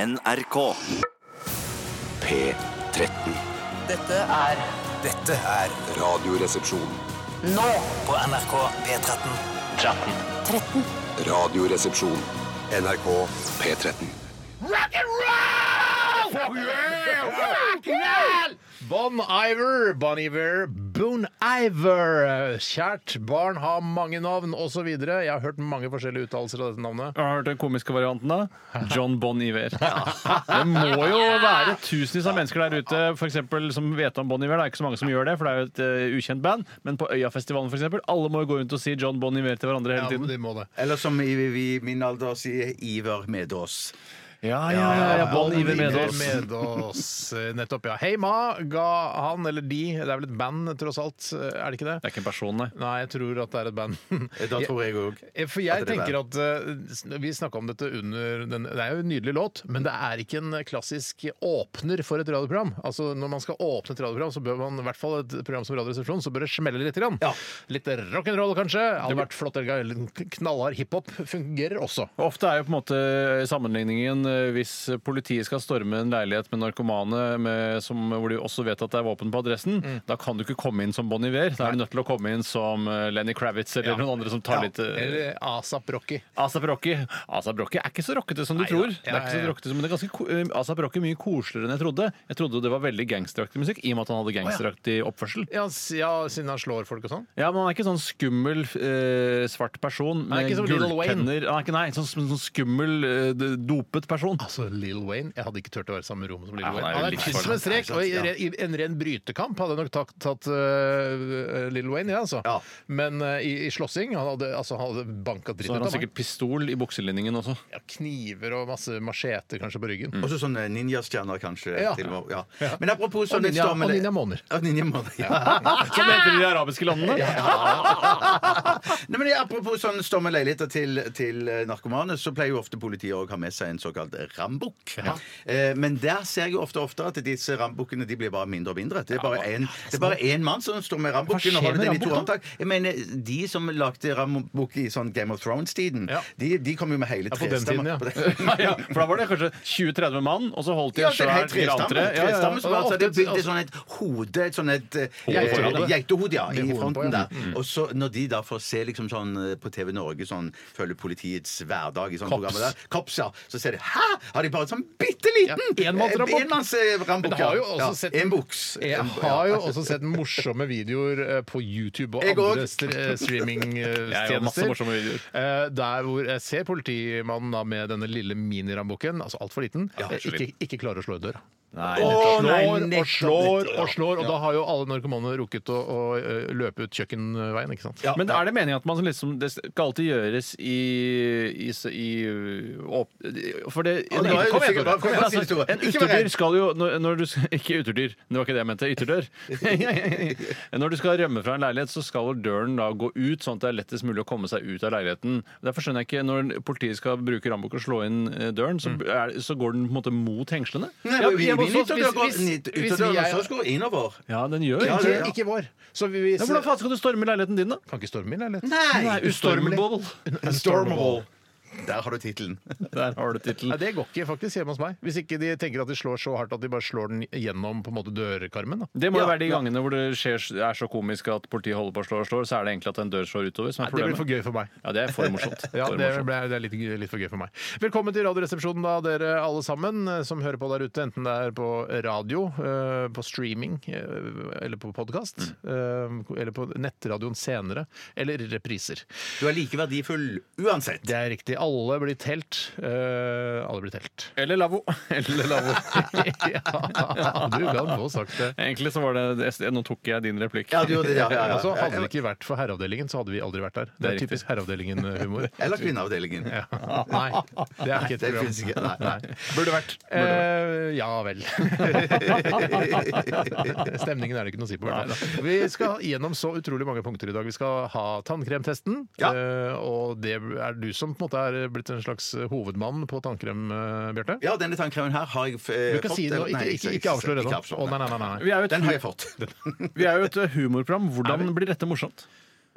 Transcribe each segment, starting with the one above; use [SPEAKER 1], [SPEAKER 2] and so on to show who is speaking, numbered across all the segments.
[SPEAKER 1] NRK.
[SPEAKER 2] P13.
[SPEAKER 3] Dette er
[SPEAKER 4] Dette er
[SPEAKER 2] Radioresepsjon.
[SPEAKER 3] nå
[SPEAKER 4] på NRK P13.
[SPEAKER 2] Radioresepsjon. NRK P13.
[SPEAKER 5] Bon Iver, Bon Iver, Boon Iver. Kjært barn har mange navn, osv. Jeg har hørt mange forskjellige uttalelser av dette navnet.
[SPEAKER 6] Har du hørt den komiske varianten, da? John Bon Iver. Det må jo være tusenvis av mennesker der ute for eksempel, som vet om Bon Iver. Det er ikke så mange som gjør det, for det er jo et eh, ukjent band. Men på Øyafestivalen, for eksempel, alle må jo gå rundt og si John Bon Iver til hverandre hele tiden.
[SPEAKER 5] de må det.
[SPEAKER 7] Eller som i, vi i min alder sier Iver Medås.
[SPEAKER 6] Ja, ja, ja, ja Bon Iver med oss.
[SPEAKER 5] Med oss. Eh, Nettopp, ja. Hei Ma ga han, eller de, det er vel et band tross alt, eh, er det ikke det?
[SPEAKER 6] Det er ikke en person, nei.
[SPEAKER 5] Nei, jeg tror at det er et band.
[SPEAKER 7] Da tror jeg òg.
[SPEAKER 5] Eh, For jeg
[SPEAKER 7] At det er
[SPEAKER 5] tenker at eh, Vi snakka om dette under den, Det er jo en nydelig låt, men det er ikke en eh, klassisk åpner for et radioprogram. Altså Når man skal åpne et radioprogram, så bør man i hvert fall et program som Radioresepsjon, så bør det smelle litt. Grann. Litt rock'n'roll, kanskje. Hadde vært flott. eller en Knallhard hiphop fungerer også.
[SPEAKER 6] Ofte er jo på en måte sammenligningen eh, hvis politiet skal storme en leilighet med narkomane med, som, hvor de også vet at det er våpen på adressen, da kan du ikke komme inn som Bon Iver. Da er du nødt til å komme inn som eh, Lenny Kravitz eller noen andre som tar litt eh,
[SPEAKER 5] Eller ASAP Rocky.
[SPEAKER 6] Asap Rocky Asap Rocky er ikke så rockete som du tror. Det er
[SPEAKER 5] Ja, ja,
[SPEAKER 6] ikke så
[SPEAKER 5] ja.
[SPEAKER 6] rockete, som- men det er ganske, ko- eh, Asap Rocky er mye koseligere enn jeg trodde. Jeg trodde det var veldig gangsteraktig musikk, i og med at han hadde gangsteraktig oppførsel.
[SPEAKER 5] Ja, s- ja, siden han slår folk og sånn.
[SPEAKER 6] Ja, men Han er ikke sånn skummel eh, svart person
[SPEAKER 5] Han er
[SPEAKER 6] med
[SPEAKER 5] ikke som Lil Wayne.
[SPEAKER 6] gulltenner. Han er ikke nei, sånn, sånn, sånn skummel, eh, d- dopet person.
[SPEAKER 5] Altså Lil Wayne, Jeg hadde ikke turt å være i samme rom som Lil
[SPEAKER 6] Ja, han
[SPEAKER 5] Wayne.
[SPEAKER 6] er jo
[SPEAKER 5] Han er
[SPEAKER 6] litt
[SPEAKER 5] tyst som en strek. Og i, re- i en ren brytekamp hadde jeg nok tatt, tatt øh, Lil Wayne, ja, altså.
[SPEAKER 7] Ja.
[SPEAKER 5] Men øh, i, i slåssing Han hadde, altså, han hadde banka
[SPEAKER 6] Så
[SPEAKER 5] dritten
[SPEAKER 6] har
[SPEAKER 5] ut
[SPEAKER 6] han
[SPEAKER 5] av meg.
[SPEAKER 6] sikkert pistol i bukselinningen også.
[SPEAKER 5] Ja, kniver og masse macheter kanskje på ryggen.
[SPEAKER 7] Også sånne ninjastjerner, kanskje.
[SPEAKER 5] Ja.
[SPEAKER 7] Til, og med, ja. Men apropos
[SPEAKER 5] Og
[SPEAKER 7] sånne
[SPEAKER 5] ninja-
[SPEAKER 7] stormende-
[SPEAKER 5] og ninjamåner.
[SPEAKER 7] Ja, ninjamåner, ja.
[SPEAKER 6] Som det heter i de arabiske landene.
[SPEAKER 7] Nei, men Apropos sånn stomme leiligheter til, til eh, narkomane, så pleier jo ofte politiet å ha med seg en såkalt rambukk. Eh, men der ser jeg jo ofte og oftere at disse rambukkene de blir bare mindre og mindre. Det er bare en- det er bare én mann som står med
[SPEAKER 6] Hva
[SPEAKER 7] rambukken
[SPEAKER 6] skjer
[SPEAKER 7] og holder
[SPEAKER 6] med
[SPEAKER 7] den i to
[SPEAKER 6] rambukk da?
[SPEAKER 7] håndtak. Jeg mener, De som lagde rambukk i sånn Game of Thrones-tiden,
[SPEAKER 5] Ja.
[SPEAKER 7] de, de kom jo med hele
[SPEAKER 5] Ja, på den tiden,
[SPEAKER 7] trestammer.
[SPEAKER 5] ja.
[SPEAKER 7] På den-
[SPEAKER 6] Ja, for da var det kanskje 20-30 mann, og så holdt de
[SPEAKER 7] Ja,
[SPEAKER 6] en
[SPEAKER 7] det er helt
[SPEAKER 6] svær
[SPEAKER 7] trestamme.
[SPEAKER 6] grantre. Ja, ja,
[SPEAKER 7] Trestamme
[SPEAKER 6] ja.
[SPEAKER 7] som
[SPEAKER 5] Og
[SPEAKER 7] altså,
[SPEAKER 5] ofte-
[SPEAKER 7] det bygde sånn et hode, et sånn et eh,
[SPEAKER 5] Geitehode.
[SPEAKER 7] geitehode, ja,
[SPEAKER 5] Med
[SPEAKER 7] i
[SPEAKER 5] hodet på,
[SPEAKER 7] fronten
[SPEAKER 5] ja. Mm.
[SPEAKER 7] der. Og så når de da får se liksom sånn eh, på TV Norge sånn følger politiets hverdag i sånne
[SPEAKER 6] Kops.
[SPEAKER 7] programmer der, Kops, ja, så ser de Hæ! Har de bare sånn bitte liten Eh,
[SPEAKER 5] Ja, enmannsrambukk. Men
[SPEAKER 7] enmannsrambukk?
[SPEAKER 5] det har jo også sett-
[SPEAKER 7] En buks.
[SPEAKER 5] Jeg
[SPEAKER 7] En-
[SPEAKER 5] har jo også sett morsomme videoer eh, på YouTube og
[SPEAKER 7] Jeg
[SPEAKER 5] andre
[SPEAKER 7] òg.
[SPEAKER 5] str- eh,
[SPEAKER 6] Jeg har masse
[SPEAKER 5] streamingtjenester.
[SPEAKER 6] morsomme videoer.
[SPEAKER 5] Eh, Der hvor jeg ser politimannen da med denne lille minirambukken, altså altfor liten,
[SPEAKER 7] Ja,
[SPEAKER 5] eh,
[SPEAKER 7] så
[SPEAKER 5] ikke, ikke klarer å slå i døra.
[SPEAKER 6] Nei,
[SPEAKER 5] Og
[SPEAKER 7] Å, nei,
[SPEAKER 5] slår og
[SPEAKER 7] nettopp,
[SPEAKER 5] slår
[SPEAKER 7] nettopp,
[SPEAKER 5] og
[SPEAKER 7] ja.
[SPEAKER 5] slår, og da har jo alle narkomane rukket å, å eh, løpe ut kjøkkenveien, ikke sant?
[SPEAKER 7] Ja.
[SPEAKER 6] Men er det meningen at man liksom Det skal alltid gjøres i, i, i øh, åp, For det
[SPEAKER 7] nå
[SPEAKER 6] Kom
[SPEAKER 7] er jeg
[SPEAKER 6] igjen,
[SPEAKER 7] usikker.
[SPEAKER 6] Tore. Kom igjen,
[SPEAKER 7] Hva sier du, Tore?
[SPEAKER 6] En
[SPEAKER 7] Ikke vær redd.
[SPEAKER 6] utedyr skal jo når, når du, Ikke uterdyr, det var ikke det jeg mente. Ytterdør. når du skal rømme fra en leilighet, så skal vel døren da gå ut, sånn at det er lettest mulig å komme seg ut av leiligheten. Derfor skjønner jeg ikke Når politiet skal bruke rambukk og slå inn eh, døren, så, er, så går den på en måte mot hengslene?
[SPEAKER 7] Mm. Nei,
[SPEAKER 5] Ja,
[SPEAKER 7] men vi
[SPEAKER 5] jeg må
[SPEAKER 7] vil
[SPEAKER 5] så-
[SPEAKER 7] ikke
[SPEAKER 5] hvis-
[SPEAKER 7] gå
[SPEAKER 5] hvis-
[SPEAKER 7] ut
[SPEAKER 5] hvis
[SPEAKER 7] av døren,
[SPEAKER 5] vi er-
[SPEAKER 7] så skal vi innover.
[SPEAKER 6] Ja, den gjør
[SPEAKER 7] Ja,
[SPEAKER 6] ikke
[SPEAKER 7] det-
[SPEAKER 6] det.
[SPEAKER 5] Ikke- Ikke vår. Så vi, vi
[SPEAKER 6] Ja, Hvordan faen skal du storme leiligheten din, da?
[SPEAKER 5] kan ikke storme inn, eller?
[SPEAKER 6] Nei, Ustormable.
[SPEAKER 7] Stormable. Der har du tittelen.
[SPEAKER 6] Der har du
[SPEAKER 5] Nei,
[SPEAKER 6] tittelen.
[SPEAKER 5] det går ikke faktisk hjemme hos meg. Hvis ikke de tenker at de slår så hardt at de bare slår den gjennom på en måte dørkarmen. Da.
[SPEAKER 6] Det må jo være de gangene hvor det skjer, er så komisk at politiet holder på å slå og slår, så er det egentlig at en dør slår utover som
[SPEAKER 5] Nei,
[SPEAKER 6] er
[SPEAKER 5] det blir
[SPEAKER 6] problemet.
[SPEAKER 5] for gøy for meg.
[SPEAKER 6] Ja, det er for morsomt.
[SPEAKER 5] Ja,
[SPEAKER 6] For
[SPEAKER 5] det,
[SPEAKER 6] morsomt.
[SPEAKER 5] ble, det er litt, litt for gøy for meg. Velkommen til Radioresepsjonen, da, dere alle sammen eh, som hører på der ute. Enten det er på radio, eh, på streaming eh, eller på podkast. Eller på nettradioen senere. Eller repriser.
[SPEAKER 7] Du er like verdifull uansett.
[SPEAKER 5] Det er riktig. Alle blir telt. Eh, alle blir telt.
[SPEAKER 6] Eller lavvo. Eller lavvo.
[SPEAKER 5] ja, du kan få sagt det.
[SPEAKER 6] Egentlig så var det, det Nå tok jeg din replikk.
[SPEAKER 7] Ja, du gjorde det, ja, ja, ja.
[SPEAKER 5] Altså, hadde det ikke vært for Herreavdelingen, så hadde vi aldri vært der. Det er
[SPEAKER 6] Det er
[SPEAKER 5] typisk Herreavdelingen-humor.
[SPEAKER 7] Eller kvinneavdelingen.
[SPEAKER 5] Ja. Nei, det er ikke et
[SPEAKER 7] Det
[SPEAKER 5] program.
[SPEAKER 7] finnes ikke, nei.
[SPEAKER 6] Burde vært.
[SPEAKER 5] Eh, ja vel. Stemningen er det ikke noe å si på. i hvert fall. Vi skal gjennom så utrolig mange punkter i dag. Vi skal ha tannkremtesten.
[SPEAKER 7] Ja.
[SPEAKER 5] eh, Og det er du som på en måte er blitt en slags hovedmann på tannkrem, eh, Bjarte.
[SPEAKER 7] Ja, denne tannkremen her har jeg eh,
[SPEAKER 5] Du kan si det nå. Ikke, ikke, ikke avslør ennå.
[SPEAKER 7] Ikke
[SPEAKER 5] Å, nei, nei, nei, nei.
[SPEAKER 6] Vi er jo et,
[SPEAKER 7] Den har jeg fått.
[SPEAKER 6] vi er jo et humorprogram. Hvordan blir dette morsomt?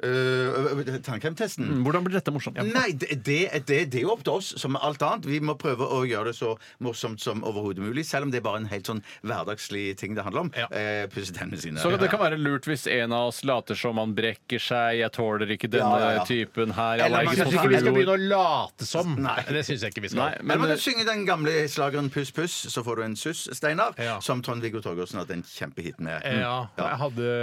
[SPEAKER 7] øh, tannkremtesten.
[SPEAKER 5] Mm,
[SPEAKER 6] Hvordan blir dette morsomt?
[SPEAKER 7] Nei, det, det, det, det er jo opp til oss som med alt annet. Vi må prøve å gjøre det så morsomt som overhodet mulig, selv om det er bare en helt sånn hverdagslig ting det handler om.
[SPEAKER 5] Ja.
[SPEAKER 7] Eh, Pusse tennene sine.
[SPEAKER 6] Så det kan være lurt hvis en av oss later som han brekker seg, jeg tåler ikke denne
[SPEAKER 7] Ja, ja, ja.
[SPEAKER 6] typen her, jeg er
[SPEAKER 7] Eller man
[SPEAKER 5] Jeg syns
[SPEAKER 6] allergisk mot
[SPEAKER 5] ikke vi skal
[SPEAKER 6] fluor.
[SPEAKER 5] begynne å late som.
[SPEAKER 7] Nei.
[SPEAKER 5] Det syns jeg ikke vi
[SPEAKER 6] Nei,
[SPEAKER 5] skal.
[SPEAKER 7] Eller
[SPEAKER 6] men
[SPEAKER 7] man kan synge den gamle slageren Puss Puss, så får du en suss, Steinar.
[SPEAKER 5] Ja.
[SPEAKER 7] Som Trond-Viggo Torgersen hadde en kjempehit med.
[SPEAKER 5] Ja, jeg hadde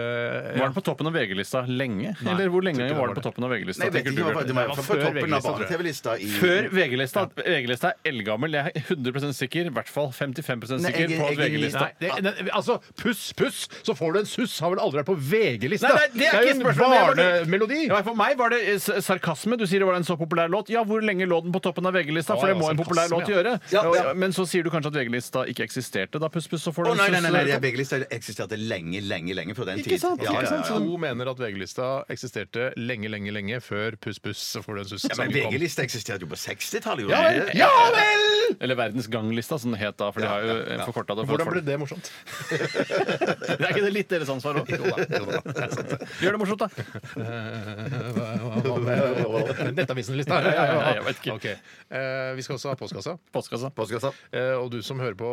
[SPEAKER 6] var den på toppen av VG-lista lenge? Eller hvor lenge
[SPEAKER 5] tror ikke det
[SPEAKER 6] var
[SPEAKER 5] var
[SPEAKER 6] den på
[SPEAKER 5] det.
[SPEAKER 6] toppen av VG-lista?
[SPEAKER 7] Nei, jeg vet
[SPEAKER 6] tenker du,
[SPEAKER 7] ikke, det var,
[SPEAKER 6] Bjarte?
[SPEAKER 7] det var,
[SPEAKER 5] Det var
[SPEAKER 7] på
[SPEAKER 5] før
[SPEAKER 7] toppen av
[SPEAKER 5] VG-lista, tror jeg.
[SPEAKER 7] barne-TV-lista i
[SPEAKER 6] Før VG-lista VG-lista er eldgammel. Jeg er 100 sikker, i hvert fall 55
[SPEAKER 7] Nei,
[SPEAKER 6] sikker
[SPEAKER 7] jeg-
[SPEAKER 6] på at
[SPEAKER 7] jeg-
[SPEAKER 6] VG-lista
[SPEAKER 5] Nei, det, det, altså, puss, puss, så får du en suss har vel aldri vært på VG-lista!
[SPEAKER 6] Nei, nei, det er ikke
[SPEAKER 5] jo en
[SPEAKER 6] spørsmålet, men jeg var-
[SPEAKER 5] barnemelodi!
[SPEAKER 6] Ja, for meg var det eh, s- sarkasme. Du sier det var en så populær låt. Ja, hvor lenge lå den på toppen av
[SPEAKER 5] Å,
[SPEAKER 6] VG-lista? For det
[SPEAKER 5] ja,
[SPEAKER 6] må en populær
[SPEAKER 5] sarkasme,
[SPEAKER 6] låt
[SPEAKER 5] ja.
[SPEAKER 6] gjøre.
[SPEAKER 7] Ja,
[SPEAKER 6] Og-
[SPEAKER 7] ja.
[SPEAKER 6] Men så sier du kanskje at VG-lista ikke eksisterte da, Puss Puss? Så får du
[SPEAKER 7] Å
[SPEAKER 6] en
[SPEAKER 7] nei, nei,
[SPEAKER 6] suss-
[SPEAKER 7] nei, nei, det er VG-lista eksisterte lenge, lenge, lenge før den tid.
[SPEAKER 5] Ikke sant?
[SPEAKER 7] Ja, ja,
[SPEAKER 5] ikke sant? sånn-
[SPEAKER 7] ja,
[SPEAKER 5] Så
[SPEAKER 7] ja.
[SPEAKER 5] to mener at VG-lista eksisterte lenge, lenge, lenge før Puss Puss så får du en suss.
[SPEAKER 6] Sånn
[SPEAKER 7] Ja, men
[SPEAKER 5] sangen kom.
[SPEAKER 7] VG-lista eksisterte jo på 60-tallet. gjorde
[SPEAKER 5] Ja
[SPEAKER 7] den
[SPEAKER 5] vel!
[SPEAKER 7] ikke det?
[SPEAKER 5] Ja vel!
[SPEAKER 6] Eller Verdens gang-lista, som det het da. For de har jo eh, forkorta det. for
[SPEAKER 5] Hvordan ble
[SPEAKER 6] folk.
[SPEAKER 5] det morsomt?
[SPEAKER 6] Det er ikke det litt deres ansvar òg? Gjør det morsomt, da.
[SPEAKER 5] Nettavisen-lista?
[SPEAKER 6] Ja, ja, ja, jeg vet ikke.
[SPEAKER 5] Ok. Eh, Vi skal også ha postkassa.
[SPEAKER 6] Postkassa.
[SPEAKER 7] Postkassa.
[SPEAKER 5] Eh, Og du som hører på,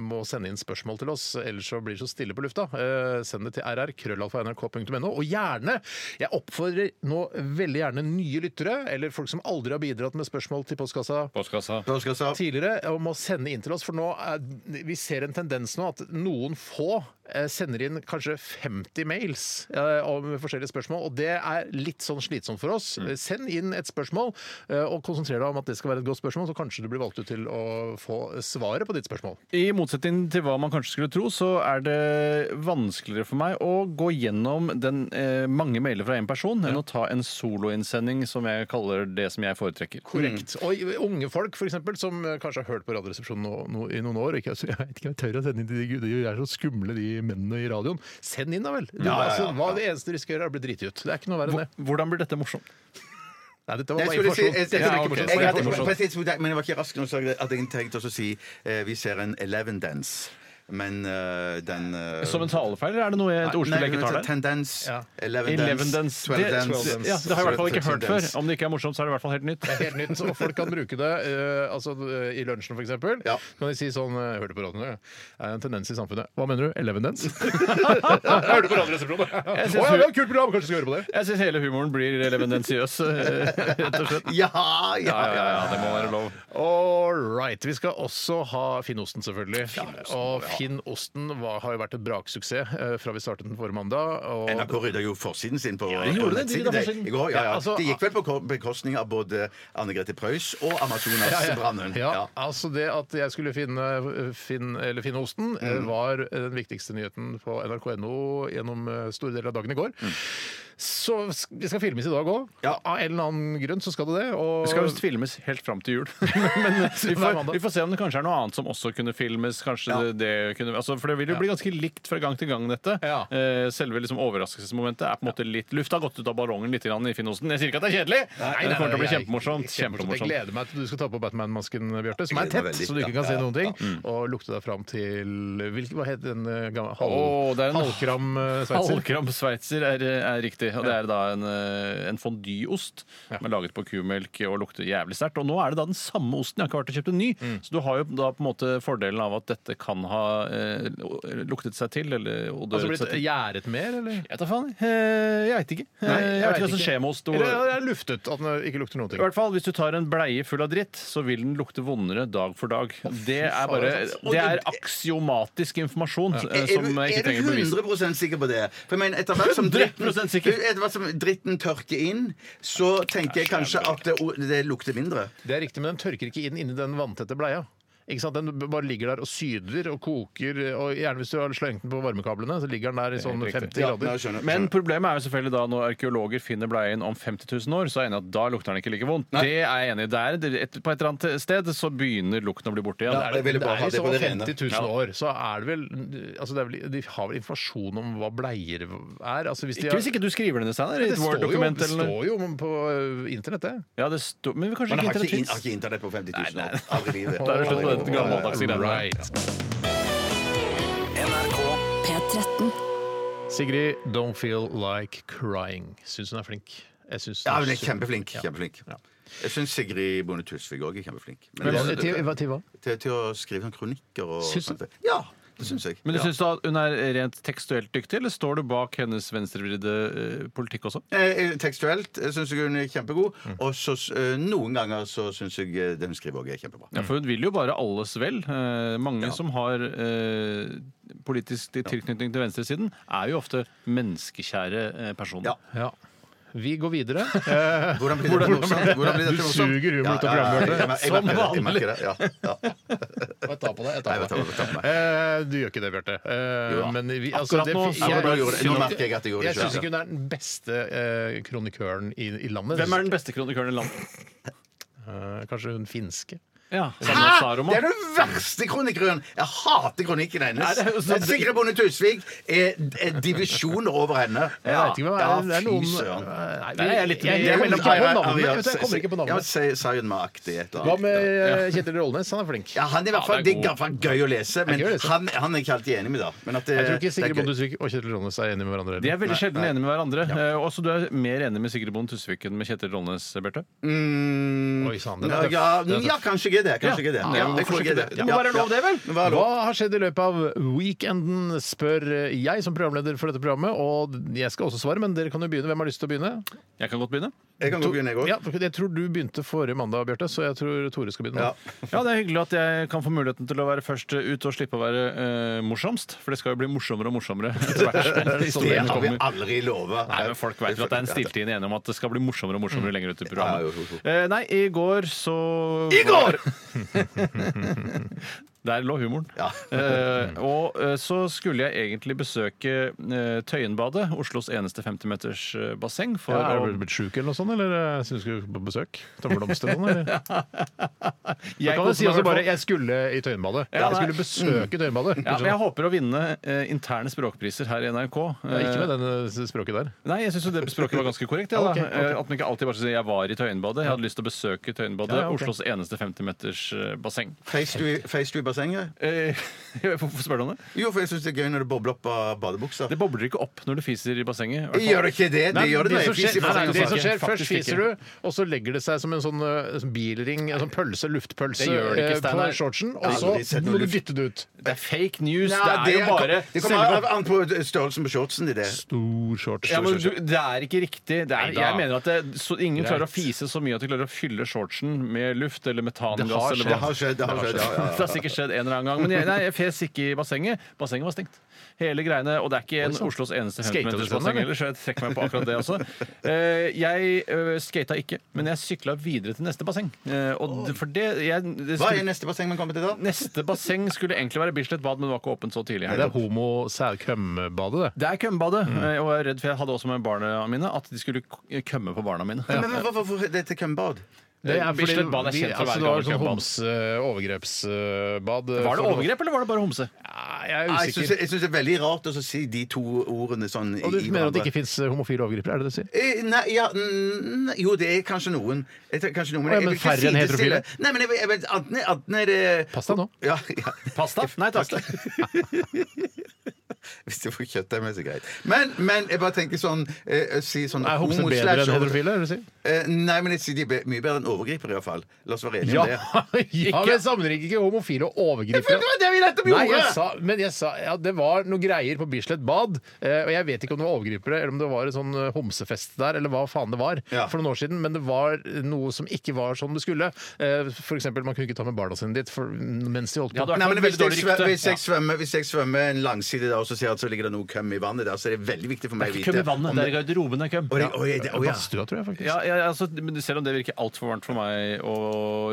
[SPEAKER 5] må sende inn spørsmål til oss, ellers så blir det så stille på lufta. Eh, Send det til rr.krøllalfa.nrk.no. Og gjerne, jeg oppfordrer nå veldig gjerne nye lyttere, eller folk som aldri har bidratt med spørsmål til postkassa
[SPEAKER 6] Postkassa.
[SPEAKER 7] Postkassa.
[SPEAKER 5] tidligere, om å sende inn til oss. For nå er, vi ser en tendens nå at noen få eh, sender inn kanskje 50 mails eh, om forskjellige spørsmål, og det er litt sånn slitsomt for oss.
[SPEAKER 7] Mm.
[SPEAKER 5] Eh, Send inn et spørsmål, eh, og konsentrer deg om at det skal være et godt spørsmål, så kanskje du blir valgt ut til å få svaret på ditt spørsmål.
[SPEAKER 6] I motsetning til hva man kanskje skulle tro, så er det vanskeligere for meg å gå gjennom den, eh, mange mailer fra én person enn å ta en soloinnsending, som jeg kaller det som jeg foretrekker.
[SPEAKER 7] Mm.
[SPEAKER 6] Mm.
[SPEAKER 5] Korrekt. Og unge folk for eksempel, som eh, kanskje har hørt på Radioresepsjonen nå, nå, i noen år og ikke, Jeg vet ikke om jeg tør å sende inn til de gudene, de er så skumle, de mennene i radioen. Send inn, da vel! Du,
[SPEAKER 7] ja,
[SPEAKER 5] altså,
[SPEAKER 7] ja.
[SPEAKER 5] hva, det eneste du skal gjøre, er å bli driti ut. Det er ikke noe verre enn det.
[SPEAKER 6] Hvor- Hvordan blir dette morsomt?
[SPEAKER 5] Nei, dette var
[SPEAKER 7] Jeg
[SPEAKER 5] bare
[SPEAKER 7] skulle si, jeg,
[SPEAKER 5] informasjon.
[SPEAKER 7] jeg, jeg,
[SPEAKER 5] Ja, ok.
[SPEAKER 7] jeg,
[SPEAKER 5] Bare
[SPEAKER 7] hadde-
[SPEAKER 5] informasjon.
[SPEAKER 7] på et tidspunkt, men jeg var ikke rask nok til at jeg tenkte også å si eh, vi ser en Eleven Dance, men eh, den eh,
[SPEAKER 6] Som en talefeil, eller er det noe jeg, et ordspill jeg ikke tar der?
[SPEAKER 7] Tendens,
[SPEAKER 5] Ja.
[SPEAKER 7] Eleven
[SPEAKER 6] Eleven
[SPEAKER 7] Dance,
[SPEAKER 6] dance. Det,
[SPEAKER 7] Twelve Dance.
[SPEAKER 6] ja, det har jeg i hvert fall ikke
[SPEAKER 7] 13
[SPEAKER 6] hørt før.
[SPEAKER 7] dance.
[SPEAKER 6] Om det ikke er morsomt, så er det i hvert fall helt nytt.
[SPEAKER 5] Helt nytt, og folk kan bruke det eh, altså, eh, i lunsjen f.eks.
[SPEAKER 7] Ja.
[SPEAKER 5] Kan de si sånn eh, Hørte på radioen, ja. Det er en tendens i samfunnet. Hva mener du? Elevendens? Hørte på Radioresepsjonen! Å
[SPEAKER 6] Jeg synes
[SPEAKER 5] ja,
[SPEAKER 6] du-
[SPEAKER 5] det var et kult program! Kanskje vi skal høre på det?
[SPEAKER 6] Jeg syns hele humoren blir elevendensiøs, eh, rett og slett.
[SPEAKER 7] Ja, ja,
[SPEAKER 6] Ja, ja, ja, det må være lov.
[SPEAKER 5] All right. Vi skal også ha Finnosten, selvfølgelig. og Finnosten var, har jo vært en braksuksess eh, fra vi startet den forrige mandag. Og
[SPEAKER 7] NRK rydda jo forsiden sin på
[SPEAKER 6] de gjorde det, de
[SPEAKER 7] nettsiden
[SPEAKER 6] rydda
[SPEAKER 7] i-
[SPEAKER 6] forsiden.
[SPEAKER 7] i går. Ja,
[SPEAKER 5] Ja,
[SPEAKER 7] ja.
[SPEAKER 5] altså-
[SPEAKER 7] Det gikk vel på ko- bekostning av både Anne Grete Preus og Amazonas brannhund.
[SPEAKER 5] Ja,
[SPEAKER 7] Ja.
[SPEAKER 5] altså Det at jeg skulle finne, finn, eller finne osten, eh,
[SPEAKER 6] Mm.
[SPEAKER 5] var den viktigste nyheten på nrk.no gjennom eh, store deler av dagen i går.
[SPEAKER 6] Mm.
[SPEAKER 5] Så sk- det skal filmes i dag òg.
[SPEAKER 7] Ja.
[SPEAKER 5] Av en eller annen grunn så skal det det. Og
[SPEAKER 6] Det skal visst filmes helt fram til jul. Men vi får, vi får se om det kanskje er noe annet som også kunne filmes. Kanskje det, det kunne, altså, for det vil jo bli ganske likt fra gang til gang, dette.
[SPEAKER 5] Ja.
[SPEAKER 6] Eh, Selve liksom overraskelsesmomentet er på en måte litt Lufta har gått ut av ballongen litt grann i Finnosen. Jeg sier ikke at det er kjedelig! men det kommer til å bli
[SPEAKER 5] jeg-
[SPEAKER 6] kjempemorsomt.
[SPEAKER 5] Jeg
[SPEAKER 6] kjempemorsomt.
[SPEAKER 5] gleder meg til du skal ta på Batman-masken, Bjarte, som er
[SPEAKER 7] Jeg gleder meg
[SPEAKER 5] tett,
[SPEAKER 7] veldig,
[SPEAKER 5] så du ikke
[SPEAKER 7] ja.
[SPEAKER 5] kan se
[SPEAKER 7] Ja,
[SPEAKER 5] noen ting.
[SPEAKER 6] Mm.
[SPEAKER 5] Og lukte deg fram til hvilken, Hva het den eh, gamle halv,
[SPEAKER 6] Å, det er en-
[SPEAKER 5] halvkram eh, sveitser?
[SPEAKER 6] Halvkram sveitser er, er riktig. Og det er da en, eh, en fondyost som er laget på kumelk og lukter jævlig sterkt. Og nå er det da den samme osten. Jeg har ikke vært og kjøpt en ny. Så du har jo da på en måte fordelen av at dette kan ha eh, luktet seg til, eller
[SPEAKER 5] Altså
[SPEAKER 6] odøret
[SPEAKER 5] blitt
[SPEAKER 6] seg til.
[SPEAKER 5] gjæret mer, eller?
[SPEAKER 6] Jeg vet da faen. Eh, Jeg veit ikke. Eh, jeg vet ikke hva som skjer med oss to.
[SPEAKER 5] Eller er det luftet? At den ikke lukter noen ting?
[SPEAKER 6] I hvert fall, Hvis du tar en bleie full av dritt, så vil den lukte vondere dag for dag. Det er bare,
[SPEAKER 5] faen.
[SPEAKER 6] det er aksiomatisk informasjon eh,
[SPEAKER 7] Er,
[SPEAKER 6] som
[SPEAKER 7] du-
[SPEAKER 6] jeg
[SPEAKER 7] er
[SPEAKER 6] ikke
[SPEAKER 7] du
[SPEAKER 6] trenger bevise.
[SPEAKER 7] 100 sikker på det? For jeg mener, etter hvert som dritten,
[SPEAKER 6] 100% sikker.
[SPEAKER 7] etter hvert som dritten tørker inn, så tenker jeg kanskje at det, det lukter mindre.
[SPEAKER 5] Det er riktig, men den tørker ikke inn inni den vanntette bleia. Ikke sant? Den b- bare ligger der og syder og koker. og Gjerne hvis du har slengt den på varmekablene, så ligger den der i sånn
[SPEAKER 6] helt riktig.
[SPEAKER 5] 50
[SPEAKER 7] nei,
[SPEAKER 5] grader.
[SPEAKER 7] jeg skjønner,
[SPEAKER 6] Men altså,
[SPEAKER 7] skjønner.
[SPEAKER 6] problemet er jo selvfølgelig da når arkeologer finner bleien om 50 000 år, så er jeg enig i at da lukter den ikke like vondt. Det er jeg enig i. Der, det- et, på et eller annet sted så begynner lukten å bli borte igjen.
[SPEAKER 7] Ja, jeg ville bare ha
[SPEAKER 5] i så
[SPEAKER 7] det på det
[SPEAKER 5] 50 000
[SPEAKER 6] rene.
[SPEAKER 5] år, så er det vel altså det er vel, De har vel informasjon om hva bleier er? Altså hvis de
[SPEAKER 6] Ikke hvis ikke du skriver det ned, Steinar.
[SPEAKER 5] det
[SPEAKER 6] i et
[SPEAKER 5] står, jo,
[SPEAKER 6] Word-dokument
[SPEAKER 5] det
[SPEAKER 6] eller noe.
[SPEAKER 5] står jo på ø, internett, det.
[SPEAKER 6] Ja, det står Men kanskje
[SPEAKER 7] Man
[SPEAKER 6] ikke internett
[SPEAKER 7] har ikke, in,
[SPEAKER 6] fins?
[SPEAKER 7] har ikke internett på 50 000 år. Aldri i livet.
[SPEAKER 6] Da er det slutt på dette gammeldagse greiene.
[SPEAKER 5] Right.
[SPEAKER 4] NRK
[SPEAKER 1] P13.
[SPEAKER 5] Sigrid Don't Feel Like Crying. Syns hun er flink. Jeg syns
[SPEAKER 7] Ja,
[SPEAKER 5] hun
[SPEAKER 7] hun er
[SPEAKER 5] super-
[SPEAKER 7] kjempeflink.
[SPEAKER 5] Ja.
[SPEAKER 7] kjempeflink.
[SPEAKER 5] Ja.
[SPEAKER 7] Jeg syns Sigrid Bonde Tusvik òg er kjempeflink. Men
[SPEAKER 5] Men
[SPEAKER 7] det-
[SPEAKER 5] hva- til-
[SPEAKER 7] det-
[SPEAKER 5] hva- til hva?
[SPEAKER 7] til, til å skrive sånn kronikker og
[SPEAKER 5] Syns du?
[SPEAKER 7] sånt. Ja, det syns jeg.
[SPEAKER 6] Men du
[SPEAKER 7] ja.
[SPEAKER 6] syns du at hun er rent tekstuelt dyktig, eller står du bak hennes venstrevridde eh, politikk også?
[SPEAKER 7] Eh, eh, Tekstuelt syns jeg hun er kjempegod.
[SPEAKER 5] Mm.
[SPEAKER 7] Og så eh, noen ganger så syns jeg eh, det hun skriver òg er kjempebra.
[SPEAKER 6] Ja, For hun vil jo bare alles vel. Eh, mange som har eh, politisk tilknytning til venstresiden, er jo ofte menneskekjære eh, personer.
[SPEAKER 7] Ja.
[SPEAKER 5] Ja. Vi går videre. Eh,
[SPEAKER 7] Hvordan blir dette morsomt? Hvordan blir dette
[SPEAKER 5] Du
[SPEAKER 7] morsomt?
[SPEAKER 5] suger humor ut av
[SPEAKER 7] jeg- jeg- jeg-
[SPEAKER 5] programmet,
[SPEAKER 7] jeg-
[SPEAKER 5] Bjarte.
[SPEAKER 7] jeg- jeg- jeg
[SPEAKER 5] Som
[SPEAKER 7] merker det, Ja, ja.
[SPEAKER 5] jeg tar på deg. Jeg
[SPEAKER 7] Nei, jeg
[SPEAKER 5] tar
[SPEAKER 7] tar
[SPEAKER 5] på
[SPEAKER 7] på- tar på meg.
[SPEAKER 5] deg. Eh, du gjør ikke det, Bjarte. Eh,
[SPEAKER 7] Jo da.
[SPEAKER 5] men vi,
[SPEAKER 6] Akkurat nå-
[SPEAKER 5] jeg-
[SPEAKER 7] Ja, men da gjorde jeg- Nå
[SPEAKER 5] jeg-
[SPEAKER 7] merker jeg at jeg gjorde det
[SPEAKER 5] Jeg syns
[SPEAKER 7] selv.
[SPEAKER 5] ikke hun er den beste eh, kronikøren i, i landet.
[SPEAKER 6] Hvem er den beste kronikøren i landet?
[SPEAKER 5] Eh, kanskje hun finske.
[SPEAKER 6] Ja,
[SPEAKER 7] Hæ?
[SPEAKER 6] Sanna Saroma.
[SPEAKER 7] Det er den verste kronikeren! Jeg hater kronikken
[SPEAKER 6] Nei,
[SPEAKER 7] hennes.
[SPEAKER 6] det er jo sånn-
[SPEAKER 7] Sigrid Bonde Tusvik er, er divisjoner over henne.
[SPEAKER 5] Jeg vet ikke hva
[SPEAKER 7] Ja,
[SPEAKER 5] det er noen
[SPEAKER 7] fy søren.
[SPEAKER 5] Nei,
[SPEAKER 6] Nei, jeg er
[SPEAKER 5] jeg,
[SPEAKER 6] litt-
[SPEAKER 5] jeg,
[SPEAKER 6] jeg-
[SPEAKER 5] kommer ikke
[SPEAKER 7] Ja,
[SPEAKER 5] på
[SPEAKER 7] ja,
[SPEAKER 5] navnet.
[SPEAKER 7] ja,
[SPEAKER 5] Vet du, jeg kommer ikke på
[SPEAKER 7] Ja,
[SPEAKER 5] navnet.
[SPEAKER 7] si- Sayonmaktig et eller
[SPEAKER 5] Hva
[SPEAKER 7] annet.
[SPEAKER 5] med eh, Kjetil Rolnes? Han er flink.
[SPEAKER 7] Ja, han er i hvert fall,
[SPEAKER 6] Ja, det
[SPEAKER 7] det
[SPEAKER 6] er
[SPEAKER 7] er i
[SPEAKER 6] god.
[SPEAKER 7] hvert fall gøy å lese, men
[SPEAKER 5] gøy å lese.
[SPEAKER 7] han, han er ikke alltid enig med da. Men at eh, det.
[SPEAKER 5] Jeg tror ikke Sigrid
[SPEAKER 7] det er gøy.
[SPEAKER 5] Bonde Tusvik og Kjetil Rolnes er enige med hverandre.
[SPEAKER 6] De
[SPEAKER 5] heller.
[SPEAKER 6] er veldig sjelden enige med hverandre. Eh, Også du er mer enig med Sigrid Bonde Tusvik enn med Kjetil Rollnes, Bjarte?
[SPEAKER 7] Mm,
[SPEAKER 5] Oi, sann, den
[SPEAKER 7] ja,
[SPEAKER 5] er tøff.
[SPEAKER 7] ja, ja, kanskje ikke det. Kanskje ikke det.
[SPEAKER 6] Ja,
[SPEAKER 7] Ja,
[SPEAKER 6] hvorfor
[SPEAKER 7] jeg tror
[SPEAKER 6] ikke
[SPEAKER 7] ikke
[SPEAKER 6] det? Det må være lov, det, vel?
[SPEAKER 7] må være lov.
[SPEAKER 5] Hva har skjedd i løpet av weekenden, spør jeg som programleder for dette programmet. Og jeg skal også svare, men dere kan jo begynne. Hvem har lyst til å begynne?
[SPEAKER 6] Jeg kan godt begynne.
[SPEAKER 7] Jeg kan godt begynne, jeg òg.
[SPEAKER 5] Ja, for jeg tror du begynte forrige mandag, Bjarte, så jeg tror Tore skal begynne nå.
[SPEAKER 7] Ja.
[SPEAKER 6] Ja, Det er hyggelig at jeg kan få muligheten til å være først ut og slippe å være eh, morsomst. For det skal jo bli morsommere og morsommere etter hvert. som
[SPEAKER 7] Det
[SPEAKER 6] den
[SPEAKER 7] har vi
[SPEAKER 6] kommer.
[SPEAKER 7] aldri lova.
[SPEAKER 6] Nei, men Folk vet jo at det er en stilltiende enighet om at det skal bli morsommere og morsommere lenger ut i
[SPEAKER 7] Mm. Ja, jo,
[SPEAKER 6] programmet.
[SPEAKER 7] jo, jo.
[SPEAKER 6] Eh, nei, i går så
[SPEAKER 7] I går!
[SPEAKER 6] Der lå humoren.
[SPEAKER 7] Ja.
[SPEAKER 6] Eh, og eh, så skulle jeg egentlig besøke eh, Tøyenbadet, Oslos eneste 50-meters eh, basseng. For
[SPEAKER 5] Ja, er
[SPEAKER 6] å-
[SPEAKER 5] du blitt sjuk eller noe sånt, eller eh, synes du på besøk? Ta blomster eller noe? eller? Da
[SPEAKER 6] Jeg
[SPEAKER 5] kan du
[SPEAKER 6] koser
[SPEAKER 5] si også
[SPEAKER 6] meg i hvert
[SPEAKER 5] bare
[SPEAKER 6] fall.
[SPEAKER 5] 'jeg skulle i Tøyenbadet'.
[SPEAKER 6] Ja,
[SPEAKER 5] Jeg
[SPEAKER 6] nei.
[SPEAKER 5] skulle besøke Tøyenbadet.
[SPEAKER 6] ja, men Jeg håper å vinne eh, interne språkpriser her i NRK. Eh,
[SPEAKER 5] Ja, Ikke med det språket der.
[SPEAKER 6] Nei, jeg syns det språket var ganske korrekt. Ja, da.
[SPEAKER 5] Ok, ok.
[SPEAKER 6] Eh, At man ikke alltid bare skal si 'jeg var i Tøyenbadet'. Jeg hadde lyst til å besøke Tøyenbadet,
[SPEAKER 5] Ja, ja, ok.
[SPEAKER 6] Oslos eneste 50-meters eh, basseng.
[SPEAKER 7] Feis du i- feis du i bassenget?
[SPEAKER 6] Eh, Hvorfor spør du om det?
[SPEAKER 7] Jo, for jeg syns det er gøy når det bobler opp av badebuksa.
[SPEAKER 6] Det bobler ikke opp når du fiser i bassenget. i hvert fall.
[SPEAKER 7] Gjør det ikke det? Det
[SPEAKER 5] Nei,
[SPEAKER 7] gjør det
[SPEAKER 5] det
[SPEAKER 7] når
[SPEAKER 5] som
[SPEAKER 7] jeg fiser
[SPEAKER 5] skjer,
[SPEAKER 7] i
[SPEAKER 5] nei, nei,
[SPEAKER 7] bassenget.
[SPEAKER 5] det som skjer
[SPEAKER 6] Faktisk
[SPEAKER 5] Først fiser du, og så legger det seg som en sånn eh, sånn bilring, en sånn pølse, luftpølse,
[SPEAKER 6] Det gjør det ikke,
[SPEAKER 5] eh, på
[SPEAKER 6] Steinar.
[SPEAKER 5] shortsen,
[SPEAKER 7] Jeg
[SPEAKER 5] og
[SPEAKER 7] har
[SPEAKER 5] så
[SPEAKER 7] aldri sett noe
[SPEAKER 5] må du
[SPEAKER 7] luft.
[SPEAKER 5] dytte det ut.
[SPEAKER 6] Det er fake news.
[SPEAKER 7] Nei,
[SPEAKER 6] det er jo bare
[SPEAKER 7] Det kommer an på størrelsen på shortsen i det.
[SPEAKER 5] Stor shorts.
[SPEAKER 6] ja,
[SPEAKER 5] stor
[SPEAKER 6] men
[SPEAKER 5] shorts.
[SPEAKER 6] du, Det er ikke riktig. Det er,
[SPEAKER 5] Neida.
[SPEAKER 6] jeg mener at det, så, Ingen klarer å
[SPEAKER 5] Greit.
[SPEAKER 6] fise så mye at de klarer å fylle shortsen med luft eller
[SPEAKER 5] Det
[SPEAKER 6] metangass.
[SPEAKER 5] har
[SPEAKER 6] eller
[SPEAKER 5] skjedd,
[SPEAKER 6] hva.
[SPEAKER 7] Det har skjedd, det har skjedd. Ja, ja,
[SPEAKER 6] Det har sikkert skjedd en eller annen gang. Men jeg, nei, jeg fes ikke i bassenget. Bassenget var stengt. Hele greiene, Og det er ikke en Oslos eneste
[SPEAKER 5] Skatet du
[SPEAKER 6] 50-meters
[SPEAKER 5] sånn,
[SPEAKER 6] basseng
[SPEAKER 5] eller?
[SPEAKER 6] heller, så jeg trekker meg på akkurat det også. Eh, Jeg uh, skata ikke, men jeg sykla videre til neste basseng. Eh, Og d- for det, jeg, det
[SPEAKER 7] Hva er
[SPEAKER 6] skulle,
[SPEAKER 7] neste basseng man kommer til da?
[SPEAKER 6] Neste basseng skulle egentlig være Bislett bad, men det var ikke åpent så tidlig. i
[SPEAKER 5] Det er
[SPEAKER 6] helga.
[SPEAKER 5] homo-sædkømmebadet, det.
[SPEAKER 6] Det er kømmebadet, eh, og jeg er redd for jeg hadde også med barna mine at de skulle k- kømme på barna mine.
[SPEAKER 7] Men hva- hva- Hvorfor dette kømbad?
[SPEAKER 5] Det er fordi
[SPEAKER 6] Bislett Bad er
[SPEAKER 5] vi-
[SPEAKER 6] kjent for å være
[SPEAKER 5] altså, det var
[SPEAKER 6] gammelt
[SPEAKER 5] sånn
[SPEAKER 6] bad.
[SPEAKER 5] homse-overgrepsbad.
[SPEAKER 6] Var det overgrep, eller var det bare homse?
[SPEAKER 5] Jeg er
[SPEAKER 7] Nei, Jeg syns
[SPEAKER 5] usikker.
[SPEAKER 7] jeg syns det er veldig rart å så si de to ordene sånn i
[SPEAKER 5] Og du
[SPEAKER 7] i
[SPEAKER 5] mener at det
[SPEAKER 7] hverandre.
[SPEAKER 5] ikke fins homofile overgripere? Er det det du sier?
[SPEAKER 7] Eh, Nei, ja, mm, jo, det er kanskje noen. Jeg tenker kanskje noen
[SPEAKER 5] Å, ja,
[SPEAKER 7] jeg
[SPEAKER 5] men
[SPEAKER 7] vil ikke
[SPEAKER 5] færre enn
[SPEAKER 7] sidestille-
[SPEAKER 5] heterofile?
[SPEAKER 7] Nei, men jeg, vil- jeg, vet- enten, enten er det
[SPEAKER 5] Pass deg nå.
[SPEAKER 7] Ja, ja.
[SPEAKER 6] Pasta? Nei takk.
[SPEAKER 7] Hvis du får kjøttdeig med, så greit. Men, men jeg bare tenker sånn eh, si sånn
[SPEAKER 5] Er homser
[SPEAKER 7] homo
[SPEAKER 5] bedre
[SPEAKER 7] slash
[SPEAKER 5] enn
[SPEAKER 7] over-
[SPEAKER 5] heterofile? Er det du sier?
[SPEAKER 7] Eh, nei, men jeg sier de er be- mye bedre enn overgripere, iallfall. La oss være enige om det.
[SPEAKER 5] ja men sammenlign ikke homofile og
[SPEAKER 7] Men
[SPEAKER 5] overgripere.
[SPEAKER 7] det var det vi nettopp
[SPEAKER 5] Nei,
[SPEAKER 7] gjorde!
[SPEAKER 5] jeg sa, men jeg sa ja, det var noe greier på Bislett bad. eh, Og jeg vet ikke om det var overgripere, eller om det var en sånn eh, homsefest der, eller hva faen det var
[SPEAKER 7] Ja.
[SPEAKER 5] for noen år siden. Men det var noe som ikke var som det skulle. Eh, For eksempel, man kunne ikke ta med barna sine dit for, mens de holdt
[SPEAKER 6] Ja,
[SPEAKER 5] på.
[SPEAKER 6] det var-
[SPEAKER 7] Nei, men
[SPEAKER 6] Veldig
[SPEAKER 7] hvis jeg,
[SPEAKER 6] dårlig
[SPEAKER 7] svømmer,
[SPEAKER 6] rykte.
[SPEAKER 7] hvis, jeg svømmer, hvis jeg svømmer en langside der og så ser jeg at så ligger det noe køm i vannet der, så er det veldig viktig for meg å vite
[SPEAKER 6] Køm i vannet.
[SPEAKER 7] om
[SPEAKER 6] Det er i garderoben det er køm.
[SPEAKER 7] Oi, oi, det- oi, ja.
[SPEAKER 5] Badstua, tror jeg faktisk.
[SPEAKER 6] Ja, ja, altså, men selv om det virker altfor varmt for meg å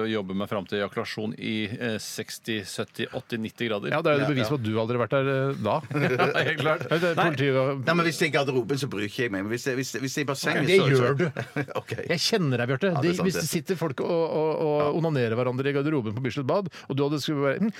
[SPEAKER 6] jobbe meg fram til ejakulasjon i eh, 60, 70, 80, 90 grader
[SPEAKER 5] Ja, det er jo et bevis på at du aldri har vært der eh, da.
[SPEAKER 6] Ja, helt klart.
[SPEAKER 5] Ja, det er
[SPEAKER 6] Nei.
[SPEAKER 5] politiet-
[SPEAKER 7] Nei, men Hvis det er i garderoben, så bryr ikke jeg meg. Men hvis det, hvis det, hvis det er i bassenget,
[SPEAKER 5] Det
[SPEAKER 7] så
[SPEAKER 5] gjør du.
[SPEAKER 7] Ok.
[SPEAKER 5] Jeg kjenner deg, Bjarte.
[SPEAKER 7] Ja,
[SPEAKER 5] De-
[SPEAKER 7] det er sant,
[SPEAKER 5] Hvis det
[SPEAKER 7] det.
[SPEAKER 5] sitter folk og, og, og onanerer hverandre i garderoben på Bislett bad, og du hadde skulle være hm,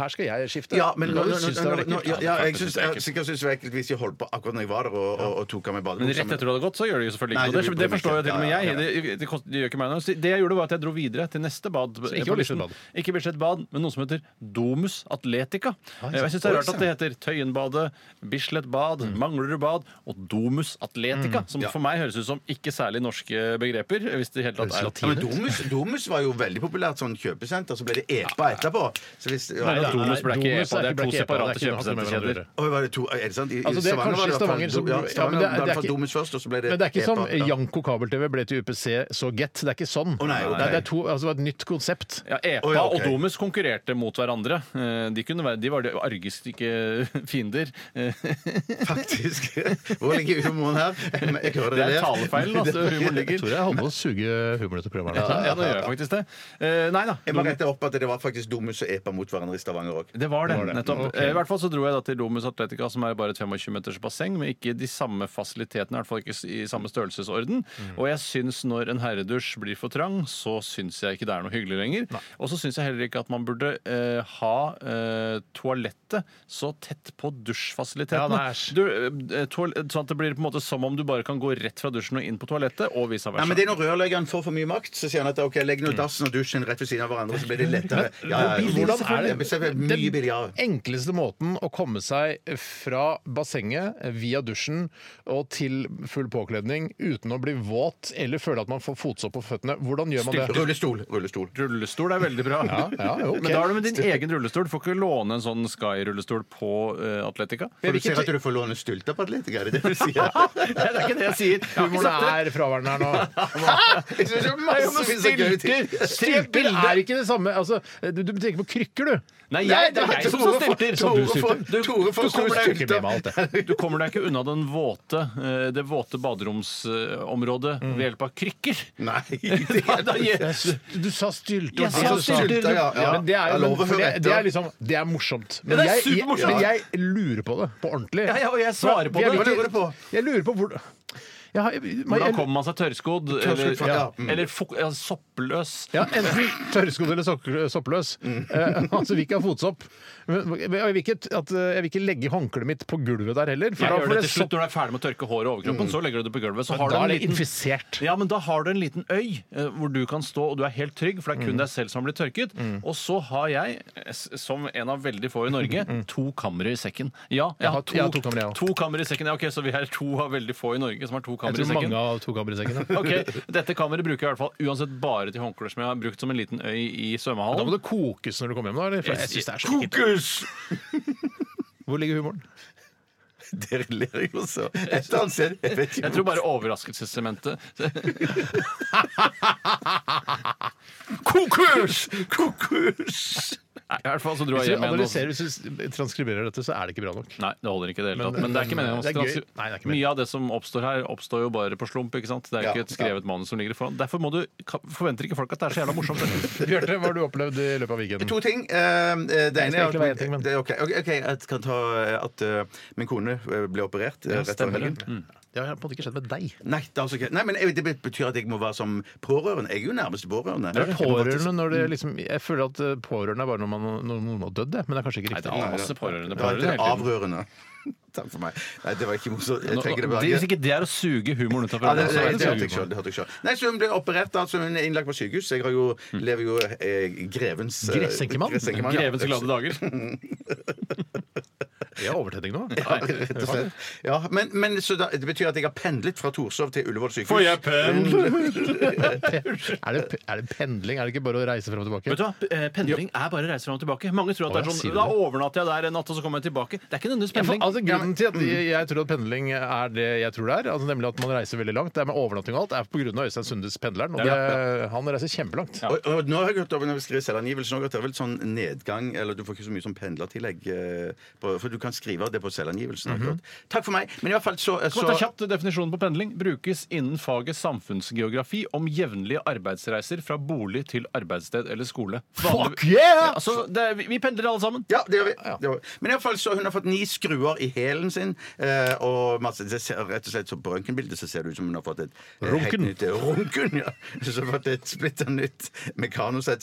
[SPEAKER 5] Her skal jeg skifte.
[SPEAKER 7] Ja, men
[SPEAKER 5] Da
[SPEAKER 7] nå, nå,
[SPEAKER 5] hadde du syntes det
[SPEAKER 7] nå,
[SPEAKER 5] var
[SPEAKER 7] nå,
[SPEAKER 5] ekkelt.
[SPEAKER 7] ja, jeg syns
[SPEAKER 6] synes det er ekkelt.
[SPEAKER 7] sikkert synes det var ekkelt hvis de holdt på akkurat når jeg var der og, og, og sånn. tok av meg
[SPEAKER 6] Men rett
[SPEAKER 7] badebuksa.
[SPEAKER 6] etter at det hadde gått, så gjør det jo selvfølgelig
[SPEAKER 7] Nei,
[SPEAKER 6] ikke noe.
[SPEAKER 7] det
[SPEAKER 6] Det,
[SPEAKER 7] blir
[SPEAKER 6] det forstår jo til og med
[SPEAKER 7] ja, ja,
[SPEAKER 6] jeg. Det, det, kost- det gjør ikke meg noe. Så Det jeg gjorde, var at jeg dro videre til neste bad.
[SPEAKER 5] ikke
[SPEAKER 6] på
[SPEAKER 5] var Bislett
[SPEAKER 6] listen.
[SPEAKER 5] bad?
[SPEAKER 6] Ikke Bislett bad, men noe som heter Domus Atletica. Jeg syns det er rart at det heter Tøyenbadet, Bislett bad, Manglerud bad og Domus Atletica, som for meg høres ut som ikke særlig norske begreper. Hvis det i hele tatt
[SPEAKER 5] Høres
[SPEAKER 6] er
[SPEAKER 5] latin
[SPEAKER 7] Ja, men Domus, Domus var jo veldig populært sånn kjøpesenter, så ble det EPA etterpå. Så hvis, ja,
[SPEAKER 6] Nei,
[SPEAKER 7] ja.
[SPEAKER 6] Domus ble ikke
[SPEAKER 5] Domus
[SPEAKER 6] EPA. Det er to
[SPEAKER 5] ikke EPA,
[SPEAKER 6] separate
[SPEAKER 5] det er ikke noe som har med hverandre å
[SPEAKER 6] kjøpesenterkjeder.
[SPEAKER 5] gjøre.
[SPEAKER 7] Oi, var det to, er det sant? I,
[SPEAKER 5] Altså, det er kanskje
[SPEAKER 7] var det
[SPEAKER 5] Stavanger
[SPEAKER 7] i hvert fall-
[SPEAKER 5] som-
[SPEAKER 7] ja,
[SPEAKER 5] ja, men
[SPEAKER 7] Stavanger
[SPEAKER 5] det er- det
[SPEAKER 7] var i
[SPEAKER 5] er
[SPEAKER 7] hvert fall
[SPEAKER 5] ikke-
[SPEAKER 7] Domus først, og så ble det
[SPEAKER 5] Men det er ikke sånn som
[SPEAKER 7] EPA. Ja.
[SPEAKER 5] Janko kabel-TV ble til UPC så Get. Det er ikke sånn.
[SPEAKER 7] Å, nei, ok.
[SPEAKER 5] det, er, det, er to, altså, det var et nytt konsept.
[SPEAKER 6] Ja, EPA
[SPEAKER 7] Å, ja, ok.
[SPEAKER 6] og Domus konkurrerte mot hverandre. Eh, De, kunne være, de var de argeste ikke fiender. Eh,
[SPEAKER 7] Faktisk. Hvor ligger humoren her? Jeg hører
[SPEAKER 6] Det er
[SPEAKER 7] ler.
[SPEAKER 6] talefeilen, altså. Humoren
[SPEAKER 5] Jeg
[SPEAKER 6] ligger.
[SPEAKER 5] tror jeg holder på å suge humoren til programmet.
[SPEAKER 6] Ja, ja, nå gjør jeg faktisk det. Eh, nei da.
[SPEAKER 7] Jeg må rette opp at det var faktisk Domus og EPA mot hverandre i Stavanger òg.
[SPEAKER 6] Det var det,
[SPEAKER 5] Det var det.
[SPEAKER 6] nettopp.
[SPEAKER 5] Ok.
[SPEAKER 6] Eh, I hvert fall så dro jeg da til Domus Atletica, som er bare et 25 meters basseng, men ikke de samme fasilitetene, i hvert fall ikke s- i samme størrelsesorden. Og jeg syns når en herredusj blir for trang, så syns jeg ikke det er noe hyggelig lenger. Og så syns jeg heller ikke at man burde eh, ha eh, toalettet så tett på
[SPEAKER 5] Ja,
[SPEAKER 6] dusjfasilitetene.
[SPEAKER 5] nei, æsj.
[SPEAKER 6] du, eh, toal- sånn at det blir på en måte som om du bare kan gå rett fra dusjen og inn på toalettet, og vice
[SPEAKER 7] Nei,
[SPEAKER 6] versa.
[SPEAKER 7] men det er Når rørleggeren får for mye makt, så sier han at ok, legg nå dassen og dusjen rett ved siden av hverandre. så blir det lettere. Ja, ja,
[SPEAKER 5] Hvordan
[SPEAKER 7] ja.
[SPEAKER 5] er
[SPEAKER 7] Ja,
[SPEAKER 5] det
[SPEAKER 7] selvfølgelig, Mye billigere.
[SPEAKER 5] Den enkleste måten å komme seg fra bassenget via dusjen og til full påkledning uten å bli våt eller føle at man får fotsopp på føttene, hvordan gjør man det?
[SPEAKER 7] Rullestol. rullestol.
[SPEAKER 6] Rullestol er veldig bra.
[SPEAKER 5] ja, jo, ok.
[SPEAKER 6] Men da er det med din egen rullestol. Du får ikke låne en sånn Sky-rullestol på eh, Atletica.
[SPEAKER 7] For du
[SPEAKER 5] hvilken
[SPEAKER 7] ser at
[SPEAKER 5] ty-
[SPEAKER 7] du får låne stylter på Atletica, er det det du sier?
[SPEAKER 6] Nei, det er ikke det jeg sier. Jeg har ikke
[SPEAKER 5] Humoren
[SPEAKER 6] sagt det.
[SPEAKER 5] er fraværende her nå.
[SPEAKER 7] Jeg synes det er
[SPEAKER 6] Det er jo med
[SPEAKER 7] massevis av gøye ting.
[SPEAKER 6] stylter.
[SPEAKER 5] Strypel er ikke det samme. Altså, du, du tenker på krykker, du.
[SPEAKER 6] Nei,
[SPEAKER 7] Nei,
[SPEAKER 6] jeg, det er
[SPEAKER 7] det er
[SPEAKER 6] jeg som
[SPEAKER 7] Tore
[SPEAKER 6] sa stylter.
[SPEAKER 7] for- Tore for-
[SPEAKER 6] Du-
[SPEAKER 7] Tore for
[SPEAKER 6] du kommer deg-
[SPEAKER 7] stylter. Ikke med meg,
[SPEAKER 6] Du kommer deg ikke unna den våte, eh, det våte baderomsområdet
[SPEAKER 5] Mm.
[SPEAKER 6] ved hjelp av krykker.
[SPEAKER 7] Nei, det er
[SPEAKER 6] Da gir-
[SPEAKER 5] Du sa stylte.
[SPEAKER 6] Jeg
[SPEAKER 5] og det
[SPEAKER 6] sa
[SPEAKER 5] du sa.
[SPEAKER 6] stylter.
[SPEAKER 7] Stylter, ja, ja.
[SPEAKER 5] Men det er,
[SPEAKER 7] Jeg
[SPEAKER 5] jo, men,
[SPEAKER 7] lover
[SPEAKER 5] for det,
[SPEAKER 7] etter.
[SPEAKER 5] det er liksom Det er morsomt. Men,
[SPEAKER 6] det er
[SPEAKER 5] jeg, jeg,
[SPEAKER 6] supermorsomt.
[SPEAKER 5] men jeg lurer på det på ordentlig.
[SPEAKER 6] Ja, ja, og jeg svarer på
[SPEAKER 5] Jeg
[SPEAKER 6] det.
[SPEAKER 7] Hva lurer du på?
[SPEAKER 5] Jeg lurer på hvor jeg har, men jeg-
[SPEAKER 6] Hvordan kommer man seg tørrskodd? Eller,
[SPEAKER 7] Tørrskodd, ja. Mm.
[SPEAKER 6] eller fok- ja, soppløs?
[SPEAKER 5] ja, Enten tørrskodd eller sok- soppløs.
[SPEAKER 6] Mm.
[SPEAKER 5] Eh, altså, vi ikke ha fotsopp. Men, men jeg, vil ikke, at, eh, jeg vil ikke legge håndkleet mitt på gulvet der heller. For
[SPEAKER 6] Jeg
[SPEAKER 5] da
[SPEAKER 6] gjør
[SPEAKER 5] får
[SPEAKER 6] det
[SPEAKER 5] det
[SPEAKER 6] til slutt
[SPEAKER 5] sopp. Mm.
[SPEAKER 6] når du er ferdig med å tørke håret og overkroppen. Så legger du det på gulvet. Så har du
[SPEAKER 5] Da er
[SPEAKER 6] en
[SPEAKER 5] det
[SPEAKER 6] liten
[SPEAKER 5] infisert.
[SPEAKER 6] ja, men Da har du en liten øy eh, hvor du kan stå og du er helt trygg, for det
[SPEAKER 5] Mm.
[SPEAKER 6] er kun deg selv som har blitt tørket. Og så har jeg, eh, s- som en av veldig få i Norge, to kamre i sekken. Ja, jeg har to,
[SPEAKER 5] Mm. jeg har to kamre, jeg også.
[SPEAKER 6] to kamre i sekken. Ja, ok, Så vi er to av veldig få i Norge som har to
[SPEAKER 5] Jeg
[SPEAKER 6] kamre i
[SPEAKER 5] tror mange
[SPEAKER 6] sekken.
[SPEAKER 5] av to kammersekkene.
[SPEAKER 6] Ok, Dette kammeret bruker jeg i hvert fall uansett bare til håndklær som jeg har brukt som en liten øy i
[SPEAKER 5] Da må
[SPEAKER 6] svømmehallen.
[SPEAKER 5] det kokes når du kommer hjem. nå, Eller? For jeg synes det er så ekkelt. Hvor ligger humoren?
[SPEAKER 7] Dere ler jo så. Et eller annet sted. Jeg vet
[SPEAKER 6] Jeg
[SPEAKER 7] ikke.
[SPEAKER 6] tror bare overraskelsessementet
[SPEAKER 7] Kokos! Kokos!
[SPEAKER 6] Nei, I hvert fall så dro
[SPEAKER 5] Hvis
[SPEAKER 6] jeg
[SPEAKER 5] vi
[SPEAKER 6] hjem igjen. og-
[SPEAKER 5] analyserer, hvis vi transkriberer dette, så er det ikke bra nok.
[SPEAKER 6] Nei, det holder ikke i det hele
[SPEAKER 5] Men-
[SPEAKER 6] tatt. Men det er ikke meningen. å
[SPEAKER 5] Det er gøy.
[SPEAKER 6] transkri-
[SPEAKER 5] Nei, det er ikke meningen.
[SPEAKER 6] Mye av det som oppstår her, oppstår jo bare på slump. ikke sant? Det er
[SPEAKER 7] Ja,
[SPEAKER 6] ikke et skrevet manus som ligger foran. Derfor må du, ka- forventer ikke folk at det er så jævla morsomt.
[SPEAKER 5] Bjarte, hva har du opplevd i løpet av weekenden?
[SPEAKER 7] To ting. Eh, Det
[SPEAKER 5] skal
[SPEAKER 7] ene
[SPEAKER 5] egentlig være
[SPEAKER 7] er
[SPEAKER 5] en ting, men-
[SPEAKER 7] at, det er ok, ok, ok, jeg kan ta eh, at eh, min kone eh, ble operert eh, rett før
[SPEAKER 6] stemmer det.
[SPEAKER 7] helgen.
[SPEAKER 5] Det Mm. har på en måte ikke skjedd med deg.
[SPEAKER 7] Nei, det, er altså ikke. Nei, men jeg- det betyr at jeg må være som pårørende. Jeg er jo nærmeste pårørende.
[SPEAKER 5] Det er pårørende når det liksom Jeg føler at eh, pårørende er bare når, man, når noen har dødd, det. Men det er kanskje ikke
[SPEAKER 6] Nei, det
[SPEAKER 5] riktig.
[SPEAKER 6] er masse pårørende.
[SPEAKER 7] Det var
[SPEAKER 6] pårørende
[SPEAKER 7] ikke
[SPEAKER 6] hele tiden.
[SPEAKER 7] avrørende. Takk for meg. Nei, det var ikke morsomt. Jeg
[SPEAKER 6] Nå-
[SPEAKER 7] trekker det
[SPEAKER 6] nå-
[SPEAKER 7] tilbake.
[SPEAKER 6] Hvis ikke det er å suge humoren ut av
[SPEAKER 7] Ja,
[SPEAKER 6] hverandre,
[SPEAKER 7] det, det,
[SPEAKER 6] så er det
[SPEAKER 7] det, hørte jeg
[SPEAKER 6] suge
[SPEAKER 7] selv, det hørte jeg selv. Nei, så Hun ble operert, altså hun er innlagt på sykehus. Jeg har jo,
[SPEAKER 6] Mm.
[SPEAKER 7] lever jo eh, grevens eh,
[SPEAKER 5] Gressenkemann?
[SPEAKER 7] gressenkemann, ja.
[SPEAKER 6] Grevens glade dager.
[SPEAKER 5] Vi har overtenning nå.
[SPEAKER 7] Ja, rett og slett. Ja, men, men så da, det betyr at jeg har pendlet fra Torshov til Ullevål sykehus.
[SPEAKER 6] Får jeg pendle?
[SPEAKER 5] Er det, er det pendling? Er det ikke bare å reise fram og
[SPEAKER 6] Vet du
[SPEAKER 5] tilbake?
[SPEAKER 6] hva? Eh, Pendling er bare å reise fram og tilbake. Mange tror at
[SPEAKER 5] Å,
[SPEAKER 6] det er
[SPEAKER 5] ja, sier du
[SPEAKER 6] sånn Da
[SPEAKER 5] det?
[SPEAKER 6] overnatter jeg der en natt, og så kommer jeg tilbake. Det er ikke nødvendigvis
[SPEAKER 5] Ja, for,
[SPEAKER 6] pendling.
[SPEAKER 5] altså, grunnen til at jeg, jeg tror at pendling er det jeg tror det er, altså, nemlig at man reiser veldig langt, det er med overnatting og alt, er pga. Øystein Sundes Pendleren. Og
[SPEAKER 6] Ja,
[SPEAKER 5] det, han reiser kjempelangt.
[SPEAKER 7] Og, og nå har jeg hørt over når vi skriver selvangivelsen også, at det er vel sånn nedgang Eller du får ikke så mye som pendlertillegg, eh, på, for du kan skrive det på selvangivelsen.
[SPEAKER 6] Mhm.
[SPEAKER 7] har jeg hørt. Takk for meg. Men i hvert fall så, så
[SPEAKER 6] Kort og kjapt definisjonen på pendling brukes innen faget samfunnsgeografi om jevnlige arbeidsreiser fra bolig til arbeidssted eller skole.
[SPEAKER 5] Fuck yeah!
[SPEAKER 6] Ja, altså, det er, vi- vi pendler alle sammen.
[SPEAKER 7] Ja, det gjør vi. Det gjør vi. Men i hvert fall så hun har fått ni skruer i hælen sin. Eh, og masse, det ser, rett og slett så på røntgenbildet så ser det ut som hun har fått et eh,
[SPEAKER 5] Runken.
[SPEAKER 7] helt nytt Runken, ja. Så hun har fått et splitter nytt mekanosett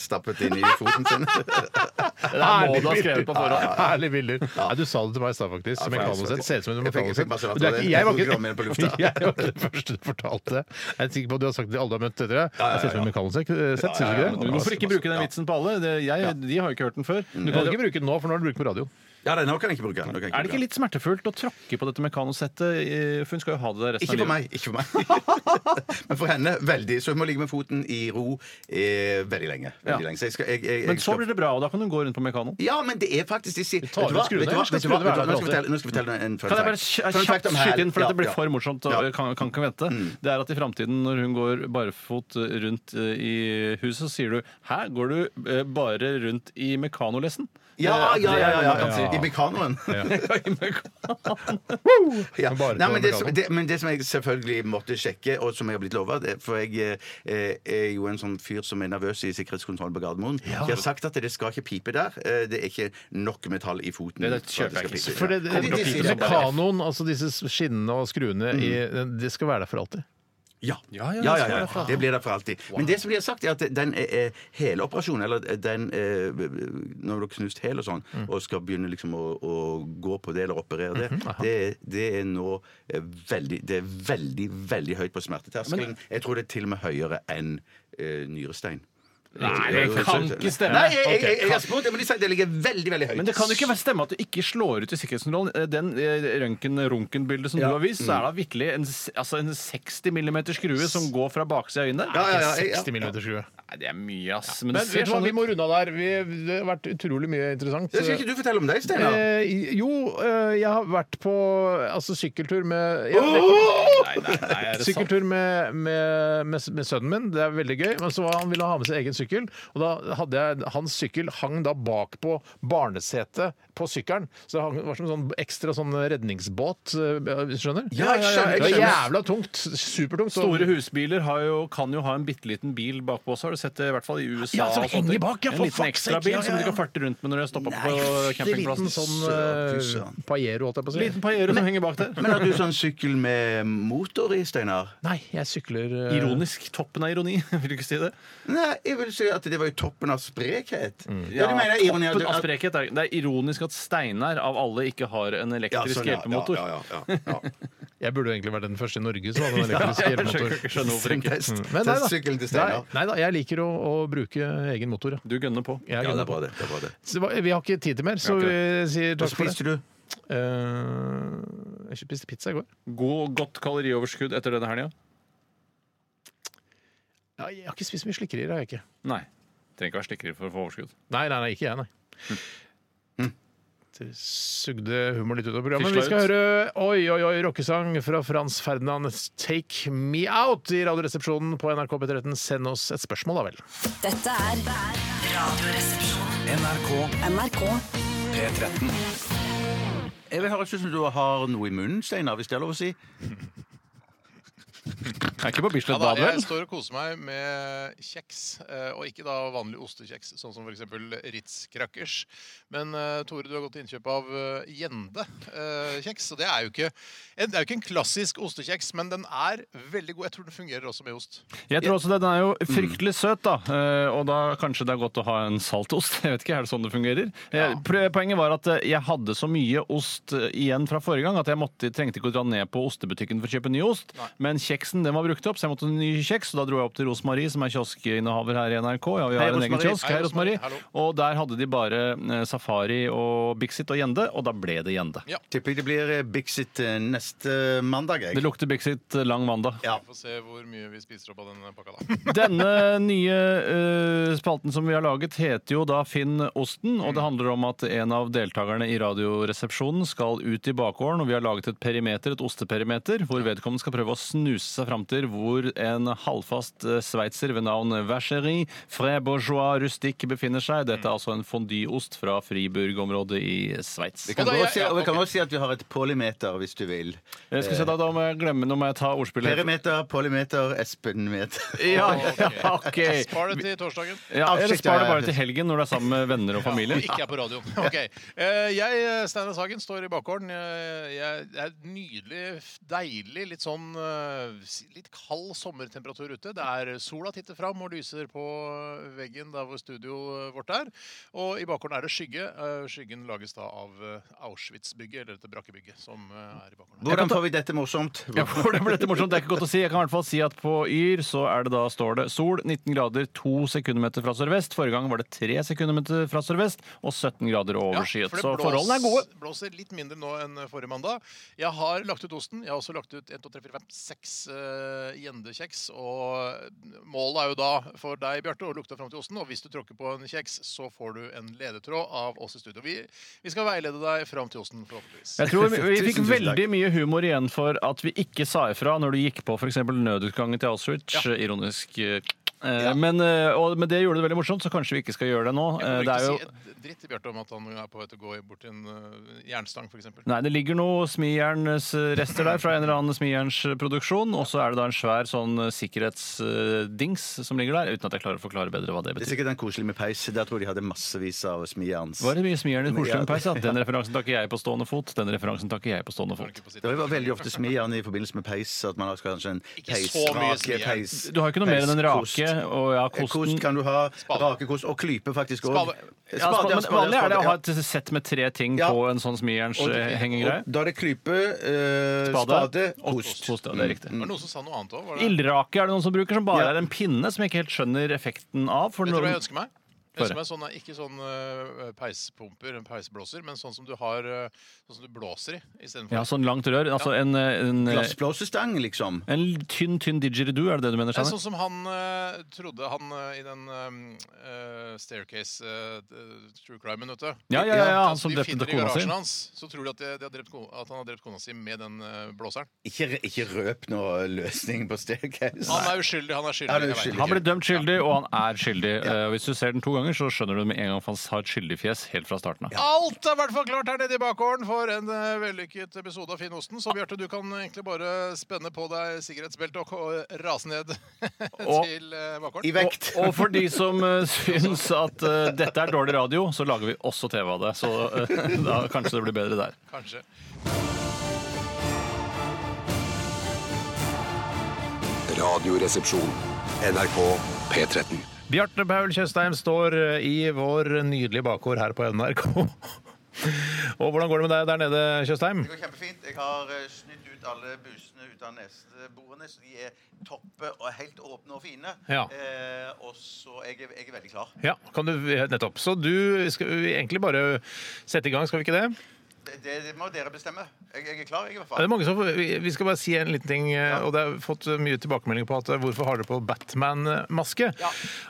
[SPEAKER 7] stappet inn i foten sin.
[SPEAKER 6] Det er må du ha skrevet på forhånd.
[SPEAKER 5] Herlige bilder. Nei, du sa det til meg i stad, faktisk. som
[SPEAKER 7] Ja,
[SPEAKER 5] jeg
[SPEAKER 7] faen,
[SPEAKER 5] kaller det.
[SPEAKER 7] så-
[SPEAKER 5] Ser ut som en
[SPEAKER 7] Jeg fikk- jeg fikk masse
[SPEAKER 5] mekanose.
[SPEAKER 7] mat
[SPEAKER 5] Du er
[SPEAKER 7] av
[SPEAKER 5] ikke-
[SPEAKER 7] det.
[SPEAKER 5] Jeg var
[SPEAKER 7] Jeg programmerer på lufta.
[SPEAKER 5] ikke Jeg var ikke den første som fortalte det. Jeg er sikker på at du har sagt det til alle du har møtt etter det. Jeg ser ut som en mekanose. Sett, syns du ikke det? altså,
[SPEAKER 6] Du, hvorfor ikke bruke den vitsen på alle? Det, jeg, de har jo ikke hørt den før.
[SPEAKER 7] Mm.
[SPEAKER 5] Du kan ikke bruke den nå, for nå har du brukt den på radio.
[SPEAKER 7] Ja, nei, nå kan jeg ikke bruke den. nå kan jeg
[SPEAKER 6] Er det
[SPEAKER 7] bruke
[SPEAKER 6] ikke
[SPEAKER 7] den.
[SPEAKER 6] litt smertefullt å tråkke på dette mekanosettet? eh, For hun skal jo ha det der resten
[SPEAKER 7] Ikke for
[SPEAKER 6] av livet.
[SPEAKER 7] meg. ikke for meg Men for henne veldig. Så hun må ligge med foten i ro eh, veldig lenge. Veldig
[SPEAKER 6] Ja.
[SPEAKER 7] lenge. Så jeg skal, jeg, jeg, jeg
[SPEAKER 6] Men så
[SPEAKER 7] skal-
[SPEAKER 6] blir det bra, og da kan hun gå rundt på mekanoen.
[SPEAKER 7] Ja, men det er faktisk de sier
[SPEAKER 5] tar
[SPEAKER 7] Vet du hva?
[SPEAKER 5] ut skruene.
[SPEAKER 7] Vet du hva?
[SPEAKER 5] Skal
[SPEAKER 7] Vet du hva?
[SPEAKER 5] skruene være
[SPEAKER 7] Vet du
[SPEAKER 5] der
[SPEAKER 7] hva? Nå skal jeg fortelle- Nå skal jeg fortelle en fun
[SPEAKER 6] Kan jeg bare
[SPEAKER 7] fact.
[SPEAKER 6] kj-
[SPEAKER 7] Fun fact
[SPEAKER 6] kjapt
[SPEAKER 7] om hæl.
[SPEAKER 6] skyte inn, for
[SPEAKER 7] Ja,
[SPEAKER 6] dette blir
[SPEAKER 7] ja.
[SPEAKER 6] for morsomt og
[SPEAKER 7] Ja. Mm.
[SPEAKER 6] kan, kan ikke vente. Det er at i framtiden når hun går barfot rundt eh, i huset, så sier du 'hæ, går du eh, bare rundt i mekanolessen'? Eh,
[SPEAKER 7] Ja, ja,
[SPEAKER 6] det
[SPEAKER 7] ja,
[SPEAKER 6] er
[SPEAKER 7] ja,
[SPEAKER 6] noe
[SPEAKER 7] ja,
[SPEAKER 6] man kan si.
[SPEAKER 7] I mekanoen.
[SPEAKER 6] I mekanoen.
[SPEAKER 7] Ja.
[SPEAKER 5] Men bare
[SPEAKER 7] Nei,
[SPEAKER 5] på
[SPEAKER 7] men, det, som-
[SPEAKER 5] mekanoen.
[SPEAKER 7] det, men det som jeg selvfølgelig måtte sjekke, og som jeg har blitt lova For jeg eh, er jo en sånn fyr som er nervøs i sikkerhetskontrollen på Gardermoen. Jeg har sagt at det skal ikke pipe der. Eh, Det er ikke nok metall i foten.
[SPEAKER 6] Det- det
[SPEAKER 7] for at
[SPEAKER 6] kjøper jeg
[SPEAKER 7] skal
[SPEAKER 6] ikke.
[SPEAKER 7] pipe.
[SPEAKER 5] For det, det,
[SPEAKER 7] Nei, de- de
[SPEAKER 5] det,
[SPEAKER 7] sier det bare.
[SPEAKER 5] mekanoen, altså disse skinnene og skruene, i, det skal være der for alltid.
[SPEAKER 7] Ja.
[SPEAKER 6] Ja, ja,
[SPEAKER 7] ja,
[SPEAKER 6] det
[SPEAKER 7] ja,
[SPEAKER 6] skal
[SPEAKER 7] ja.
[SPEAKER 6] være for alltid.
[SPEAKER 7] Det blir der for alltid. Men det som blir sagt, er at den eh, heleoperasjonen, eller den eh, Når du har knust hæl og sånn,
[SPEAKER 6] Mm.
[SPEAKER 7] og skal begynne liksom å, å gå på det eller operere det,
[SPEAKER 6] Mhm,
[SPEAKER 7] det, det er nå eh, veldig Det er veldig, veldig høyt på smerteterskelen. Jeg tror det er til og med høyere enn eh, nyrestein.
[SPEAKER 6] Nei, det kan ikke stemme.
[SPEAKER 7] Nei, jeg, jeg, jeg,
[SPEAKER 6] Ok,
[SPEAKER 7] jeg har spurt, men de sier det ligger veldig, veldig høyt.
[SPEAKER 6] Men det kan jo ikke være stemme at du ikke slår ut i sikkerhetskontrollen. Eh, Den eh, røntgen-runken-bildet som du har vist, så er det
[SPEAKER 5] Mm.
[SPEAKER 6] virkelig en, s- altså en 60 mm skrue som går fra baksida av øynene.
[SPEAKER 7] Ja, ja, ja, jeg- ja.
[SPEAKER 5] 60 millimeter skrue.
[SPEAKER 6] Nei, det er mye, ass. Men,
[SPEAKER 5] Men
[SPEAKER 6] det ser
[SPEAKER 5] vet du hva,
[SPEAKER 6] sånn
[SPEAKER 5] vi
[SPEAKER 6] ut.
[SPEAKER 5] må runde av der. Vi, det har vært utrolig mye interessant.
[SPEAKER 7] Det skal ikke du fortelle om deg, Steinar.
[SPEAKER 5] Eh, jo, eh, jeg har vært på altså, sykkeltur med ja, det-
[SPEAKER 6] Nei, nei, nei, er det sant?
[SPEAKER 5] Sykkeltur med, med, med, med sønnen min. Det er veldig gøy. Men så var han ville han ha med seg egen sykkel, og da hadde jeg hans sykkel hang da bak på barnesetet på sykkelen. Så det hang, var som en sånn ekstra sånn redningsbåt, eh, hvis du skjønner?
[SPEAKER 7] Ja, jeg skjønner,
[SPEAKER 5] Det
[SPEAKER 7] jeg
[SPEAKER 5] var
[SPEAKER 7] skjønner.
[SPEAKER 5] jævla tungt. Supertungt. Sånn så-
[SPEAKER 6] Store husbiler har jo, kan jo ha en bitte liten bil bakpå også. Har du sett det i hvert fall i USA?
[SPEAKER 5] Ja, som
[SPEAKER 6] og sånne
[SPEAKER 5] henger
[SPEAKER 6] ting.
[SPEAKER 5] bak, ja,
[SPEAKER 6] En
[SPEAKER 5] for
[SPEAKER 6] liten
[SPEAKER 5] fuck's sake,
[SPEAKER 6] ekstrabil
[SPEAKER 5] ja, ja,
[SPEAKER 6] som du
[SPEAKER 5] ja.
[SPEAKER 6] kan farte rundt med når du har stoppa på
[SPEAKER 5] Liten
[SPEAKER 6] campingplassen.
[SPEAKER 5] sånn
[SPEAKER 7] Søren, fy
[SPEAKER 5] uh,
[SPEAKER 7] søren.
[SPEAKER 5] paiero, holdt jeg på å si.
[SPEAKER 6] Liten paiero som henger bak der.
[SPEAKER 7] Men har du sånn sykkel med motor i, Steinar?
[SPEAKER 5] Nei, jeg sykler eh,
[SPEAKER 6] Ironisk. Toppen av ironi. Vil du ikke si det?
[SPEAKER 7] Nei, jeg vil si at det var jo toppen av sprekhet.
[SPEAKER 6] Ja,
[SPEAKER 7] Ja, du mener ironi at
[SPEAKER 6] toppen
[SPEAKER 7] du,
[SPEAKER 6] av
[SPEAKER 7] at,
[SPEAKER 6] sprekhet er, det er ironisk at Steinar av alle ikke har en
[SPEAKER 7] ja,
[SPEAKER 6] elektrisk
[SPEAKER 7] sånn, ja,
[SPEAKER 6] hjelpemotor.
[SPEAKER 7] Ja, ja, ja, ja.
[SPEAKER 5] Jeg burde jo egentlig vært den første i Norge som hadde en elektrisk
[SPEAKER 6] Jeg skjønner
[SPEAKER 5] hjelpemotor.
[SPEAKER 6] ikke- skjønner hvorfor
[SPEAKER 7] Send
[SPEAKER 6] ikke.
[SPEAKER 7] test.
[SPEAKER 5] Men nei da.
[SPEAKER 7] Testsykkelen til Steinar.
[SPEAKER 5] Nei, nei da, jeg liker å, å bruke egen motor. ja.
[SPEAKER 6] Du gønner på.
[SPEAKER 5] Jeg
[SPEAKER 7] Ja, det
[SPEAKER 5] gønner
[SPEAKER 7] er
[SPEAKER 5] på.
[SPEAKER 7] bra, det. det, er bra det.
[SPEAKER 5] Så hva- vi har ikke tid til mer, så
[SPEAKER 6] Vi har
[SPEAKER 5] vi
[SPEAKER 6] ikke
[SPEAKER 5] sier
[SPEAKER 7] Hva
[SPEAKER 5] takk for det.
[SPEAKER 7] spiste du?
[SPEAKER 5] Eh, jeg spiste pizza i går.
[SPEAKER 6] God, godt kalorioverskudd etter denne helga?
[SPEAKER 5] Ja, jeg har ikke spist så mye slikkerier. har jeg ikke.
[SPEAKER 6] Nei. Trenger ikke være slikkere for å få overskudd.
[SPEAKER 5] Nei, nei, nei, ikke jeg, nei.
[SPEAKER 7] Hm.
[SPEAKER 5] Hm. Det Sugde humor litt ut av programmet.
[SPEAKER 6] Fisla
[SPEAKER 5] Vi skal
[SPEAKER 6] ut.
[SPEAKER 5] høre Oi Oi Oi rockesang fra Frans Ferdinand 'Take Me Out' i Radioresepsjonen på NRK P13. Send oss et spørsmål, da vel.
[SPEAKER 1] Dette er Radioresepsjonen.
[SPEAKER 4] NRK
[SPEAKER 1] NRK
[SPEAKER 4] P13.
[SPEAKER 7] Jeg vil høre ut som du har noe i munnen, Steinar, hvis det er lov å si.
[SPEAKER 6] Er ikke på
[SPEAKER 8] Ja
[SPEAKER 6] Bislett Bad,
[SPEAKER 8] da, jeg
[SPEAKER 6] vel?
[SPEAKER 8] står og koser meg med kjeks, eh, og ikke da vanlig ostekjeks, sånn som f.eks. Ritz-crackers. Men eh, Tore, du har gått til innkjøp av eh, Gjende-kjeks, og det er, jo ikke, en- det er jo ikke en klassisk ostekjeks, men den er veldig god. Jeg tror den fungerer også med ost.
[SPEAKER 6] Jeg tror også det, Den er jo fryktelig søt, da. Eh, Og da kanskje det er godt å ha en saltost. Jeg vet ikke, Er det sånn det fungerer? Eh, pro- Poenget var at eh, jeg hadde så mye ost eh, igjen fra forrige gang at jeg måtte, trengte ikke å dra ned på ostebutikken for å kjøpe ny ost. Men kjeksen den var brukt opp, så jeg måtte ha en ny kjeks. Og da dro jeg opp til Rosmarie, som er kioskinnehaver her i NRK. Ja, vi har
[SPEAKER 7] Hei,
[SPEAKER 6] en egen
[SPEAKER 7] Rosemarie.
[SPEAKER 6] kiosk.
[SPEAKER 8] Hei,
[SPEAKER 6] Hei, Rosmarie.
[SPEAKER 8] Rosemarie. Hallo.
[SPEAKER 6] Og der hadde de bare eh, Safari og Bixit og Gjende, og da ble det Gjende.
[SPEAKER 8] Ja.
[SPEAKER 7] Tipper jeg det blir eh, Bixit eh, neste mandag.
[SPEAKER 6] Det
[SPEAKER 7] Jeg.
[SPEAKER 6] lukter Bixit eh, lang mandag.
[SPEAKER 7] Ja.
[SPEAKER 8] Vi får se hvor mye vi spiser opp av den pakka, da.
[SPEAKER 6] Denne nye eh, spalten som vi har laget, heter jo da Finn osten. Og det handler om at en av deltakerne i Radioresepsjonen skal ut i bakgården. Og vi har laget et perimeter, et osteperimeter, hvor vedkommende skal prøve å snuse seg fram til hvor en halvfast eh, sveitser ved navn Vacherie Frébourgeois Rustic befinner seg. Dette er altså en fondyost fra Friburg-området i Sveits.
[SPEAKER 7] Vi kan,
[SPEAKER 8] Og da-
[SPEAKER 7] også, si,
[SPEAKER 8] ja, ja,
[SPEAKER 7] og vi kan
[SPEAKER 8] ok.
[SPEAKER 7] også si at vi har et polymeter, hvis du vil.
[SPEAKER 6] Jeg skal se da, da må jeg glemme, nå må jeg ta ordspillet.
[SPEAKER 7] Perimeter, polymeter, Espenmeter.
[SPEAKER 6] Ja, ja, ok.
[SPEAKER 8] Spar det til torsdagen.
[SPEAKER 6] Ja, eller spar det bare til helgen når du er sammen med venner og familie.
[SPEAKER 8] Og ikke er på radioen. Ok. Eh, Jeg, Steinar Sagen, står i bakgården. Eh, Jeg, det er et nydelig, deilig, litt sånn eh, si- litt litt kald sommertemperatur ute. Det er eh, sola titter fram og lyser på eh, veggen der hvor studioet vårt er. Og i bakgården er det skygge. Eh, Skyggen lages da av eh, Auschwitz-bygget, eller dette brakkebygget, som eh, er i bakgården. her.
[SPEAKER 7] Hvordan får vi dette morsomt?
[SPEAKER 6] Ja, for det ble dette morsomt. Det er ikke godt å si. Jeg kan i hvert fall si at på Yr så er det da, står det sol 19 grader 2 sekundmeter fra sørvest. Forrige gang var det 3 sekundmeter fra sørvest og 17 grader og
[SPEAKER 8] Ja,
[SPEAKER 6] overskyet.
[SPEAKER 8] for det
[SPEAKER 6] så
[SPEAKER 8] blås-
[SPEAKER 6] forholdene er gode.
[SPEAKER 8] blåser litt mindre nå enn forrige mandag. Jeg har lagt ut osten. Jeg har også lagt ut 1, 2, 3, 4, 5, 6 eh, gjendekjeks. Og målet er jo da for deg, Bjarte, å lukte fram til osten. Og hvis du tråkker på en kjeks, så får du en ledetråd av oss i studio. Vi, vi skal veilede deg fram til osten, forhåpentligvis.
[SPEAKER 6] Jeg tror vi, vi fikk
[SPEAKER 7] Tusen, tusen takk.
[SPEAKER 6] veldig mye humor igjen for at vi ikke sa ifra når du gikk på f.eks. nødutgangen til Auschwitz. Ironisk. eh, Men, eh, og, men det gjorde det veldig morsomt, så kanskje vi ikke skal gjøre det nå. Eh,
[SPEAKER 8] Jeg
[SPEAKER 6] Det
[SPEAKER 8] burde
[SPEAKER 6] er jo
[SPEAKER 8] ikke si et dritt til Bjarte om at han er på vei til å gå bort til en eh, jernstang, f.eks.
[SPEAKER 6] Nei, det ligger noe smijernsrester der fra en eller annen smijernsproduksjon, og så er det da en svær sånn sikkerhetsdings eh, som ligger der, uten at jeg klarer å forklare bedre hva det
[SPEAKER 7] Det er
[SPEAKER 6] betyr.
[SPEAKER 7] sikkert den koselige med peis. Der tror jeg de hadde massevis av smijerns.
[SPEAKER 6] Var det mye smijern i
[SPEAKER 7] Ja.
[SPEAKER 6] Korstum Peis? Ja. Den referansen takker jeg på stående fot. Den referansen takker jeg på stående fot.
[SPEAKER 7] Det var veldig ofte smijern i forbindelse med peis. At man har kanskje en
[SPEAKER 8] så mye
[SPEAKER 7] peisrake
[SPEAKER 8] smijern.
[SPEAKER 7] peis.
[SPEAKER 6] Du har ikke noe mer enn en
[SPEAKER 7] peiskost.
[SPEAKER 6] rake og ja,
[SPEAKER 7] Eh, Kost
[SPEAKER 6] kosten.
[SPEAKER 7] kan du ha.
[SPEAKER 8] Spade.
[SPEAKER 7] Rakekost. Og klype, faktisk Eh, òg.
[SPEAKER 8] Spade.
[SPEAKER 6] Ja, spa- men vanlig er det å ha et sett med tre ting
[SPEAKER 7] Ja.
[SPEAKER 6] på en sånn smijerns-hengegreie.
[SPEAKER 7] Da er det klype, eh,
[SPEAKER 6] Spade,
[SPEAKER 7] spade,
[SPEAKER 6] og
[SPEAKER 7] kost. Mm.
[SPEAKER 6] kost, ja, det er riktig.
[SPEAKER 5] Mm.
[SPEAKER 8] Var det noen som sa noe annet òg?
[SPEAKER 6] Ildrake er det noen som bruker, som bare
[SPEAKER 7] Ja.
[SPEAKER 6] er en pinne som jeg ikke helt skjønner effekten av. For
[SPEAKER 8] Vet du
[SPEAKER 6] når
[SPEAKER 8] hva jeg
[SPEAKER 6] den-
[SPEAKER 8] ønsker meg? Jeg ønsker meg sånne, ikke sånn eh, peispumper, en peisblåser, men sånn som du har eh, Sånn som du blåser i Eh, istedenfor.
[SPEAKER 6] ja, sånn langt rør. Altså en, en, en
[SPEAKER 7] Glassblåsestang, liksom.
[SPEAKER 6] tynn, tynn didgeridoo, er det det du mener?
[SPEAKER 8] Det er
[SPEAKER 6] Steinar?
[SPEAKER 8] sånn som han eh, trodde han eh, i den eh, eh, Staircase eh, eh, True Crime-en, vet du.
[SPEAKER 6] Ja, ja, ja, ja, han
[SPEAKER 8] Altså,
[SPEAKER 6] som
[SPEAKER 8] de
[SPEAKER 6] drepte
[SPEAKER 8] finner i
[SPEAKER 6] kona si.
[SPEAKER 8] garasjen hans, så tror de at, de, de har drept ko at han har drept kona si med den eh, blåseren.
[SPEAKER 7] Ikke, ikke røp noe løsning på staircase.
[SPEAKER 8] Han er uskyldig, han er skyldig.
[SPEAKER 7] Han er
[SPEAKER 8] jeg vet.
[SPEAKER 7] uskyldig.
[SPEAKER 6] Han ble dømt skyldig, og han er skyldig. Eh, Hvis du ser den to ganger, så skjønner du med en gang at han har et skyldig fjes helt fra starten av.
[SPEAKER 8] Alt er i hvert fall klart her nede i bakgården for en eh, vellykket episode av Finn Osten. Så Bjarte, du kan egentlig bare spenne på deg sikkerhetsbeltet og, ko- rase ned til eh, bakgården.
[SPEAKER 7] I vekt.
[SPEAKER 6] Og for de som eh, syns at eh, dette er dårlig radio, så lager vi også TV av det. Så eh, da kanskje det blir bedre der.
[SPEAKER 8] Kanskje.
[SPEAKER 2] Radioresepsjon. NRK P13.
[SPEAKER 5] Bjarte Paul Tjøstheim står eh, i vår nydelige bakgård her på NRK. Og hvordan går det med deg der nede, Tjøstheim?
[SPEAKER 9] Det går kjempefint. Jeg har eh, snytt ut alle busene ut av nesebordene, så de er toppe og helt åpne og fine.
[SPEAKER 5] Ja.
[SPEAKER 9] Eh, og så jeg, er- jeg er veldig klar.
[SPEAKER 5] Ja, kan du, nettopp. Så du skal vi egentlig bare sette i gang, skal vi ikke det?
[SPEAKER 9] Det, det, det må dere bestemme. Jeg, jeg er klar, jeg, i hvert
[SPEAKER 5] Ja, Det
[SPEAKER 9] fall.
[SPEAKER 5] er mange som, vi vi skal bare si en liten ting, eh, og det er fått mye tilbakemeldinger på at eh, hvorfor har dere på Batman-maske?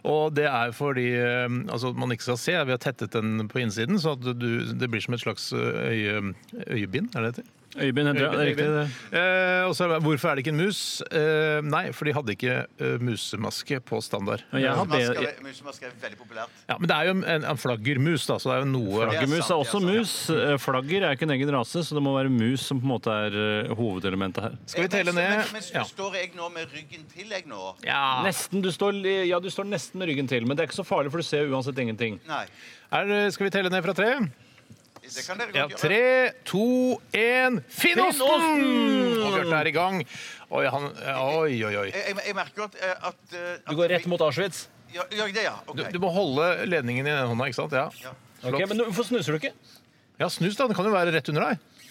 [SPEAKER 5] Og det er fordi eh, altså, man ikke skal se. Vi har tettet den på innsiden, så at du, det blir som et slags eh, øye, øyebind, er det det heter?
[SPEAKER 6] Øyvind Hendra, det er riktig. det.
[SPEAKER 5] Eh, og så er det, hvorfor er det ikke en mus? Eh, nei, for de hadde ikke eh, musemaske på standard.
[SPEAKER 6] Og jeg har
[SPEAKER 9] Musemasker
[SPEAKER 6] be-
[SPEAKER 9] er- Musemasker er veldig populært.
[SPEAKER 5] Ja, men det er jo en, en flaggermus, da, så det er jo noe
[SPEAKER 9] Flagger-
[SPEAKER 6] Flaggermus er
[SPEAKER 9] sant,
[SPEAKER 6] også
[SPEAKER 9] det er
[SPEAKER 6] mus. Eh, Flagger er ikke en egen rase, så det må være mus som på en måte er eh, hovedelementet her.
[SPEAKER 5] Skal vi
[SPEAKER 9] Eh,
[SPEAKER 5] telle
[SPEAKER 9] men-
[SPEAKER 5] ned?
[SPEAKER 9] Men, men,
[SPEAKER 5] Ja.
[SPEAKER 9] står jeg nå med ryggen til, jeg nå?
[SPEAKER 5] Ja.
[SPEAKER 6] Nesten, du står, li- ja, du står nesten med ryggen til, men det er ikke så farlig, for du ser uansett ingenting.
[SPEAKER 9] Nei.
[SPEAKER 5] Er, skal vi telle ned fra tre?
[SPEAKER 9] Det kan dere
[SPEAKER 5] Ja,
[SPEAKER 9] godt gjøre.
[SPEAKER 5] tre, to, én Finnosten!
[SPEAKER 6] Finnosten!
[SPEAKER 5] Og Bjarte er i gang. Oi, han, oi, oi. oi.
[SPEAKER 9] Jeg, jeg, jeg merker jo at, eh, at, eh, at
[SPEAKER 6] Du går rett mot Auschwitz.
[SPEAKER 9] Ja, Gjør jeg det, ja? OK.
[SPEAKER 5] Du, du må holde ledningen i den hånda, ikke sant? Ja.
[SPEAKER 9] Ja.
[SPEAKER 6] Ok, men hvorfor snuser du ikke?
[SPEAKER 5] ja, snus, da. Den kan jo være rett under deg.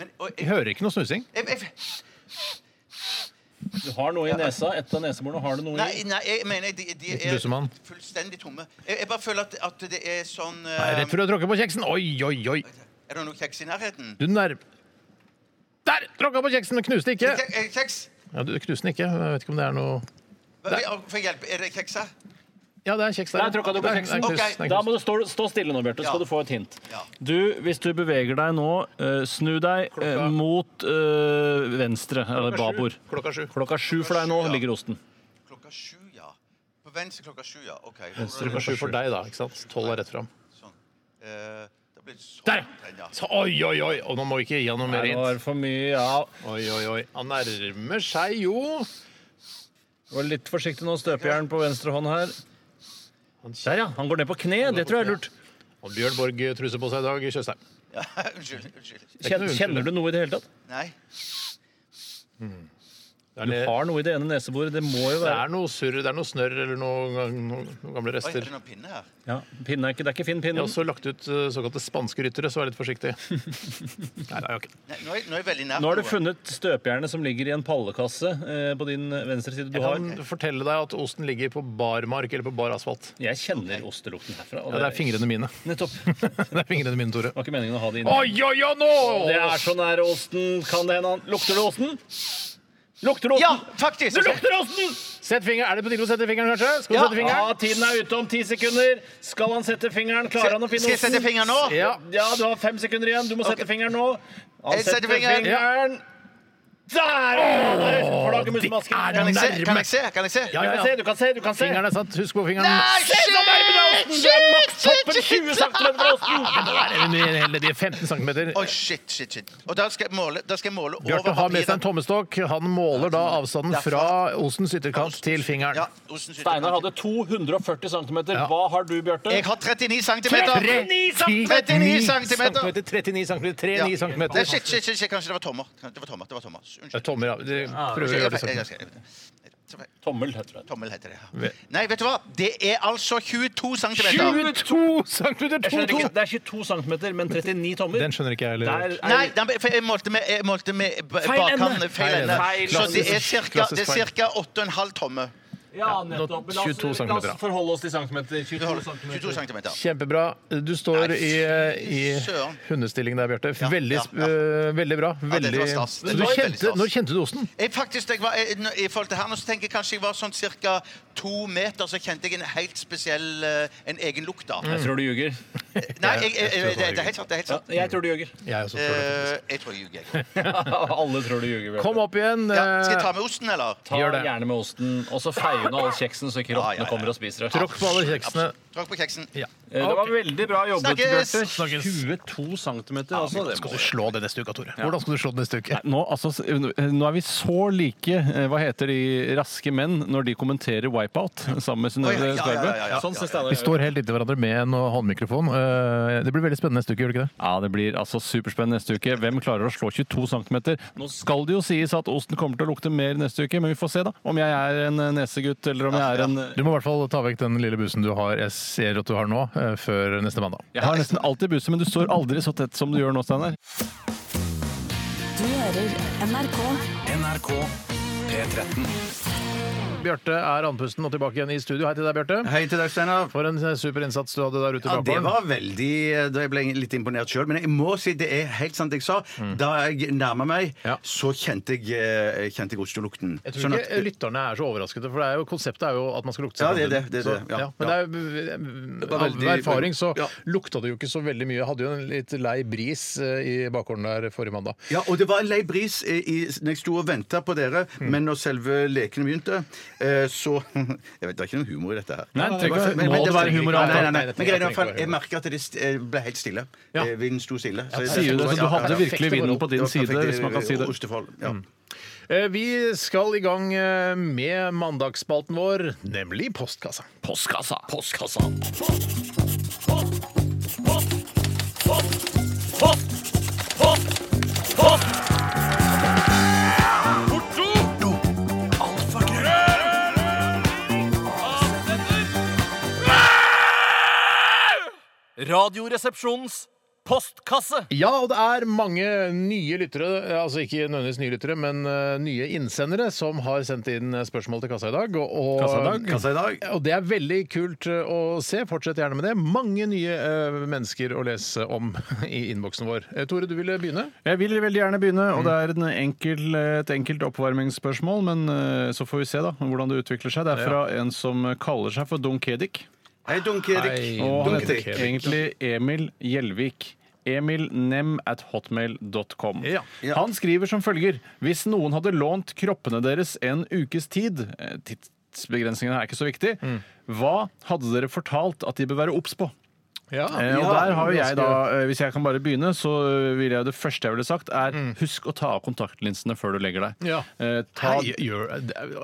[SPEAKER 9] Men, og,
[SPEAKER 5] Jeg
[SPEAKER 9] jeg,
[SPEAKER 5] hører ikke noe snusing.
[SPEAKER 9] jeg, jeg,
[SPEAKER 6] Du har noe i nesa. Et av neseborene har du noe
[SPEAKER 9] Nei,
[SPEAKER 6] i.
[SPEAKER 9] nei, jeg mener de, de
[SPEAKER 5] Litt
[SPEAKER 9] er
[SPEAKER 5] lusemann.
[SPEAKER 9] fullstendig tomme. Jeg, jeg bare føler at, at det er sånn
[SPEAKER 5] Nei,
[SPEAKER 9] eh,
[SPEAKER 5] rett før du tråkker på kjeksen. Oi, oi, oi.
[SPEAKER 9] Er det noe kjeks i nærheten?
[SPEAKER 5] Du nærm... Der! Tråkka på kjeksen, men knuste ikke.
[SPEAKER 9] Kje- eh, Kjeks?
[SPEAKER 5] Ja, du knuste den ikke. Jeg vet ikke om det er noe
[SPEAKER 9] Hva- Får jeg hjelp? Er det kjeks her?
[SPEAKER 5] Ja, det er kjeks der.
[SPEAKER 6] Der tråkka du på
[SPEAKER 5] Der, der,
[SPEAKER 6] kjeksen.
[SPEAKER 5] knust,
[SPEAKER 9] Ok.
[SPEAKER 5] der,
[SPEAKER 6] Da
[SPEAKER 5] knust.
[SPEAKER 6] må du stå, stå stille nå, Bjarte, så skal
[SPEAKER 9] Ja.
[SPEAKER 6] du få et hint.
[SPEAKER 9] Ja.
[SPEAKER 6] Du, hvis du beveger deg nå, eh, snu deg eh,
[SPEAKER 5] Klokka-
[SPEAKER 6] mot eh, venstre, eller babord.
[SPEAKER 5] Klokka sju.
[SPEAKER 6] Klokka sju for deg nå ligger osten.
[SPEAKER 9] Klokka sju, ja. På venstre klokka sju, ja. OK.
[SPEAKER 5] Klokka sju for deg, da. ikke sant? Tolv er rett fram.
[SPEAKER 9] Sånn. Eh, det blir sånn.
[SPEAKER 5] Der!
[SPEAKER 9] Ja.
[SPEAKER 5] Så, oi, oi, oi! Og nå må vi ikke gi han noe mer
[SPEAKER 6] Nei, nå
[SPEAKER 5] hint.
[SPEAKER 6] er det for mye, ja.
[SPEAKER 5] Oi, oi, oi. Han nærmer seg jo
[SPEAKER 6] Vær litt forsiktig nå, støpejern på venstre hånd her. Der, ja. Han går ned på kne. Det tror jeg er lurt.
[SPEAKER 5] Og Bjørn Borg truse på seg i dag, Tjøstheim.
[SPEAKER 9] Ja, unnskyld. unnskyld.
[SPEAKER 5] er ikke noe
[SPEAKER 6] Kjenner, kjenner du noe i det hele tatt?
[SPEAKER 9] Nei.
[SPEAKER 6] Du har noe i det ene neseboret. Det må jo
[SPEAKER 5] Det
[SPEAKER 6] være
[SPEAKER 5] er noe surr, det er noe snørr eller noe, noen gamle
[SPEAKER 9] Oi, er
[SPEAKER 5] rester.
[SPEAKER 9] det noen pinne her?
[SPEAKER 6] ja, pinne er ikke, Det er ikke fin
[SPEAKER 5] Jeg
[SPEAKER 6] pinne.
[SPEAKER 5] har også lagt ut eh, såkalte spanske ryttere, så vær litt forsiktig. Nei, nei, ok.
[SPEAKER 9] Nei, nå, er, nå er jeg veldig nært
[SPEAKER 6] Nå har du
[SPEAKER 9] noe.
[SPEAKER 6] funnet støpjernet som ligger i en pallekasse eh, på din venstre side. Du
[SPEAKER 5] Jeg
[SPEAKER 6] har
[SPEAKER 5] kan fortelle deg at osten ligger på barmark eller på bar asfalt.
[SPEAKER 6] Jeg kjenner ostelukten herfra. og
[SPEAKER 5] Ja, det er fingrene mine.
[SPEAKER 6] Nettopp. Det
[SPEAKER 5] Det er fingrene mine, Tore.
[SPEAKER 6] var ikke meningen å ha det inne.
[SPEAKER 5] Oi, oi, oi, nå!
[SPEAKER 6] Det er så nær osten. Kan det hende han Lukter det osten? Lukter det osten? Ja, faktisk! Det lukter osten!
[SPEAKER 5] Sett finger. Er det på tide å sette fingeren, kanskje? Skal du sette
[SPEAKER 6] Ja,
[SPEAKER 5] fingeren?
[SPEAKER 6] tiden er ute om ti sekunder. Skal han sette fingeren? Klarer han å finne
[SPEAKER 9] Skal jeg sette
[SPEAKER 6] osten?
[SPEAKER 9] fingeren nå?
[SPEAKER 5] Ja.
[SPEAKER 6] Ja, du har fem sekunder igjen. Du må sette fingeren nå. Han
[SPEAKER 9] Jeg setter
[SPEAKER 6] setter
[SPEAKER 9] fingeren.
[SPEAKER 6] fingeren. Der! Der! Flaggermusmasken.
[SPEAKER 9] Kan jeg se?
[SPEAKER 5] Nærme.
[SPEAKER 9] Kan jeg se? Kan jeg se?
[SPEAKER 5] Ja,
[SPEAKER 6] Du kan
[SPEAKER 5] ja,
[SPEAKER 6] se,
[SPEAKER 5] ja.
[SPEAKER 6] du kan se, du kan se.
[SPEAKER 5] Fingeren er satt. Husk på fingeren.
[SPEAKER 6] Se, så nærme deg osten! Du er maks toppen 20 cm fra osten.
[SPEAKER 5] Der er vi hele de 15 cm.
[SPEAKER 9] Oi, shit, shit, shit. Og da skal jeg måle, da skal jeg måle over
[SPEAKER 5] Bjarte har med seg en tommestokk. Han måler da avstanden fra ostens ytterkant til
[SPEAKER 9] Ja,
[SPEAKER 5] fingeren.
[SPEAKER 9] osten sitter-
[SPEAKER 6] Steinar hadde 240 cm. Hva har du, Bjarte?
[SPEAKER 9] Jeg har 39 centimeter.
[SPEAKER 6] 39
[SPEAKER 9] 39 centimeter.
[SPEAKER 5] 39 cm.
[SPEAKER 9] Ja.
[SPEAKER 5] 39 cm.
[SPEAKER 9] Nei, shit, shit, shit, shit, kanskje det var tommer. Kanskje Det var tommer, det var tommer. Unnskyld.
[SPEAKER 5] Tommer, ja. Dere Prøver å
[SPEAKER 9] Jeg-
[SPEAKER 5] gjøre det
[SPEAKER 9] jeg-
[SPEAKER 5] sånn.
[SPEAKER 9] jeg- jeg-
[SPEAKER 6] Tommel, heter det.
[SPEAKER 9] Tommel heter det. ja.
[SPEAKER 5] Ve-
[SPEAKER 9] Nei, vet du hva? Det er altså 22 centimeter.
[SPEAKER 5] 22 cm!
[SPEAKER 6] Jeg skjønner ikke, Det er 22 cm, men 39 tommer.
[SPEAKER 5] Den skjønner ikke jeg
[SPEAKER 6] Der
[SPEAKER 5] heller.
[SPEAKER 6] er-
[SPEAKER 9] Nei, den ble- for jeg målte med, jeg målte med b-
[SPEAKER 6] Feil ende.
[SPEAKER 9] bakhånden. Feil
[SPEAKER 5] Feil
[SPEAKER 9] ende.
[SPEAKER 6] ende.
[SPEAKER 9] Så det er
[SPEAKER 5] Klassisk-
[SPEAKER 9] cirka, det
[SPEAKER 5] klassisk feil.
[SPEAKER 9] er ca. 8,5 tomme.
[SPEAKER 6] Ja, nettopp. La oss,
[SPEAKER 5] 22
[SPEAKER 6] la
[SPEAKER 5] centimeter, da.
[SPEAKER 6] oss forholde oss til centimeter.
[SPEAKER 9] 22
[SPEAKER 6] 22 centimeter.
[SPEAKER 9] centimeter.
[SPEAKER 5] Kjempebra. Du står i, i
[SPEAKER 9] søren.
[SPEAKER 5] hundestilling der, Bjarte.
[SPEAKER 9] Ja,
[SPEAKER 5] Veldig,
[SPEAKER 9] ja,
[SPEAKER 5] sp-
[SPEAKER 9] ja.
[SPEAKER 5] øh, veldig bra.
[SPEAKER 9] dette
[SPEAKER 5] Veldig...
[SPEAKER 9] var stas.
[SPEAKER 5] Så
[SPEAKER 9] Dette
[SPEAKER 5] du
[SPEAKER 9] var veldig
[SPEAKER 5] kjente,
[SPEAKER 9] stas.
[SPEAKER 5] når kjente du osten?
[SPEAKER 9] Jeg faktisk, jeg var, jeg, nå- I forhold til her nå så tenker jeg kanskje jeg var sånn ca. to meter, så kjente jeg en helt spesiell eh, En egen lukt da.
[SPEAKER 6] Jeg tror du ljuger.
[SPEAKER 9] Nei, jeg, jeg, jeg, det, det er helt sant. Det er helt sant.
[SPEAKER 6] Jeg tror du ljuger.
[SPEAKER 5] Jeg også tror det.
[SPEAKER 9] Eh, jeg tror jeg ljuger. jeg.
[SPEAKER 6] Alle tror du ljuger. Bjarte.
[SPEAKER 5] Kom opp igjen.
[SPEAKER 9] Ja, skal jeg ta
[SPEAKER 5] eh,
[SPEAKER 9] med osten, eller?
[SPEAKER 6] Ta
[SPEAKER 5] Gjør det.
[SPEAKER 6] gjerne med osten, og så feier hun av all kjeksen, så ikke
[SPEAKER 9] Ja, ja,
[SPEAKER 6] rottene
[SPEAKER 9] ja.
[SPEAKER 6] kommer og spiser det.
[SPEAKER 5] Tråkk på alle kjeksene.
[SPEAKER 9] Tråkk på keksen.
[SPEAKER 5] Ja.
[SPEAKER 6] Eh, Det var veldig bra jobbet,
[SPEAKER 9] Snakkes!
[SPEAKER 6] Bjarte.
[SPEAKER 5] Snakkes.
[SPEAKER 6] 22 cm, altså.
[SPEAKER 5] Hvordan
[SPEAKER 6] Det
[SPEAKER 5] skal
[SPEAKER 6] må
[SPEAKER 5] du slå det neste uke, Tore? Hvordan skal du slå det neste uke?
[SPEAKER 6] Nei, Nå, altså, s- nå er vi så like eh, Hva heter de raske menn når de kommenterer Wipeout sammen med
[SPEAKER 9] Oi, ja,
[SPEAKER 6] Synnøve
[SPEAKER 9] ja,
[SPEAKER 6] Skarbø?
[SPEAKER 9] ja, ja, ja.
[SPEAKER 6] Sånn ser Steinar
[SPEAKER 5] Vi står helt inntil hverandre med en håndmikrofon. Eh, Det blir veldig spennende neste uke, gjør det ikke det?
[SPEAKER 6] Ja, Det blir altså superspennende neste uke. Hvem klarer å slå 22 cm? Nå skal det jo sies at osten kommer til å lukte mer neste uke, men vi får se da om jeg er en eh, nesegutt eller om jeg er en eh,
[SPEAKER 5] Du må i hvert fall ta vekk den lille busen du har, jeg ser at du har nå, eh, før neste mandag.
[SPEAKER 6] Jeg har nesten alltid buse, men du står aldri så tett som du gjør nå, Steinar.
[SPEAKER 1] Du hører NRK.
[SPEAKER 4] NRK P13.
[SPEAKER 5] Bjarte er andpusten og tilbake igjen i studio. Hei til deg, Bjarte.
[SPEAKER 7] Hei til deg, Steinar.
[SPEAKER 5] For en super innsats du hadde der ute i
[SPEAKER 7] Ja, det
[SPEAKER 5] bakgården.
[SPEAKER 7] var veldig eh, Da jeg ble litt imponert sjøl. Men jeg må si det er helt sant det jeg sa.
[SPEAKER 6] Mm.
[SPEAKER 7] Da jeg nærma meg,
[SPEAKER 5] Ja.
[SPEAKER 7] så kjente jeg, eh, kjente Sånn jeg ostelukten.
[SPEAKER 5] Jeg tror ikke eh, lytterne er så overraskede, for det er jo, konseptet er jo at man skal lukte
[SPEAKER 7] Ja, det er
[SPEAKER 5] samtidig.
[SPEAKER 7] det, det er det,
[SPEAKER 5] Så,
[SPEAKER 7] ja.
[SPEAKER 5] ja, men det er,
[SPEAKER 7] var veldig-
[SPEAKER 5] eh, av erfaring så
[SPEAKER 7] Ja.
[SPEAKER 5] lukta det jo ikke så veldig mye. Jeg hadde jo en litt lei bris eh, i bakgården der forrige mandag.
[SPEAKER 7] Ja, og det var en lei bris i, i, når jeg sto og venta på dere,
[SPEAKER 6] Mm.
[SPEAKER 7] men når selve lekene begynte, eh, så Jeg vet, Det er ikke noe humor i dette her.
[SPEAKER 6] Nei, det trenger ikke-
[SPEAKER 7] Men-
[SPEAKER 6] må
[SPEAKER 7] men
[SPEAKER 6] det være humor i
[SPEAKER 7] Nei,
[SPEAKER 6] alt?
[SPEAKER 7] nei, nei,
[SPEAKER 5] Nei, det
[SPEAKER 7] nei. Men
[SPEAKER 5] trenger-
[SPEAKER 7] greia er i hvert fall,
[SPEAKER 5] det trenger ikke være
[SPEAKER 7] jeg
[SPEAKER 5] humor.
[SPEAKER 7] merka at det st- eh, ble helt stille.
[SPEAKER 5] Ja.
[SPEAKER 7] Eh, Vinden sto stille. Så jeg-
[SPEAKER 6] Sier du det, så du hadde virkelig vinden på din
[SPEAKER 7] Det var
[SPEAKER 6] side,
[SPEAKER 7] perfekt,
[SPEAKER 6] hvis man kan si det. Mm.
[SPEAKER 7] Ostefold. Ja.
[SPEAKER 5] Eh, Vi skal i gang eh, med mandagsspalten vår, nemlig Postkassa.
[SPEAKER 6] Postkassa. Postkassa.
[SPEAKER 4] Radioresepsjonens postkasse.
[SPEAKER 5] Ja, og det er mange nye lyttere, altså ikke nødvendigvis nye lyttere, men eh, nye innsendere som har sendt inn eh, spørsmål til kassa i dag. Og, og,
[SPEAKER 6] Kassa i dag?
[SPEAKER 7] Kassa i dag.
[SPEAKER 5] Og det er veldig kult eh, å se. Fortsett gjerne med det. Mange nye eh, mennesker å lese om i innboksen vår. Eh, Tore, du ville begynne?
[SPEAKER 6] Jeg vil veldig gjerne begynne, og det er en enkel, eh, et enkelt oppvarmingsspørsmål, men eh, så får vi se da hvordan det utvikler seg. Det er fra en som kaller seg for Don Kedik,
[SPEAKER 7] Hei, Dunk-Erik.
[SPEAKER 5] Hei,
[SPEAKER 6] og han
[SPEAKER 7] Don
[SPEAKER 6] heter
[SPEAKER 7] Kedik.
[SPEAKER 6] egentlig Emil Gjelvik. Emilnem at hotmail.com.
[SPEAKER 5] Ja.
[SPEAKER 7] Ja.
[SPEAKER 6] Han skriver som følger Hvis noen hadde lånt kroppene deres en ukes tid eh,
[SPEAKER 5] Mm.
[SPEAKER 6] Tidsbegrensningen her er ikke så viktig. Hva hadde dere fortalt at de bør være obs på?
[SPEAKER 5] Ja.
[SPEAKER 6] Eh, Og der har jo jeg da, eh, Hvis jeg kan bare begynne, så eh, vil jeg det første jeg ville sagt, er husk å ta av kontaktlinsene før du legger deg.
[SPEAKER 5] Mm. Ja.
[SPEAKER 6] Eh, ta,
[SPEAKER 5] Hei, gjør,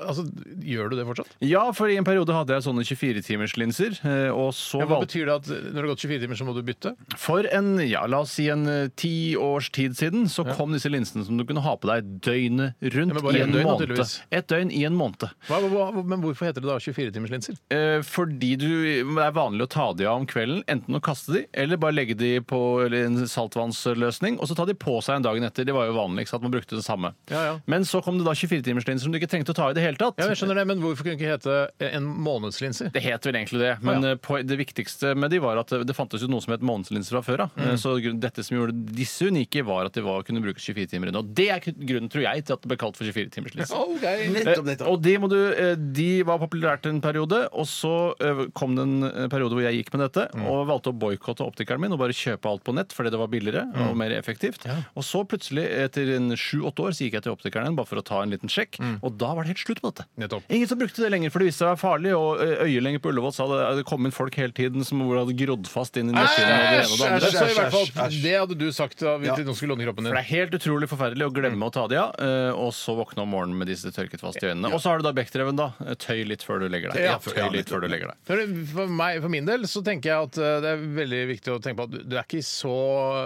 [SPEAKER 5] altså, gjør du det fortsatt?
[SPEAKER 6] ja, for i en periode hadde jeg sånne 24-timerslinser. eh, Og så
[SPEAKER 5] Hva
[SPEAKER 6] valgte
[SPEAKER 5] betyr det at eh, når det har gått 24 timer, så må du bytte?
[SPEAKER 6] For en, ja, la oss si en eh, ti års tid siden så kom disse linsene som du kunne ha på deg døgnet rundt
[SPEAKER 5] men bare
[SPEAKER 6] i
[SPEAKER 5] et
[SPEAKER 6] en
[SPEAKER 5] døgn, da,
[SPEAKER 6] måned.
[SPEAKER 5] tydeligvis.
[SPEAKER 6] Et døgn i en måned.
[SPEAKER 5] Hva, hva, hva, men hvorfor heter det da 24-timerslinser?
[SPEAKER 6] Eh, fordi du, det er vanlig å ta de av om kvelden, enten å kaste de, eller bare legge de på eller en saltvannsløsning, og så ta de på seg en dagen etter. Det var jo vanlig, ikke sant? man brukte det samme.
[SPEAKER 5] Ja, ja.
[SPEAKER 6] Men så kom det da 24-timerslinser som du ikke trengte å ta i det hele tatt.
[SPEAKER 5] Ja, jeg skjønner det, men hvorfor kunne det ikke hete en månedslinser?
[SPEAKER 6] Det het vel egentlig det, men eh, på- det viktigste med de var at det fantes jo noe som het månedslinser fra før av. Eh, Så grunn- dette som gjorde disse unike, var at de var, kunne brukes 24 timer unna. Og det er grunnen, tror jeg, til at det ble kalt for 24-timerslinser.
[SPEAKER 7] Nettopp, nettopp.
[SPEAKER 6] Og de, må du, eh, de var populært en periode, og så eh, kom det en eh, periode hvor jeg gikk med dette og valgte å boikotte optikeren min og bare kjøpe alt på nett fordi det var billigere og mer effektivt. Og så plutselig, etter en sju-åtte år, så gikk jeg til optikeren igjen bare for å ta en liten sjekk, og da var det helt slutt på dette.
[SPEAKER 5] Nettopp.
[SPEAKER 6] Ingen som brukte det lenger, for det viste seg å være farlig, og eh, øyelenger på Ullevål sa det, det kom inn folk hele tiden som hvor det hadde grodd fast inn i nettsidene. og det ene og det
[SPEAKER 5] Så
[SPEAKER 6] andre.
[SPEAKER 5] i hvert
[SPEAKER 7] æsj,
[SPEAKER 5] fall,
[SPEAKER 7] æsj.
[SPEAKER 5] det hadde du sagt da, hvis noen skulle låne kroppen
[SPEAKER 6] For
[SPEAKER 5] din.
[SPEAKER 6] det er helt utrolig forferdelig å glemme å ta de av, eh, og så våkne om morgenen med disse tørket fast i øynene. Og så har du da Bechdreven, da. Eh, Tøy litt før du legger deg.
[SPEAKER 5] Ja,
[SPEAKER 6] tøy litt før du legger deg.
[SPEAKER 5] For, for, meg, for min del så tenker jeg at eh, det er veldig viktig å tenke på at du- du er ikke i så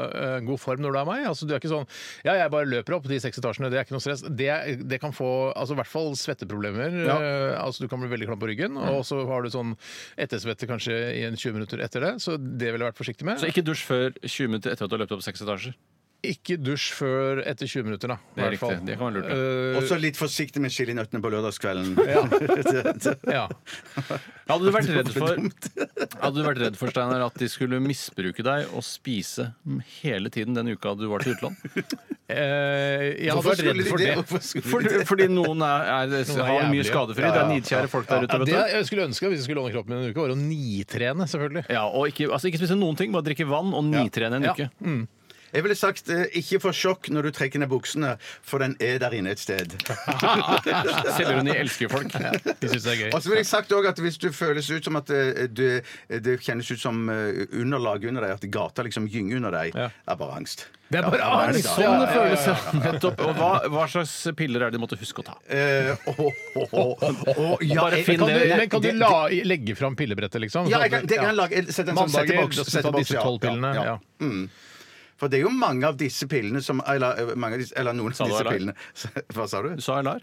[SPEAKER 5] eh, god form når du er meg. Altså, du er ikke sånn Ja, jeg bare løper opp de seks etasjene, det er ikke noe stress. Det, det kan få altså, i hvert fall svetteproblemer. Eh, altså, du kan bli veldig klam på ryggen,
[SPEAKER 6] Mm.
[SPEAKER 5] og så har du sånn ettersvette kanskje i en 20 minutter etter det. Så det ville jeg vært forsiktig med.
[SPEAKER 6] Så ikke dusj før 20 minutter etter at du har løpt opp seks etasjer.
[SPEAKER 5] Ikke dusj før etter 20 minutter, da. i
[SPEAKER 6] Det er
[SPEAKER 5] hvert fall.
[SPEAKER 6] riktig. Det kan være lurt,
[SPEAKER 5] Eh,
[SPEAKER 7] Og så litt forsiktig med chilinøttene på lørdagskvelden.
[SPEAKER 5] ja.
[SPEAKER 6] Hadde du vært redd for, hadde du vært redd for Steinar, at de skulle misbruke deg og spise hele tiden den uka du var til utland?
[SPEAKER 5] Eh, jeg hadde
[SPEAKER 7] Hvorfor
[SPEAKER 5] vært redd
[SPEAKER 7] skulle de
[SPEAKER 5] for
[SPEAKER 7] det?
[SPEAKER 5] det.
[SPEAKER 7] Hvorfor skulle de
[SPEAKER 6] Fordi, fordi noen er, er,
[SPEAKER 5] Noen er
[SPEAKER 6] har mye
[SPEAKER 5] jævlige.
[SPEAKER 6] skadefri. Det er nidkjære folk der
[SPEAKER 5] Ja,
[SPEAKER 6] ute.
[SPEAKER 5] det
[SPEAKER 6] vet du.
[SPEAKER 5] jeg skulle ønske hvis jeg skulle låne kroppen min en uke, var å nitrene, selvfølgelig.
[SPEAKER 6] Ja, og ikke, altså ikke spise noen ting, bare drikke vann og nitrene en
[SPEAKER 5] Ja.
[SPEAKER 6] uke.
[SPEAKER 7] Jeg ville sagt eh, ikke få sjokk når du trekker ned buksene, for den er der inne et sted.
[SPEAKER 6] Selvironi elsker folk.
[SPEAKER 5] De syns det er gøy.
[SPEAKER 6] Altså,
[SPEAKER 7] Og så ville jeg sagt også at hvis du føles ut som at eh, du, det kjennes ut som eh, underlag under deg, at gata liksom gynger under deg, er bare angst.
[SPEAKER 5] Det er bare
[SPEAKER 7] Ja, det er
[SPEAKER 5] angst,
[SPEAKER 7] det.
[SPEAKER 6] Sånn det føles. ja. Nettopp. Og hva, hva slags piller er det de måtte huske å ta?
[SPEAKER 7] Eh, åh, åh, åh, åh, ja, eh,
[SPEAKER 6] Bare
[SPEAKER 7] jeg-
[SPEAKER 6] finn
[SPEAKER 5] Kan du,
[SPEAKER 6] det-
[SPEAKER 5] men kan du
[SPEAKER 7] det-
[SPEAKER 5] la, legge fram pillebrettet, liksom?
[SPEAKER 7] Ja, jeg kan, det kan jeg lage. Sett en sånn
[SPEAKER 5] Mandager,
[SPEAKER 7] setteboks.
[SPEAKER 5] da skal du ta
[SPEAKER 7] setteboks,
[SPEAKER 5] disse
[SPEAKER 7] ja.
[SPEAKER 5] tolv pillene.
[SPEAKER 7] Ja,
[SPEAKER 5] Ja.
[SPEAKER 7] ja. For det er jo mange av disse pillene som Eller, eh, mange av disse, eller noen
[SPEAKER 6] Sa
[SPEAKER 7] av
[SPEAKER 6] du
[SPEAKER 7] disse
[SPEAKER 6] Alar?
[SPEAKER 7] pillene Hva sa du?
[SPEAKER 6] Du sa Alar?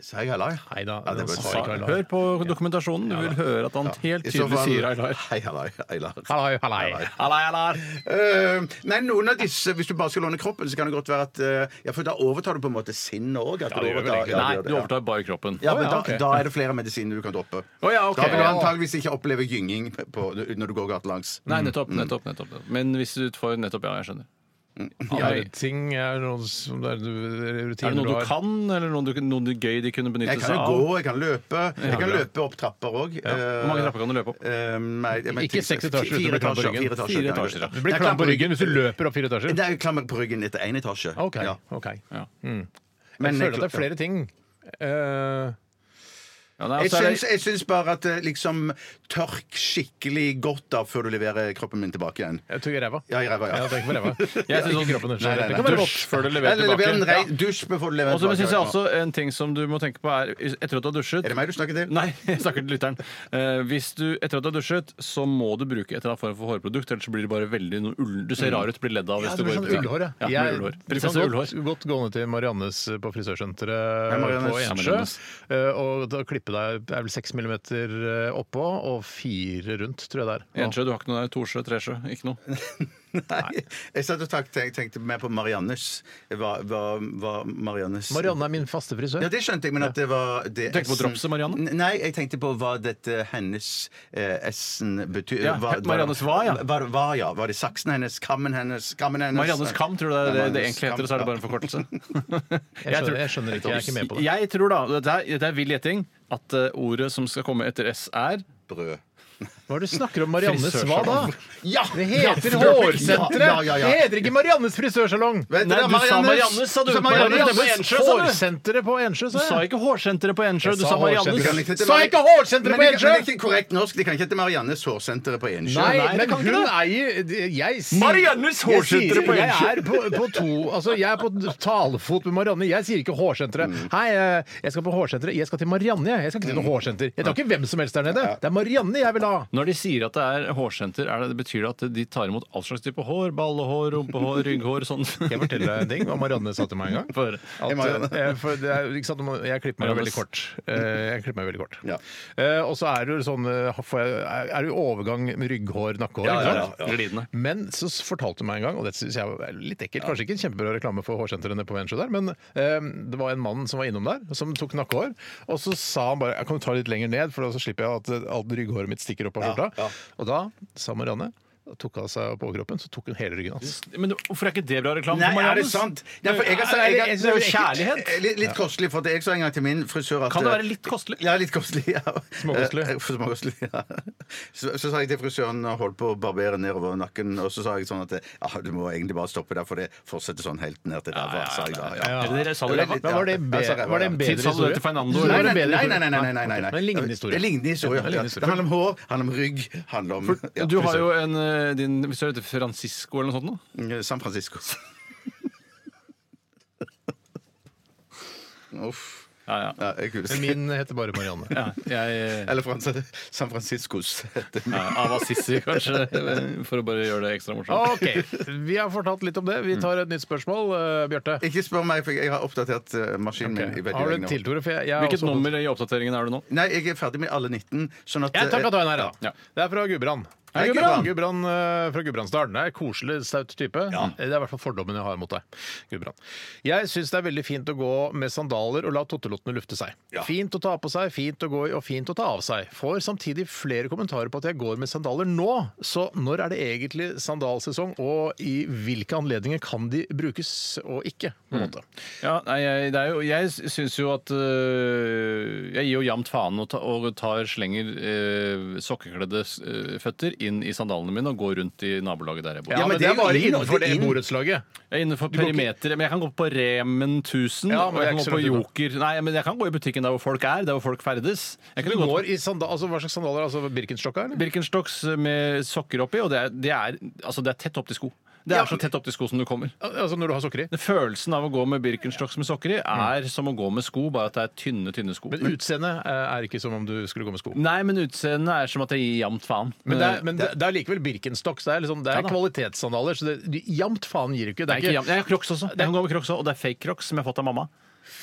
[SPEAKER 7] Sa jeg Alar?
[SPEAKER 5] Nei da,
[SPEAKER 7] Ja,
[SPEAKER 5] den
[SPEAKER 7] det var-
[SPEAKER 5] sa
[SPEAKER 7] sa-
[SPEAKER 5] ikke Alar.
[SPEAKER 6] Hør på dokumentasjonen. Du vil høre at han helt
[SPEAKER 7] I så
[SPEAKER 6] tydelig
[SPEAKER 7] fall-
[SPEAKER 6] sier Alar.
[SPEAKER 7] Hei, Alar. Alar.
[SPEAKER 5] Hallai, hallai.
[SPEAKER 6] Alar, Alar.
[SPEAKER 7] Eh, nei, noen av disse, Hvis du bare skal låne kroppen, så kan det godt være at eh, Ja, for da overtar du på en måte sinnet òg. Ja,
[SPEAKER 5] det gjør vel egentlig
[SPEAKER 6] Nei, du overtar bare kroppen.
[SPEAKER 7] Ja, men
[SPEAKER 5] Å,
[SPEAKER 7] da,
[SPEAKER 5] ja, ok.
[SPEAKER 7] da er det flere medisiner du kan droppe.
[SPEAKER 6] Å, ja, ok.
[SPEAKER 7] Da vil du
[SPEAKER 6] Ja.
[SPEAKER 7] antageligvis ikke oppleve gynging på, når du går gatelangs.
[SPEAKER 6] Nei, nettopp, nettopp, nettopp.
[SPEAKER 7] Mm.
[SPEAKER 6] nettopp. Men hvis du får Nettopp, ja, jeg skjønner.
[SPEAKER 5] Andre
[SPEAKER 6] Nei.
[SPEAKER 5] ting er noe som det er
[SPEAKER 6] Er det
[SPEAKER 5] rutiner du
[SPEAKER 6] noe du
[SPEAKER 5] har.
[SPEAKER 6] kan, eller noe, du, noe gøy de kunne
[SPEAKER 7] Jeg
[SPEAKER 6] benytte
[SPEAKER 7] kan
[SPEAKER 6] seg
[SPEAKER 7] jo
[SPEAKER 6] av?
[SPEAKER 7] gå, jeg kan løpe. Jeg kan løpe opp trapper eh, ehm, òg.
[SPEAKER 6] Hvor mange trapper kan du løpe opp?
[SPEAKER 5] Ikke seks etasjer, du
[SPEAKER 7] Fire
[SPEAKER 5] blir klam på
[SPEAKER 7] etasjer.
[SPEAKER 5] ryggen.
[SPEAKER 7] Fire etasjer,
[SPEAKER 6] Fire
[SPEAKER 7] kan jeg
[SPEAKER 6] etasjer,
[SPEAKER 7] gå.
[SPEAKER 6] ja.
[SPEAKER 5] Du blir
[SPEAKER 7] Jeg
[SPEAKER 5] klam
[SPEAKER 7] kan-
[SPEAKER 5] på ryggen hvis du løper opp fire etasjer.
[SPEAKER 7] Det er jo klammer på ryggen etter én etasje.
[SPEAKER 5] OK.
[SPEAKER 7] Ja.
[SPEAKER 5] ok. Jeg
[SPEAKER 7] Men jeg-
[SPEAKER 5] føler at det er flere ting. Eh,
[SPEAKER 6] Ja, nei,
[SPEAKER 7] Jeg
[SPEAKER 6] altså, er
[SPEAKER 7] syns,
[SPEAKER 6] det-
[SPEAKER 7] jeg syns bare at eh, liksom tørk skikkelig godt av før du leverer kroppen min tilbake igjen.
[SPEAKER 5] jeg tok i ræva.
[SPEAKER 7] Ja, i ræva, ja.
[SPEAKER 5] Ja, tenk på ræva.
[SPEAKER 6] jeg synes sånn
[SPEAKER 5] Ikke kroppen.
[SPEAKER 6] Nei, nei,
[SPEAKER 5] Det
[SPEAKER 6] nei.
[SPEAKER 5] kan være
[SPEAKER 6] Dusj
[SPEAKER 5] godt.
[SPEAKER 6] før du leverer
[SPEAKER 7] Eller lever en
[SPEAKER 6] tilbake.
[SPEAKER 7] rei, dusj before du leverer
[SPEAKER 6] Og så
[SPEAKER 7] tilbake.
[SPEAKER 6] syns jeg også en ting som du må tenke på, er etter at du har dusjet
[SPEAKER 7] Er det meg du snakker til?
[SPEAKER 6] Nei, jeg snakker til lytteren. Eh, hvis du, etter at du har dusjet, så må du bruke et eller annet form for hårprodukt, ellers så blir det bare veldig noe ull. Du ser rar ut, blir ledd av
[SPEAKER 5] Mm.
[SPEAKER 6] hvis
[SPEAKER 5] Ja,
[SPEAKER 6] du
[SPEAKER 5] det blir
[SPEAKER 6] går
[SPEAKER 5] sånn
[SPEAKER 6] i-
[SPEAKER 5] ullhår, ja.
[SPEAKER 6] ja.
[SPEAKER 5] Jeg- sånn
[SPEAKER 6] blir ullhår.
[SPEAKER 5] Du kan
[SPEAKER 6] Prinsesse
[SPEAKER 5] godt,
[SPEAKER 6] Ullhår.
[SPEAKER 5] godt gå ned til Mariannes på frisørsenteret
[SPEAKER 7] Hei, Mariannes.
[SPEAKER 5] på
[SPEAKER 7] Ja,
[SPEAKER 5] Ensjø
[SPEAKER 6] Mariannes.
[SPEAKER 5] eh, og da klippe deg det er vel seks millimeter eh, oppå og fire rundt, tror jeg det er.
[SPEAKER 6] Ensjø, du har ikke noe der. Torsjø, Tresjø, ikke noe.
[SPEAKER 7] Nei. Jeg satt og tenkte, tenkte mer på Mariannes. Hva, hva, hva Mariannes
[SPEAKER 5] Marianne er min faste frisør.
[SPEAKER 7] Ja, det skjønte jeg, men at det var det
[SPEAKER 6] Tenkte på
[SPEAKER 7] S-en-
[SPEAKER 6] dropset, Marianne?
[SPEAKER 7] N- Nei, jeg tenkte på hva dette hennes eh, S-en betyr
[SPEAKER 6] Ja,
[SPEAKER 7] hva- hva-
[SPEAKER 6] Mariannes hva, ja.
[SPEAKER 7] Hva, hva, ja. Var det saksen hennes? Kammen hennes? Kammen hennes?
[SPEAKER 6] Mariannes Kam, tror du det, er det, det
[SPEAKER 7] Mariannes
[SPEAKER 6] egentlig heter, og så er det bare en forkortelse.
[SPEAKER 5] jeg, skjønner, jeg skjønner ikke, jeg er ikke med på det.
[SPEAKER 6] Jeg tror da, dette er, dette er vill gjetting, at eh, ordet som skal komme etter S er
[SPEAKER 7] Brød.
[SPEAKER 5] Hva er det du snakker om? Mariannes hva da?
[SPEAKER 6] Frisørsalong.
[SPEAKER 7] Ja!
[SPEAKER 5] Det heter
[SPEAKER 7] ja,
[SPEAKER 5] Hårsenteret!
[SPEAKER 7] Ja, ja, ja.
[SPEAKER 5] Det heter ikke Mariannes frisørsalong!
[SPEAKER 7] Vet
[SPEAKER 6] Nei,
[SPEAKER 7] dere,
[SPEAKER 6] du sa Mariannes, sa du.
[SPEAKER 7] sa Mariannes.
[SPEAKER 6] Mariannes. på Ensjø, sa du.
[SPEAKER 5] Hårsenteret på Ensjø,
[SPEAKER 6] Du
[SPEAKER 5] sa
[SPEAKER 6] sa
[SPEAKER 5] jeg.
[SPEAKER 6] ikke hårsenteret på Ensjø, du
[SPEAKER 5] sa
[SPEAKER 6] sa
[SPEAKER 5] hårsenteret.
[SPEAKER 6] Mariannes.
[SPEAKER 7] Kan ikke-
[SPEAKER 5] Sa ikke hårsenteret
[SPEAKER 7] Men
[SPEAKER 5] på
[SPEAKER 7] det- Men det
[SPEAKER 5] Ensjø!
[SPEAKER 7] er ikke korrekt norsk. Det kan ikke hete Mariannes Hårsenteret på Ensjø.
[SPEAKER 5] Nei,
[SPEAKER 6] Nei, det
[SPEAKER 5] men
[SPEAKER 6] kan ikke
[SPEAKER 5] hun
[SPEAKER 6] det.
[SPEAKER 5] eier jeg, sier- jeg
[SPEAKER 6] Mariannes
[SPEAKER 5] sier-
[SPEAKER 6] hårsenteret på Ensjø.
[SPEAKER 5] Jeg er på, på to Altså, jeg er på talefot med Marianne. Jeg sier ikke hårsenteret. Hei, eh, jeg skal på hårsenteret. Jeg skal til Marianne, jeg. Jeg skal ikke til noe hårsenter. Jeg tar ikke hvem som helst der nede. Det er Marianne jeg vil ha.
[SPEAKER 6] Når de sier at det er hårsenter, er det, betyr det at de tar imot all slags type hår? Ballehår, rumpehår, rygghår, sånn?
[SPEAKER 5] Skal jeg fortelle deg en ting hva Marianne sa til meg en gang?
[SPEAKER 6] Få høre.
[SPEAKER 5] At, eh, for det er, ikke sant, man- jeg klipper meg jo
[SPEAKER 6] Marianne
[SPEAKER 5] veldig
[SPEAKER 6] s-
[SPEAKER 5] kort. Eh, Jeg klipper meg veldig kort. Eh, Og så er det jo sånn eh, får jeg- er er det jo overgang med rygghår, nakkehår. ikke sant?
[SPEAKER 6] Glidende.
[SPEAKER 5] Men så s- fortalte hun meg en gang, og det synes jeg var litt ekkelt, kanskje ikke en kjempebra reklame for hårsentrene på Vensjø der, men eh, det var en mann som var innom der, som tok nakkehår, og så sa han bare, jeg kan du ta litt lenger ned, for da så slipper jeg at eh, alt rygghåret mitt stikker opp av skjorta. Og da, sa Marianne, da tok han seg på overkroppen, så tok hun hele ryggen hans.
[SPEAKER 6] Men hvorfor er ikke det bra reklame?
[SPEAKER 7] Nei,
[SPEAKER 6] for
[SPEAKER 7] er det
[SPEAKER 6] Mariannes?
[SPEAKER 7] sant? Nei, for jeg har-
[SPEAKER 6] Nei,
[SPEAKER 7] jeg
[SPEAKER 6] det
[SPEAKER 7] har-
[SPEAKER 6] er jo kjærlighet.
[SPEAKER 7] Eh, Litt, litt kostelig, for at jeg sa en gang til min frisør at
[SPEAKER 6] Kan det være litt kostelig?
[SPEAKER 7] Ja, litt kostelig. ja
[SPEAKER 5] Småkostelig.
[SPEAKER 7] Eh, for Småkostelig, ja så, så sa jeg til frisøren og holdt på å barbere nedover nakken, og så sa jeg sånn at ja, du må egentlig bare stoppe der, for det fortsetter sånn helt ned til der. sa jeg da, ja.
[SPEAKER 6] Eller dere sa det ræva.
[SPEAKER 5] Men var det, be,
[SPEAKER 7] Ja,
[SPEAKER 5] var det en bedre
[SPEAKER 6] Tilsa du det
[SPEAKER 5] historie?
[SPEAKER 6] til Fernando,
[SPEAKER 5] Var
[SPEAKER 7] Nei,
[SPEAKER 5] det
[SPEAKER 7] nei,
[SPEAKER 5] en bedre
[SPEAKER 7] nei,
[SPEAKER 5] historie?
[SPEAKER 7] nei, nei, nei, nei, nei.
[SPEAKER 5] Men en lignende historie.
[SPEAKER 7] Det er lignende historie.
[SPEAKER 5] en
[SPEAKER 7] ja.
[SPEAKER 5] lignende historie.
[SPEAKER 7] Det handler om hår, handler om rygg, handler om ja,
[SPEAKER 6] Du har
[SPEAKER 7] frisør.
[SPEAKER 6] jo en eh, din, Hvis du heter Francisco eller noe sånt nå?
[SPEAKER 7] Eh, San Francisco. Uff.
[SPEAKER 6] Ja, ja.
[SPEAKER 7] Ja, jeg kunne si.
[SPEAKER 5] Min heter bare Marianne.
[SPEAKER 6] ja jeg,
[SPEAKER 7] Eller Frans San Franciscos. heter den.
[SPEAKER 6] ja, av Assisi, kanskje. For å bare gjøre det ekstra morsomt.
[SPEAKER 5] Ok, vi har fortalt litt om det.
[SPEAKER 7] Mm.
[SPEAKER 5] Vi tar et nytt spørsmål, eh, Bjarte.
[SPEAKER 7] Ikke spør meg, for jeg har oppdatert eh, maskinen min. i veldig
[SPEAKER 5] Har du
[SPEAKER 7] lenge
[SPEAKER 5] en
[SPEAKER 7] nå.
[SPEAKER 5] til, Tore? For jeg- jeg har
[SPEAKER 6] Hvilket
[SPEAKER 5] også fått-
[SPEAKER 6] nummer i oppdateringen er du nå?
[SPEAKER 7] Nei, jeg er ferdig med alle 19. Sånn at
[SPEAKER 5] Jeg tar
[SPEAKER 7] eh,
[SPEAKER 5] Katainen her, da.
[SPEAKER 6] Ja.
[SPEAKER 5] Det er fra Gudbrand.
[SPEAKER 7] Hei,
[SPEAKER 5] Gudbrand
[SPEAKER 7] Gudbrand.
[SPEAKER 5] Gudbrand, eh, fra Gudbrandsdalen. Det er en koselig, staut type. Eh, Det er i hvert fall fordommen jeg har mot deg. Gudbrand. Jeg syns det er veldig fint å gå med sandaler og la tottelottene lufte seg. Fint å ta på seg, fint å gå i og fint å ta av seg. Får samtidig flere kommentarer på at jeg går med sandaler nå, så når er det egentlig sandalsesong, og i hvilke anledninger kan de brukes og ikke? på en måte?
[SPEAKER 6] Ja, nei, jeg, det er jo, jeg syns jo at øh, Jeg gir jo jamt faen og, ta, og tar slenger øh, sokkekledde øh, føtter inn i sandalene mine og går rundt i nabolaget der jeg bor.
[SPEAKER 5] Ja, men,
[SPEAKER 7] men
[SPEAKER 5] det
[SPEAKER 7] det er
[SPEAKER 5] er
[SPEAKER 7] jo
[SPEAKER 5] bare
[SPEAKER 7] inn, og
[SPEAKER 5] innenfor
[SPEAKER 7] det
[SPEAKER 5] det
[SPEAKER 7] er inn.
[SPEAKER 5] borettslaget.
[SPEAKER 6] Jeg er innenfor
[SPEAKER 5] går ikke-
[SPEAKER 6] perimeteret, men jeg kan gå på Remen 1000.
[SPEAKER 5] Ja, men
[SPEAKER 6] og
[SPEAKER 5] det er
[SPEAKER 6] jeg kan
[SPEAKER 5] ikke så
[SPEAKER 6] gå på
[SPEAKER 5] langt
[SPEAKER 6] Joker Nei, men jeg kan gå i butikken der hvor folk er, der hvor folk ferdes. Jeg
[SPEAKER 5] Du
[SPEAKER 6] kan gå
[SPEAKER 5] går i sandal, altså Hva slags sandaler? altså Birkenstokka? eller?
[SPEAKER 6] Birkenstocks med sokker oppi, og det er, det er, altså, det er tett opp til sko. Det er så tett opp til sko som du kommer.
[SPEAKER 5] Al- Altså Når du har sokker i?
[SPEAKER 6] Den Følelsen av å gå med Birkenstocks med sokker i er som å gå med sko, bare at det er tynne, tynne sko.
[SPEAKER 5] Mm. Men utseendet eh, er ikke som om du skulle gå med sko.
[SPEAKER 6] Nei, men utseendet er som at jeg gir jamt faen. Eh,
[SPEAKER 5] Men det er, men det, det er likevel Birkenstock. så Det er, liksom, det er
[SPEAKER 6] Ja da.
[SPEAKER 5] kvalitetssandaler. Så det, du- jamt faen gir du ikke. Det
[SPEAKER 6] Nei,
[SPEAKER 5] er
[SPEAKER 6] ikke
[SPEAKER 5] ikke
[SPEAKER 6] jamt. Jeg har crocs også. Jeg kan gå med crocs også, og det er fake crocs som jeg har fått av mamma.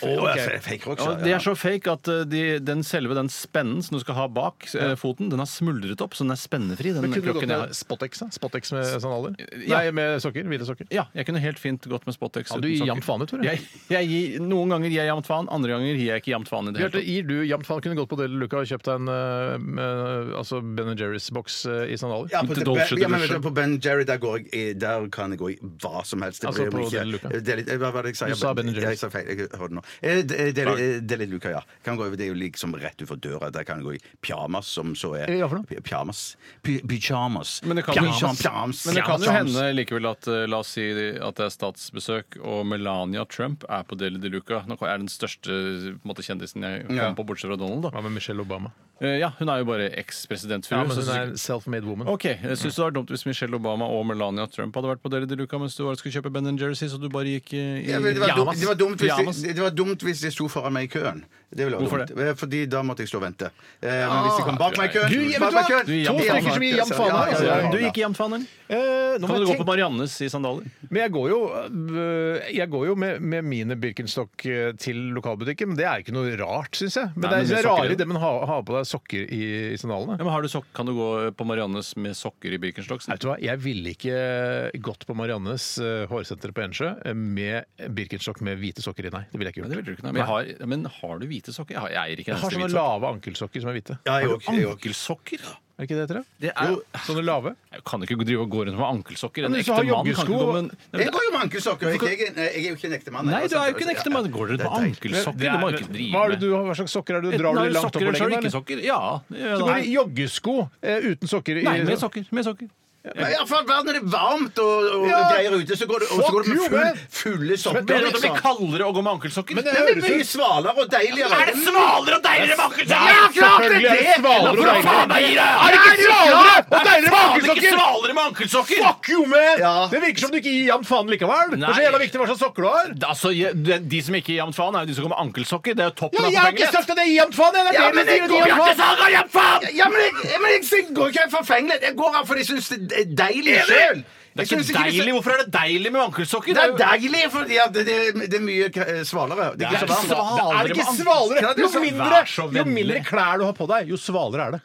[SPEAKER 7] Å, jeg ser fake rocks,
[SPEAKER 6] Og
[SPEAKER 7] ja,
[SPEAKER 6] de
[SPEAKER 7] ja.
[SPEAKER 6] er så fake at eh, de, den selve den spennen som du skal ha bak eh, foten, den har smuldret opp, så den er spennefri. Den
[SPEAKER 5] Men kunne du gått
[SPEAKER 6] crocken jeg
[SPEAKER 5] med
[SPEAKER 6] har.
[SPEAKER 5] Spotex, da? Spotex med sandaler?
[SPEAKER 6] Ja.
[SPEAKER 5] Nei, med sokker. Hvite sokker.
[SPEAKER 6] Ja, jeg kunne helt fint gått med Spotex.
[SPEAKER 5] Ja, du
[SPEAKER 6] uten
[SPEAKER 5] gir
[SPEAKER 6] sokker.
[SPEAKER 5] jamt faen, du, Tore.
[SPEAKER 6] Jeg, jeg gir, noen ganger gir jeg jamt faen, andre ganger gir jeg ikke jamt faen i det hele
[SPEAKER 5] Bjarte,
[SPEAKER 6] tatt.
[SPEAKER 5] gir du jamt faen? Kunne gått på Deli Luca og kjøpt deg en eh, eh, altså Ben Jerry's-boks eh, i sandaler?
[SPEAKER 7] Ja, på,
[SPEAKER 6] Til
[SPEAKER 7] det-
[SPEAKER 6] Dolce
[SPEAKER 7] ja, men,
[SPEAKER 6] Dolce.
[SPEAKER 7] vet du, på Ben Jerry der, går jeg, i- der kan jeg gå i hva som helst. Det
[SPEAKER 5] Altså
[SPEAKER 7] bryr meg
[SPEAKER 5] på
[SPEAKER 7] ikke. Eh,
[SPEAKER 5] Deli Luca.
[SPEAKER 7] Det er litt- Hva var det jeg sa?
[SPEAKER 5] Du sa Ben Jerry's.
[SPEAKER 7] Jeg sa feil. Jeg hørte nå. Eh, de- Deli Deli Luca, ja. Kan gå, i- det er jo liksom rett utenfor døra. Der kan jeg gå i pyjamas, som så er
[SPEAKER 5] Hva for noe?
[SPEAKER 7] Py- Pyjamas. Py- Pyjamas.
[SPEAKER 6] Men det kan,
[SPEAKER 7] Pyjamas. Pyjamas.
[SPEAKER 6] men det kan jo
[SPEAKER 7] Pyjamas.
[SPEAKER 6] hende likevel at eh, la oss si at det er statsbesøk, og Melania Trump er på Deli de Luca. Nå er den største på en måte, kjendisen jeg kom
[SPEAKER 7] Ja.
[SPEAKER 6] på, bortsett fra Donald. da.
[SPEAKER 5] Hva med Michelle Obama?
[SPEAKER 6] Eh, Ja, Hun er jo bare eks-presidentfrue.
[SPEAKER 5] Ja, men
[SPEAKER 6] så
[SPEAKER 5] hun er
[SPEAKER 6] sikkert-
[SPEAKER 5] self-made woman.
[SPEAKER 6] Ok, jeg synes det var dumt hvis Michelle Obama og Melania Trump hadde vært på Deli de Luca mens du var- skulle kjøpe Ben Jerseys, og du bare gikk eh, i
[SPEAKER 7] Ja, men det, var dumt,
[SPEAKER 6] pyjamas.
[SPEAKER 7] det, var dumt hvis
[SPEAKER 6] Pyjamas.
[SPEAKER 7] de, det var dumt hvis de sto foran meg i køen. Det ville
[SPEAKER 6] Hvorfor
[SPEAKER 7] være dumt. Eh, Fordi da måtte jeg stå og vente. Eh, men hvis de kom bak meg i køen,
[SPEAKER 5] Ah, Du, vet du
[SPEAKER 7] bak
[SPEAKER 5] hva?
[SPEAKER 7] meg i køen
[SPEAKER 6] Du gir
[SPEAKER 5] To
[SPEAKER 6] jamt faen.
[SPEAKER 5] stykker som gir jamt faen her, altså.
[SPEAKER 7] Ja, ja, ja, ja.
[SPEAKER 6] Du gikk i jamt faen, eller?
[SPEAKER 5] Eh, nå må
[SPEAKER 6] Kan du
[SPEAKER 5] jeg
[SPEAKER 6] gå på
[SPEAKER 5] tenke-
[SPEAKER 6] Mariannes i sandaler?
[SPEAKER 5] Men jeg går jo, øh, jeg går jo med, med mine Birkenstock øh, til lokalbutikken, men det er ikke noe rart, syns jeg. Men det
[SPEAKER 6] Nei, men
[SPEAKER 5] er, det
[SPEAKER 6] med
[SPEAKER 5] er
[SPEAKER 6] sokker i
[SPEAKER 5] rarere
[SPEAKER 6] det.
[SPEAKER 5] det med å ha, ha på deg sokker i, i sandalene.
[SPEAKER 6] Ja, men har du sok kan du gå eh, på Mariannes med sokker i Birkenstocks?
[SPEAKER 5] Vet du hva, Jeg ville ikke gått på Mariannes øh, hårsenter på Ensjø eh, med Birkenstock med hvite sokker i, nei. Det ville jeg ikke
[SPEAKER 6] Nei, det
[SPEAKER 5] gjort.
[SPEAKER 6] vil du ikke, nei. Men, jeg har, ja, men har du hvite sokker? Jeg, har, jeg eier ikke en
[SPEAKER 5] Jeg har
[SPEAKER 6] eneste
[SPEAKER 5] sånne
[SPEAKER 6] hvit sokk.
[SPEAKER 5] lave ankelsokker som er hvite.
[SPEAKER 7] Ja, jeg òg.
[SPEAKER 6] Ankelsokker?
[SPEAKER 5] Er ikke det heter det?
[SPEAKER 6] Det er,
[SPEAKER 5] Sånne lave?
[SPEAKER 6] jeg kan ikke drive og gå rundt med ankelsokker. En
[SPEAKER 5] Men hvis du
[SPEAKER 6] ekte
[SPEAKER 5] har
[SPEAKER 6] mann kan ikke
[SPEAKER 5] joggesko-
[SPEAKER 6] gå med en- Nei, men
[SPEAKER 7] Jeg går jo med ankelsokker. Jeg, jeg, jeg er jo ikke en ekte mann.
[SPEAKER 6] Nei,
[SPEAKER 7] jeg,
[SPEAKER 6] du er jo ikke en
[SPEAKER 7] sant?
[SPEAKER 6] ekte mann. Går du rundt med ankelsokker? Det må du ikke
[SPEAKER 5] hva,
[SPEAKER 6] drive
[SPEAKER 5] er det du,
[SPEAKER 6] med.
[SPEAKER 5] har- hva slags sokker er det du drar du
[SPEAKER 6] Enten er det
[SPEAKER 5] langt
[SPEAKER 6] sokker
[SPEAKER 5] oppover
[SPEAKER 6] eller så er det
[SPEAKER 5] leggen?
[SPEAKER 6] ikke
[SPEAKER 5] da, eller?
[SPEAKER 6] sokker. Ja. ja,
[SPEAKER 5] Du går i
[SPEAKER 6] nei.
[SPEAKER 5] joggesko eh, uten sokker? i-
[SPEAKER 6] Nei, med sokker. Med sokker.
[SPEAKER 7] Men i hvert fall bare når det er varmt og, og
[SPEAKER 5] Ja.
[SPEAKER 7] greier ute, så går du, og så
[SPEAKER 5] Fuck
[SPEAKER 7] går du med
[SPEAKER 5] you,
[SPEAKER 7] full,
[SPEAKER 5] man.
[SPEAKER 7] fulle sokker.
[SPEAKER 6] Mener du at det blir
[SPEAKER 7] liksom.
[SPEAKER 6] kaldere å gå med ankelsokker?
[SPEAKER 5] Men det
[SPEAKER 7] Det blir
[SPEAKER 5] høres
[SPEAKER 7] mye
[SPEAKER 5] ut
[SPEAKER 7] svalere og deiligere.
[SPEAKER 6] Er det svalere og deiligere med ankelsokker?
[SPEAKER 7] Ja, klart det
[SPEAKER 5] Selvfølgelig
[SPEAKER 7] er
[SPEAKER 5] er det
[SPEAKER 7] det!
[SPEAKER 5] svalere og deiligere.
[SPEAKER 6] Nei, det er-
[SPEAKER 5] Er det ikke svalere og deiligere med
[SPEAKER 6] Faen, ikke
[SPEAKER 5] ankelsokker?
[SPEAKER 6] svalere med ankelsokker!
[SPEAKER 5] Fuck you, man!
[SPEAKER 7] Ja.
[SPEAKER 5] Det virker som du ikke gir jevnt faen likevel. Det er så
[SPEAKER 6] Nei.
[SPEAKER 5] jævla viktig hva slags sokker du har.
[SPEAKER 6] Altså, je- de, de som ikke gir jevnt faen, er jo de som går med ankelsokker. Det er jo toppen
[SPEAKER 5] Ja,
[SPEAKER 6] av
[SPEAKER 5] jeg har ikke
[SPEAKER 6] forfengelighet.
[SPEAKER 5] sagt at jeg gir jevnt faen! jeg. Det er
[SPEAKER 7] Ja,
[SPEAKER 5] dere
[SPEAKER 7] men
[SPEAKER 5] som
[SPEAKER 7] jeg
[SPEAKER 5] sier at
[SPEAKER 7] går
[SPEAKER 5] jeg gir jevnt
[SPEAKER 7] ikke
[SPEAKER 5] faen.
[SPEAKER 6] Saga, jevnt faen!
[SPEAKER 7] Ja, men jeg, jeg, men jeg går ikke i forfengelighet. Jeg går her fordi jeg syns det er deilig
[SPEAKER 6] Enig!
[SPEAKER 7] sjøl.
[SPEAKER 6] Det er ikke deilig. Hvorfor er det deilig med ankelsokker?
[SPEAKER 7] Det er
[SPEAKER 6] jo-
[SPEAKER 7] deilig fordi at det, det, det er mye k- eh, svalere. Det er
[SPEAKER 6] Det
[SPEAKER 7] ikke
[SPEAKER 6] er
[SPEAKER 7] så varmt.
[SPEAKER 6] svalere.
[SPEAKER 5] Det er ikke svalere! Jo mindre,
[SPEAKER 6] Vær så
[SPEAKER 5] jo
[SPEAKER 6] vennlig.
[SPEAKER 5] mindre klær du har på deg, jo svalere er det.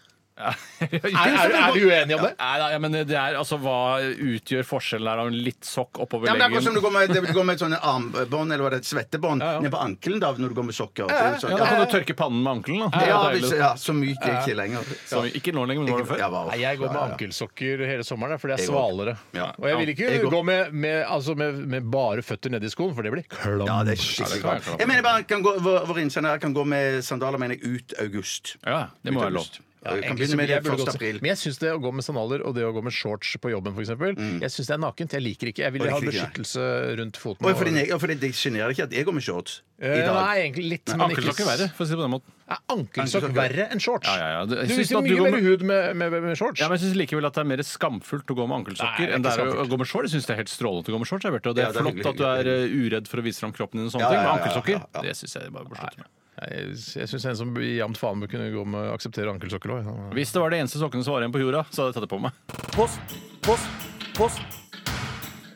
[SPEAKER 6] Er,
[SPEAKER 5] er- er vi uenige om det?
[SPEAKER 6] Ja, nei, nei, men det er, altså, hva utgjør forskjellen her av en litt sokk oppover
[SPEAKER 7] Ja, men det er akkurat som du
[SPEAKER 6] leggen?
[SPEAKER 7] går med, det går med et sånne armbånd eller hva det er, et svettebånd
[SPEAKER 6] Ja, ja.
[SPEAKER 7] ned på ankelen da, når du går med sokker. Det er jo sånn,
[SPEAKER 6] Ja, da kan du tørke pannen med ankelen. Da. Det er
[SPEAKER 7] ja,
[SPEAKER 6] deilig.
[SPEAKER 7] hvis, ja, så myk er jeg ikke lenger.
[SPEAKER 6] Så, ikke nå lenger, men nå var det før.
[SPEAKER 7] Ja, wow.
[SPEAKER 5] Nei, jeg går med
[SPEAKER 7] Ja, ja.
[SPEAKER 5] ankelsokker hele sommeren, for det er
[SPEAKER 7] Jeg går.
[SPEAKER 5] svalere.
[SPEAKER 7] Ja.
[SPEAKER 5] Og jeg vil ikke
[SPEAKER 7] Jeg går.
[SPEAKER 5] gå med, med, altså med, med bare føtter nedi skoen, for det blir klam.
[SPEAKER 7] Ja, det er skikkelig
[SPEAKER 6] Ja, det kan jeg
[SPEAKER 7] klart.
[SPEAKER 6] klare.
[SPEAKER 7] Jeg mener bare, kan gå, vår, vår innsender her kan gå med sandaler mener jeg, ut august.
[SPEAKER 6] Ja, det må
[SPEAKER 7] ut
[SPEAKER 6] være lov.
[SPEAKER 7] august. Ja, vi kan
[SPEAKER 5] Egentlig
[SPEAKER 7] begynne
[SPEAKER 5] så
[SPEAKER 7] med
[SPEAKER 5] ville jeg
[SPEAKER 7] det
[SPEAKER 5] burde
[SPEAKER 7] 1.
[SPEAKER 5] gått-
[SPEAKER 7] april.
[SPEAKER 5] Men jeg syns det å gå med sandaler og det å gå med shorts på jobben, f.eks., eksempel jeg syns det er nakent. Jeg liker ikke. Jeg vil
[SPEAKER 7] Og
[SPEAKER 5] ha
[SPEAKER 7] liker ikke, nei.
[SPEAKER 5] beskyttelse rundt foten.
[SPEAKER 7] Og fordi, jeg- og fordi det sjenerer deg ikke at jeg går med shorts i
[SPEAKER 5] Eh,
[SPEAKER 7] dag.
[SPEAKER 5] Nei, egentlig litt, men ikke
[SPEAKER 6] Ankelsokker er verre, for å si det på den måten.
[SPEAKER 5] Er ankelsokk
[SPEAKER 7] Ankelsokk er-
[SPEAKER 5] verre enn shorts?
[SPEAKER 6] Ja, ja, ja. Det- jeg
[SPEAKER 5] Du
[SPEAKER 6] synes
[SPEAKER 5] viser
[SPEAKER 6] at
[SPEAKER 5] mye
[SPEAKER 6] du går
[SPEAKER 5] mer
[SPEAKER 6] med-
[SPEAKER 5] hud med, med, med, med shorts.
[SPEAKER 6] Ja, men jeg synes likevel at det er mer skamfullt å gå med
[SPEAKER 5] Nei,
[SPEAKER 6] ankelsokker
[SPEAKER 5] det er
[SPEAKER 6] enn det
[SPEAKER 5] ikke
[SPEAKER 6] er å- å
[SPEAKER 5] skamfullt.
[SPEAKER 6] gå med shorts. Jeg syns det er helt strålende å gå med shorts. Jeg, Bjarte, og det
[SPEAKER 7] Ja,
[SPEAKER 6] er
[SPEAKER 7] det er
[SPEAKER 6] flott at
[SPEAKER 7] hyggelig,
[SPEAKER 6] du er eh, uredd for å vise fram kroppen din og sånne
[SPEAKER 7] Ja,
[SPEAKER 6] ting. Med
[SPEAKER 7] ja, ja, ja,
[SPEAKER 6] ankelsokker,
[SPEAKER 7] ja, ja.
[SPEAKER 6] det syns jeg bare bør slutte med.
[SPEAKER 5] Jeg, jeg syns en som jevnt faen bør kunne gå med å akseptere ankelsokker òg.
[SPEAKER 6] Hvis det var det eneste sokkene som var igjen på jorda, så hadde jeg tatt det på meg.
[SPEAKER 4] Post, post, post.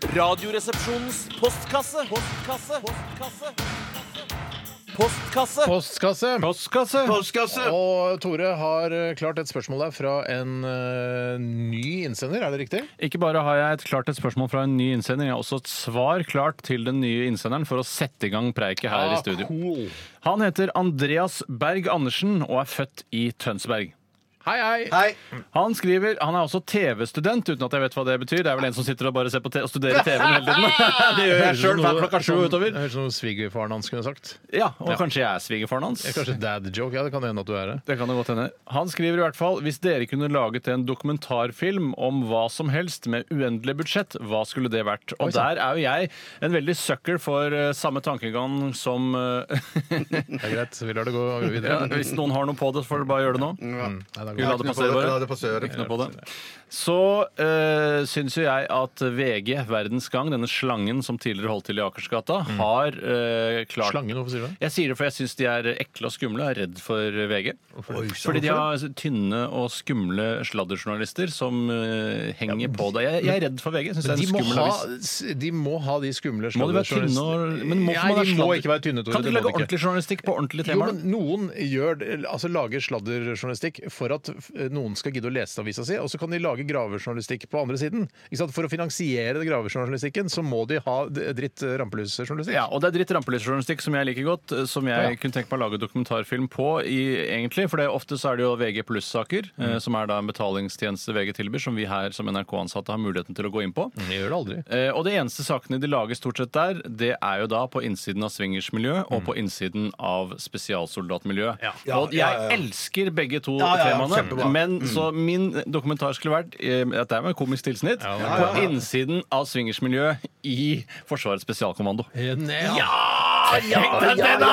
[SPEAKER 4] Radioresepsjonens postkasse. Postkasse. Postkasse. Postkasse.
[SPEAKER 5] Postkasse!
[SPEAKER 6] Postkasse!
[SPEAKER 7] Postkasse!
[SPEAKER 5] Og Tore har eh, klart et spørsmål der fra en eh, ny innsender, er det riktig?
[SPEAKER 6] Ikke bare har jeg et klart et spørsmål fra en ny innsender, jeg har også et svar klart til den nye innsenderen for å sette i gang preiket her i studio.
[SPEAKER 5] Ah, cool.
[SPEAKER 6] Han heter Andreas Berg Andersen og er født i Tønsberg.
[SPEAKER 5] Hei, hei!
[SPEAKER 7] Hei.
[SPEAKER 6] Han skriver, han er også TV-student, uten at jeg vet hva det betyr. Det er vel en som sitter og bare ser på te og studerer TV-en hele tiden. det gjør jeg sjøl hver klokka sju og utover.
[SPEAKER 5] Høres ut som noe svigerfaren hans kunne sagt.
[SPEAKER 6] Ja, og kanskje jeg er svigerfaren hans.
[SPEAKER 5] Kanskje dad joke. Ja, det kan hende at du er det.
[SPEAKER 6] Det kan det godt hende. Han skriver i hvert fall hvis dere kunne laget en dokumentarfilm om hva som helst med uendelig budsjett, hva skulle det vært? Og der er jo jeg en veldig sucker for eh, samme tankegang som eh,
[SPEAKER 5] Det er greit, så vi lar det gå
[SPEAKER 6] ja,
[SPEAKER 5] videre. Mm.
[SPEAKER 6] Hvis noen har noe på det, så får dere bare gjøre det nå.
[SPEAKER 5] Nei, det er
[SPEAKER 6] Vi
[SPEAKER 5] godt.
[SPEAKER 6] lar det passere,
[SPEAKER 7] La
[SPEAKER 6] bare.
[SPEAKER 7] det passere.
[SPEAKER 6] Ikke noe på det. Så uh, syns jo jeg at VG, Verdens Gang, denne slangen som tidligere holdt til i Akersgata, har eh, klart
[SPEAKER 5] Slangen, hvorfor sier du det?
[SPEAKER 6] Jeg sier det for jeg syns de er ekle og skumle og er redd for VG. Fordi de har tynne og skumle sladderjournalister som eh, henger på deg. Jeg, jeg er redd for VG. Jeg synes det er
[SPEAKER 5] De
[SPEAKER 6] en
[SPEAKER 5] må,
[SPEAKER 6] skummel
[SPEAKER 5] ha,
[SPEAKER 6] avis.
[SPEAKER 5] de må ha de skumle
[SPEAKER 6] Må de være tynne og men må,
[SPEAKER 5] Nei,
[SPEAKER 6] man være
[SPEAKER 5] de må
[SPEAKER 6] sladder-
[SPEAKER 5] ikke være tynne, Tore.
[SPEAKER 6] Kan du
[SPEAKER 5] Det må
[SPEAKER 6] ikke
[SPEAKER 5] de
[SPEAKER 6] lage
[SPEAKER 5] ikke.
[SPEAKER 6] ordentlig journalistikk på ordentlige
[SPEAKER 5] Jo,
[SPEAKER 6] temaer?
[SPEAKER 5] men Noen gjør, altså, lager sladderjournalistikk for at eh, noen skal gidde å lese avisa si, og så kan de lage gravejournalistikk på andre siden. Ikke sant? For å finansiere gravejournalistikken så må de ha d- dritt eh, rampelysjournalistikk.
[SPEAKER 6] Ja, og det er dritt rampelysjournalistikk som jeg liker godt, eh, som
[SPEAKER 5] Ja.
[SPEAKER 6] jeg kunne tenke meg å lage dokumentarfilm på, i, egentlig. For det, ofte så er det jo VG pluss-saker,
[SPEAKER 5] Mm.
[SPEAKER 6] eh, som er da en betalingstjeneste VG tilbyr, som vi her som NRK-ansatte har muligheten til å gå inn på.
[SPEAKER 5] De gjør det aldri.
[SPEAKER 6] Eh, Og de eneste sakene de lager stort sett der, det er jo da på innsiden av swingersmiljø og på innsiden av spesialsoldatmiljø. Og jeg elsker begge to
[SPEAKER 7] Ja, ja, ja,
[SPEAKER 6] temaene,
[SPEAKER 7] kjempebra. Mm.
[SPEAKER 6] men så min dokumentar skulle vært eh, at det er med komisk tilsnitt på innsiden av swingersmiljø i Forsvarets spesialkommando. Tenk deg det, da!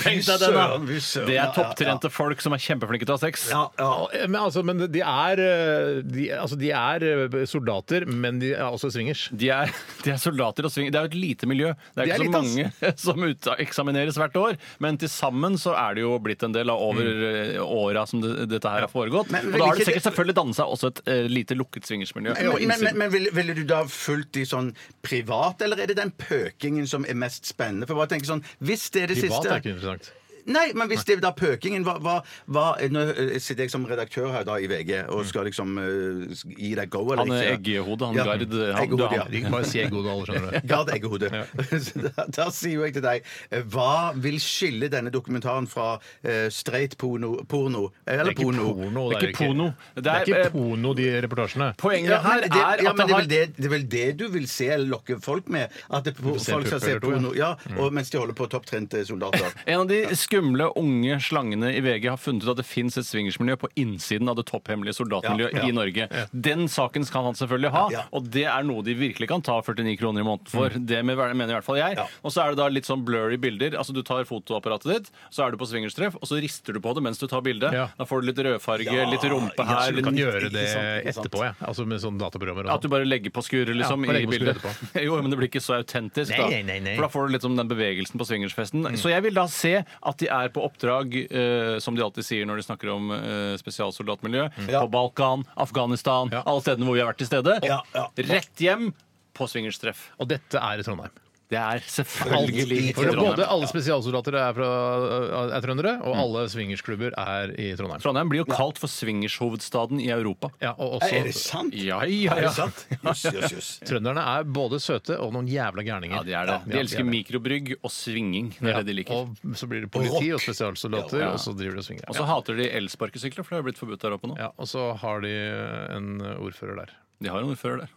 [SPEAKER 6] Tenk deg det,
[SPEAKER 7] Fy søren,
[SPEAKER 6] da!
[SPEAKER 7] fy søren.
[SPEAKER 6] Det er
[SPEAKER 7] Ja, ja,
[SPEAKER 6] topptrente folk som er kjempeflinke til å ha sex.
[SPEAKER 7] Ja, ja.
[SPEAKER 5] Eh, Men, altså, men de er eh, de, altså, de er eh, soldater, men de er også swingers.
[SPEAKER 6] De er, de er soldater og svinger. Det er jo et lite miljø.
[SPEAKER 5] Det
[SPEAKER 6] Det er
[SPEAKER 5] er
[SPEAKER 6] ikke så
[SPEAKER 5] lite,
[SPEAKER 6] mange som uteksamineres hvert år, men til sammen så er det jo blitt en del av over eh, åra som det, dette her har foregått.
[SPEAKER 7] Mm. Men
[SPEAKER 6] og
[SPEAKER 7] vil
[SPEAKER 6] da har det
[SPEAKER 7] ikke
[SPEAKER 6] sikkert selvfølgelig dannet seg også et eh, lite lukket swingersmiljø. på
[SPEAKER 7] Men, men,
[SPEAKER 6] innsiden.
[SPEAKER 7] men, men ville, ville du da fulgt de sånn privat, eller er det den pøkingen som er mest spennende? For jeg bare tenker sånn, Hvis det er det
[SPEAKER 5] Privat
[SPEAKER 7] siste
[SPEAKER 5] er ikke interessant.
[SPEAKER 7] Nei, men hvis det da pøkingen var, var, var Nå eh, sitter jeg som redaktør her da i VG og skal liksom eh, gi deg go eller
[SPEAKER 6] Han er
[SPEAKER 7] ikke.
[SPEAKER 6] eggehodet, han
[SPEAKER 7] Ja,
[SPEAKER 6] Gard. Han,
[SPEAKER 7] eggehodet, ja.
[SPEAKER 6] han-
[SPEAKER 5] Ikke Bare si god alder, skjønner du.
[SPEAKER 7] Gard Eggehode. Så da, da sier jo jeg til deg eh, Hva vil skille denne dokumentaren fra eh, straight porno, porno Eh, Eller porno?
[SPEAKER 6] Det er ikke porno.
[SPEAKER 5] Det er ikke porno, de reportasjene.
[SPEAKER 6] Poenget
[SPEAKER 7] Ja, men
[SPEAKER 6] her
[SPEAKER 7] det,
[SPEAKER 6] er at
[SPEAKER 7] ja,
[SPEAKER 6] det
[SPEAKER 7] men det, er
[SPEAKER 6] har
[SPEAKER 7] vel det, det er vel det du vil se eller lokke folk med? At det, folk
[SPEAKER 5] se
[SPEAKER 7] skal
[SPEAKER 5] pupper
[SPEAKER 7] se
[SPEAKER 5] eller to, ja.
[SPEAKER 7] porno ja,
[SPEAKER 6] Mm.
[SPEAKER 7] og, mens de holder på topptrente soldater.
[SPEAKER 6] En av de skumle unge slangene i VG har funnet ut at det fins et swingersmiljø på innsiden av det topphemmelige soldatmiljøet
[SPEAKER 7] Ja, ja.
[SPEAKER 6] i Norge. Den saken skal han selvfølgelig ha,
[SPEAKER 7] Ja. Mm.
[SPEAKER 6] og det er noe de virkelig kan ta 49 kroner i måneden for. Det med- mener i hvert fall jeg.
[SPEAKER 7] Ja.
[SPEAKER 6] Og så er det da litt sånn blurry bilder. Altså Du tar fotoapparatet ditt, så er du på swingerstreff, og så rister du på det mens du tar bildet.
[SPEAKER 5] Ja.
[SPEAKER 6] Da får du litt rødfarge, litt rumpe
[SPEAKER 5] Jeg
[SPEAKER 6] her.
[SPEAKER 5] tror du kan
[SPEAKER 6] Litt
[SPEAKER 5] gjøre det
[SPEAKER 7] Ikke sant, ikke sant.
[SPEAKER 5] etterpå, jeg. Altså med sånne dataprogrammer og
[SPEAKER 6] at du
[SPEAKER 5] sånn.
[SPEAKER 6] bare legger på skurer liksom,
[SPEAKER 5] bare
[SPEAKER 6] i
[SPEAKER 5] legger på
[SPEAKER 6] bildet.
[SPEAKER 5] skurer
[SPEAKER 6] jo, men det blir ikke så autentisk, da.
[SPEAKER 5] Nei, nei, nei, nei. Mm.
[SPEAKER 6] For da får du liksom den bevegelsen på swingersfesten. Så jeg vil da se at de er på oppdrag, eh, som de alltid sier når de snakker om eh, spesialsoldatmiljø,
[SPEAKER 7] Ja.
[SPEAKER 6] på Balkan, Afghanistan,
[SPEAKER 5] Mm. Ja.
[SPEAKER 6] alle stedene hvor vi har vært til stede.
[SPEAKER 7] Ja, ja.
[SPEAKER 6] Rett hjem på swingerstreff.
[SPEAKER 5] Og dette er i Trondheim.
[SPEAKER 6] Det er selvfølgelig
[SPEAKER 7] Selvfølgelig.
[SPEAKER 6] ikke
[SPEAKER 5] For både
[SPEAKER 6] Trondheim.
[SPEAKER 5] alle spesialsoldater er, fra, er trøndere, og alle swingersklubber er i Trondheim.
[SPEAKER 6] Trondheim blir jo kalt for swingershovedstaden i Europa.
[SPEAKER 5] Ja, og
[SPEAKER 7] Er det
[SPEAKER 5] også
[SPEAKER 7] sant?
[SPEAKER 6] Ja, ja,
[SPEAKER 7] Er det
[SPEAKER 6] ja.
[SPEAKER 7] sant? Jøss, jøss, jøss.
[SPEAKER 5] Trønderne er både søte og noen jævla gærninger.
[SPEAKER 6] Ja, de er det.
[SPEAKER 5] Ja,
[SPEAKER 6] De elsker mikrobrygg og svinging. Det er det de liker.
[SPEAKER 5] Og så blir det politi
[SPEAKER 7] rock.
[SPEAKER 5] og spesialsoldater,
[SPEAKER 6] Ja, ja.
[SPEAKER 5] og så driver de og svinger.
[SPEAKER 6] Og så hater de elsparkesykler, for det har blitt forbudt der oppe nå.
[SPEAKER 5] Ja, og så har de eh, en ordfører der.
[SPEAKER 6] De har en ordfører der.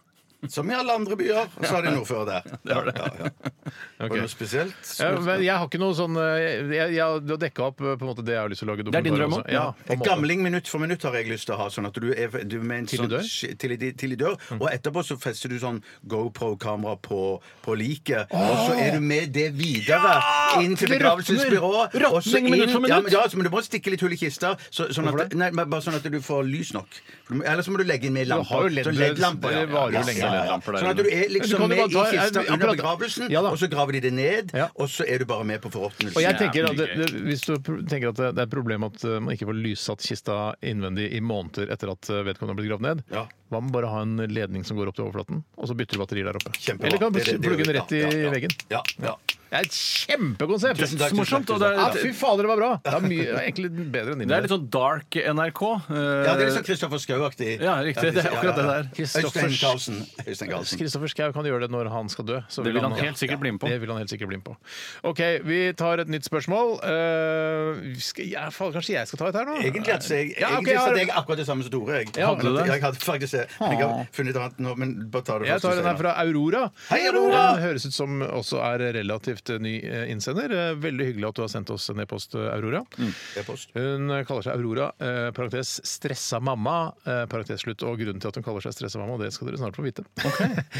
[SPEAKER 7] Som i alle andre byer. Og så har de en ordfører der.
[SPEAKER 6] Det er det.
[SPEAKER 7] Og noe spesielt?
[SPEAKER 5] Ja, men jeg har ikke noe sånn eh, Jeg, jeg, du har dekka opp eh, på en måte det jeg har lyst til å lage
[SPEAKER 6] er din
[SPEAKER 5] dokumentar
[SPEAKER 6] drøm
[SPEAKER 5] også.
[SPEAKER 6] også?
[SPEAKER 5] Ja, på en måte.
[SPEAKER 7] Gamling minutt for minutt har jeg lyst til å ha. Sånn at du er du med en
[SPEAKER 5] Til i
[SPEAKER 7] sånn,
[SPEAKER 5] dør? Mm.
[SPEAKER 7] sk- Til, i, til i dør. Og etterpå så fester du sånn GoPro-kamera på, på liket. Og så er du med det videre inn til
[SPEAKER 5] Det råtner.
[SPEAKER 7] begravelsesbyrået. og så
[SPEAKER 5] Råtning minutt for
[SPEAKER 7] inn- Ja,
[SPEAKER 5] minutt.
[SPEAKER 7] men, ja, så- men du må stikke litt hull i kista, så, sånn
[SPEAKER 5] Hvorfor
[SPEAKER 7] at,
[SPEAKER 5] det?
[SPEAKER 7] nei, men bare sånn at du får lys nok. For du må- Eller så må du legge inn mer
[SPEAKER 5] Du
[SPEAKER 7] lamper.
[SPEAKER 5] har jo LED-
[SPEAKER 7] sånn LED-lamper,
[SPEAKER 5] det varer jo lenge,
[SPEAKER 6] LED-lamper der
[SPEAKER 7] Sånn at du er
[SPEAKER 5] Så kan
[SPEAKER 7] liksom
[SPEAKER 5] du
[SPEAKER 7] med i
[SPEAKER 5] bare ta-
[SPEAKER 7] kista
[SPEAKER 5] ja,
[SPEAKER 7] under
[SPEAKER 5] akkurat.
[SPEAKER 7] begravelsen,
[SPEAKER 5] Ja da.
[SPEAKER 7] og så graver de det ned,
[SPEAKER 5] Ja.
[SPEAKER 7] og så er du bare med på forråtnelsen.
[SPEAKER 5] Og jeg tenker
[SPEAKER 6] Jævlig
[SPEAKER 5] at det,
[SPEAKER 6] gøy.
[SPEAKER 5] det, Hvis du pr- tenker at det det er et problem at eh, man ikke får lyssatt kista innvendig i måneder etter at eh, vedkommende har blitt gravd ned,
[SPEAKER 7] Ja.
[SPEAKER 5] hva med bare å ha en ledning som går opp til overflaten, og så bytter du batterier der oppe?
[SPEAKER 7] Kjempebra.
[SPEAKER 5] Eller kan du
[SPEAKER 7] Det er det- det
[SPEAKER 5] plugge den
[SPEAKER 7] gjør
[SPEAKER 5] rett i
[SPEAKER 7] vi. Ja, ja, ja.
[SPEAKER 5] veggen?
[SPEAKER 7] Ja, ja.
[SPEAKER 5] Det er et kjempekonsept!
[SPEAKER 7] Tusen takk, tusen
[SPEAKER 6] Morsomt,
[SPEAKER 7] takk,
[SPEAKER 6] og
[SPEAKER 7] tusen
[SPEAKER 5] Ja,
[SPEAKER 6] det er,
[SPEAKER 5] fy fader, det var bra! Det er mye, egentlig bedre enn din.
[SPEAKER 6] det er litt sånn dark NRK. eh,
[SPEAKER 7] Ja, det er litt sånn Kristoffer Schou-aktig.
[SPEAKER 6] Ja, riktig. Det er akkurat det der.
[SPEAKER 7] Øystein
[SPEAKER 5] Kristoffers-
[SPEAKER 7] Karlsen. Øystein Karlsen.
[SPEAKER 5] Kristoffer Schau kan gjøre det når han skal dø. så
[SPEAKER 6] Det vil han helt sikkert bli med på.
[SPEAKER 5] Det vil han helt sikkert bli med på. OK, vi tar et nytt spørsmål. Eh, skal jeg, faen, kanskje jeg skal ta et her nå?
[SPEAKER 7] Egentlig at jeg,
[SPEAKER 5] Ja, ok,
[SPEAKER 7] egentlig
[SPEAKER 5] jeg har-
[SPEAKER 7] satte jeg akkurat det samme som Tore. Jeg,
[SPEAKER 5] Ja, hadde
[SPEAKER 7] Men
[SPEAKER 5] du
[SPEAKER 7] at-
[SPEAKER 5] det?
[SPEAKER 7] jeg hadde faktisk det. Men Jeg har funnet annet nå, men bare ta det
[SPEAKER 5] Jeg tar
[SPEAKER 7] først
[SPEAKER 5] den her
[SPEAKER 7] senere.
[SPEAKER 5] fra Aurora.
[SPEAKER 7] Hei, Aurora!
[SPEAKER 5] Den høres ut som også er relativt ny eh, innsender. Eh, Veldig hyggelig at du har sendt oss en e-post, eh, Aurora.
[SPEAKER 6] Mm.
[SPEAKER 7] E-post.
[SPEAKER 5] Hun eh, kaller seg Aurora, eh, parentes 'stressa mamma', eh, parentes slutt. Og grunnen til at hun kaller seg stressa mamma, det skal dere snart få vite.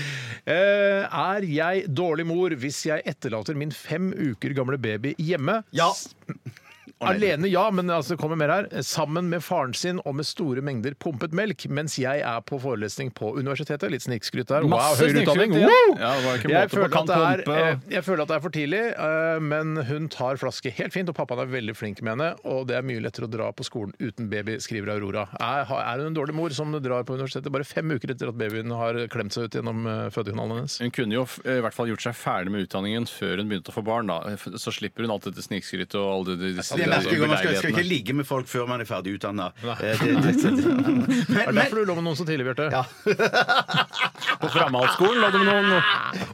[SPEAKER 5] Eh, er jeg dårlig mor hvis jeg etterlater min fem uker gamle baby hjemme?
[SPEAKER 7] Ja.
[SPEAKER 5] Alene, ja, men altså, det kommer mer her. Sammen med faren sin og med store mengder pumpet melk, mens jeg er på forelesning på universitetet. Litt snikskryt der. Wow,
[SPEAKER 6] Masse
[SPEAKER 5] høyere
[SPEAKER 6] snikskryt,
[SPEAKER 5] utdanning!
[SPEAKER 6] ja.
[SPEAKER 5] Wow!
[SPEAKER 6] Ja, det var ikke
[SPEAKER 5] jeg,
[SPEAKER 6] måte på.
[SPEAKER 5] føler at
[SPEAKER 6] Kan
[SPEAKER 5] det er,
[SPEAKER 6] pumpe, og-
[SPEAKER 5] eh, jeg føler at det er for tidlig, eh, men hun tar flaske helt fint, og pappaen er veldig flink med henne. Og det er mye lettere å dra på skolen uten baby, skriver Aurora. Er, er hun en dårlig mor som drar på universitetet bare fem uker etter at babyen har klemt seg ut gjennom eh, fødekanalen hennes?
[SPEAKER 6] Hun kunne jo f- i hvert fall gjort seg ferdig med utdanningen før hun begynte å få barn. da. F- Så slipper hun alt dette snikskrytet og alle de, de, disse
[SPEAKER 7] Det merker jeg jo, Man skal, skal ikke
[SPEAKER 6] beleilighetene.
[SPEAKER 7] ligge med folk før man er ferdig utdanna.
[SPEAKER 5] Eh,
[SPEAKER 7] Men,
[SPEAKER 5] Er det
[SPEAKER 7] men
[SPEAKER 5] derfor du lå med noen så tidlig, Bjarte?
[SPEAKER 7] ja.
[SPEAKER 6] På Framhaldsskolen hadde vi noen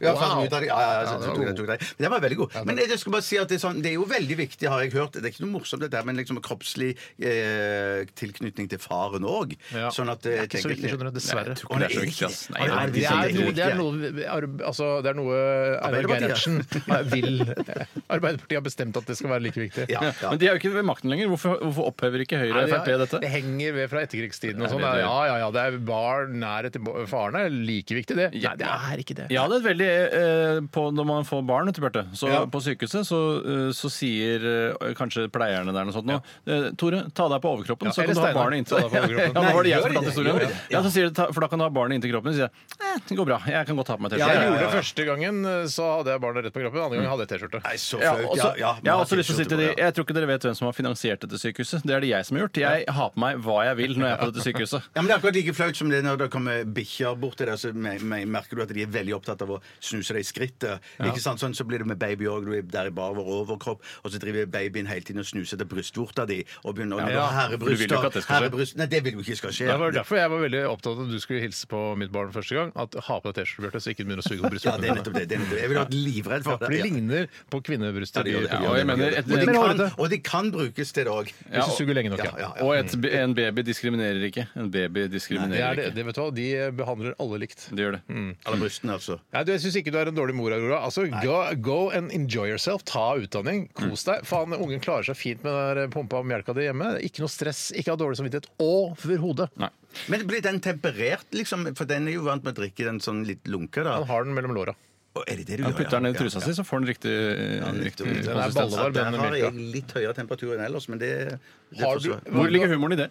[SPEAKER 7] Ja, ferdig utdanning. ja, ja, ja, så- så tok jeg- tok jeg. Men Den var veldig god. Men jeg skal bare si at det er, sånn, det er jo veldig viktig, har jeg hørt. Det er ikke noe morsomt, dette, her, men liksom kroppslig eh, tilknytning til faren òg.
[SPEAKER 5] Ja.
[SPEAKER 7] Sånn at
[SPEAKER 5] Det er
[SPEAKER 7] eh,
[SPEAKER 5] ikke
[SPEAKER 7] jeg
[SPEAKER 5] så
[SPEAKER 7] tenker-
[SPEAKER 5] viktig, skjønner du. Dessverre.
[SPEAKER 6] tror ikke det er så viktig, ass. Nei,
[SPEAKER 7] Å, nei,
[SPEAKER 5] Det er,
[SPEAKER 7] det
[SPEAKER 5] noe,
[SPEAKER 7] er
[SPEAKER 5] det er
[SPEAKER 7] ikke.
[SPEAKER 5] noe, arbe- altså, det er noe Einar
[SPEAKER 7] Arbeiderpartiet.
[SPEAKER 5] Gerhardsen vil Arbeiderpartiet har bestemt at det skal være like viktig.
[SPEAKER 7] Ja, ja.
[SPEAKER 6] Men de er jo ikke ved makten lenger. Hvorfor, hvorfor opphever ikke Høyre og
[SPEAKER 5] Nei,
[SPEAKER 6] Frp
[SPEAKER 5] det er-
[SPEAKER 6] dette?
[SPEAKER 5] Det henger ved fra etterkrigstiden og
[SPEAKER 6] Det er
[SPEAKER 5] sånn.
[SPEAKER 6] det det
[SPEAKER 5] Ja, ja, ja. Det er barn nærhet til bo- faren er like viktig, det. Nei, det er ikke det.
[SPEAKER 6] Jeg hadde et veldig eh, på, Når man får barn, vet du, Bjarte, så
[SPEAKER 7] Ja.
[SPEAKER 6] på sykehuset så, eh, så sier eh, kanskje pleierne der noe sånt nå eh, Tore, ta deg på overkroppen,
[SPEAKER 5] Ja,
[SPEAKER 6] så
[SPEAKER 5] eller
[SPEAKER 6] kan du ha
[SPEAKER 5] Steinar,
[SPEAKER 6] barnet inntil
[SPEAKER 5] ta deg på overkroppen.
[SPEAKER 6] Ja, nå var det jeg
[SPEAKER 7] Nei,
[SPEAKER 6] som
[SPEAKER 7] gjør
[SPEAKER 6] fortalte
[SPEAKER 7] de det?
[SPEAKER 6] historien.
[SPEAKER 7] Gjør de det?
[SPEAKER 6] Ja, så sier de, "Ta- For da kan du ha barnet inntil kroppen, sier jeg. Eh, det går bra. Jeg kan godt ha på meg T-skjorte.
[SPEAKER 5] Jeg
[SPEAKER 7] Ja, ja,
[SPEAKER 5] gjorde
[SPEAKER 7] ja,
[SPEAKER 5] det første gangen, så hadde jeg barnet rett på kroppen. Andre gangen hadde jeg T-skjorte.
[SPEAKER 7] Nei, så
[SPEAKER 6] Ja,
[SPEAKER 7] flaut.
[SPEAKER 6] og
[SPEAKER 7] Ja,
[SPEAKER 6] så-
[SPEAKER 7] ja,
[SPEAKER 6] jeg har
[SPEAKER 7] man
[SPEAKER 6] også lyst til å si til
[SPEAKER 7] tilskjorte
[SPEAKER 6] de
[SPEAKER 7] på, ja.
[SPEAKER 6] Jeg tror ikke dere vet hvem som har finansiert dette sykehuset. Det er det jeg som har gjort. Jeg har på meg hva jeg vil når jeg er på dette sykehuset.
[SPEAKER 7] Ja, men Det er akkurat like flaut som det når det kommer bikkjer bort til deg og me- me- merker du at de er veldig opptatt av å snuse deg i skrittet. Ikke sant? Sånn, så blir det med baby òg. Du er der i barover overkropp, og så driver babyen hele tiden og snuser til brystvorta di og begynner å
[SPEAKER 6] Ja. Du vil jo ikke at
[SPEAKER 7] herrebryster.
[SPEAKER 6] det skal skje.
[SPEAKER 7] herrebryst- Nei, det vil du ikke skal skje.
[SPEAKER 5] Det var derfor jeg var veldig opptatt av at du skulle hilse på mitt barn første gang. At Ha på deg T-skjorte, Bjarte, så ikke den begynner å suge på
[SPEAKER 7] Ja, det er
[SPEAKER 5] brystvortene.
[SPEAKER 7] nettopp det. det, er nettopp det. Jeg ville vært livredd for
[SPEAKER 5] For de
[SPEAKER 7] det. Ja.
[SPEAKER 5] ligner på kvinnebryster.
[SPEAKER 7] Ja, de gjør det,
[SPEAKER 5] de-
[SPEAKER 7] ja.
[SPEAKER 6] Og jeg mener et,
[SPEAKER 7] Og de
[SPEAKER 5] Men
[SPEAKER 7] kan,
[SPEAKER 5] hårete.
[SPEAKER 7] og de kan brukes til det òg.
[SPEAKER 6] Ja,
[SPEAKER 5] Hvis du suger lenge nok,
[SPEAKER 7] Ja,
[SPEAKER 5] ja.
[SPEAKER 7] ja,
[SPEAKER 6] og et, en baby diskriminerer ikke. En baby
[SPEAKER 5] Det er
[SPEAKER 6] diskriminerer
[SPEAKER 5] det,
[SPEAKER 6] ikke.
[SPEAKER 5] det, vet du hva, De behandler alle likt.
[SPEAKER 6] Det gjør det.
[SPEAKER 7] Eller brystene, altså.
[SPEAKER 5] Nei, du, Jeg syns ikke du er en dårlig mor, Aurora. Altså, go, go and enjoy yourself. Ta utdanning. Kos deg. Faen, Ungen klarer seg fint med den der pumpa og melka di hjemme. Det er Ikke noe stress. Ikke ha dårlig samvittighet overhodet.
[SPEAKER 6] Nei.
[SPEAKER 7] Men blir den temperert, liksom? For den er jo vant med å drikke den sånn litt lunka, da.
[SPEAKER 5] Han har den mellom låra.
[SPEAKER 7] Og er det det du
[SPEAKER 6] Han
[SPEAKER 7] gjør?
[SPEAKER 6] putter den ned i trusa si, så får den riktig, riktig
[SPEAKER 7] Den
[SPEAKER 5] er
[SPEAKER 6] konsistens.
[SPEAKER 5] ballevarm.
[SPEAKER 7] Der
[SPEAKER 5] den
[SPEAKER 7] har
[SPEAKER 5] melka.
[SPEAKER 7] jeg litt høyere temperatur enn ellers, men det, det
[SPEAKER 5] Har du-
[SPEAKER 7] forsvarer-
[SPEAKER 6] Hvor ligger humoren i det?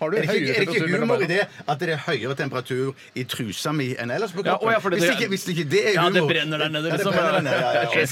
[SPEAKER 5] Har du
[SPEAKER 7] Er det, ikke, er det
[SPEAKER 5] høyere
[SPEAKER 7] ikke
[SPEAKER 5] temperatur
[SPEAKER 7] humor i
[SPEAKER 5] mellom
[SPEAKER 7] det at det er høyere temperatur i trusa mi enn ellers på
[SPEAKER 6] Ja,
[SPEAKER 7] kroppen?
[SPEAKER 6] å ja, for det-
[SPEAKER 7] hvis, ikke, hvis ikke det er
[SPEAKER 6] Ja, det
[SPEAKER 7] humor
[SPEAKER 6] brenner der nede,
[SPEAKER 7] Ja, det
[SPEAKER 6] liksom.
[SPEAKER 7] brenner der nede, ja, ja, ja, ok, ja.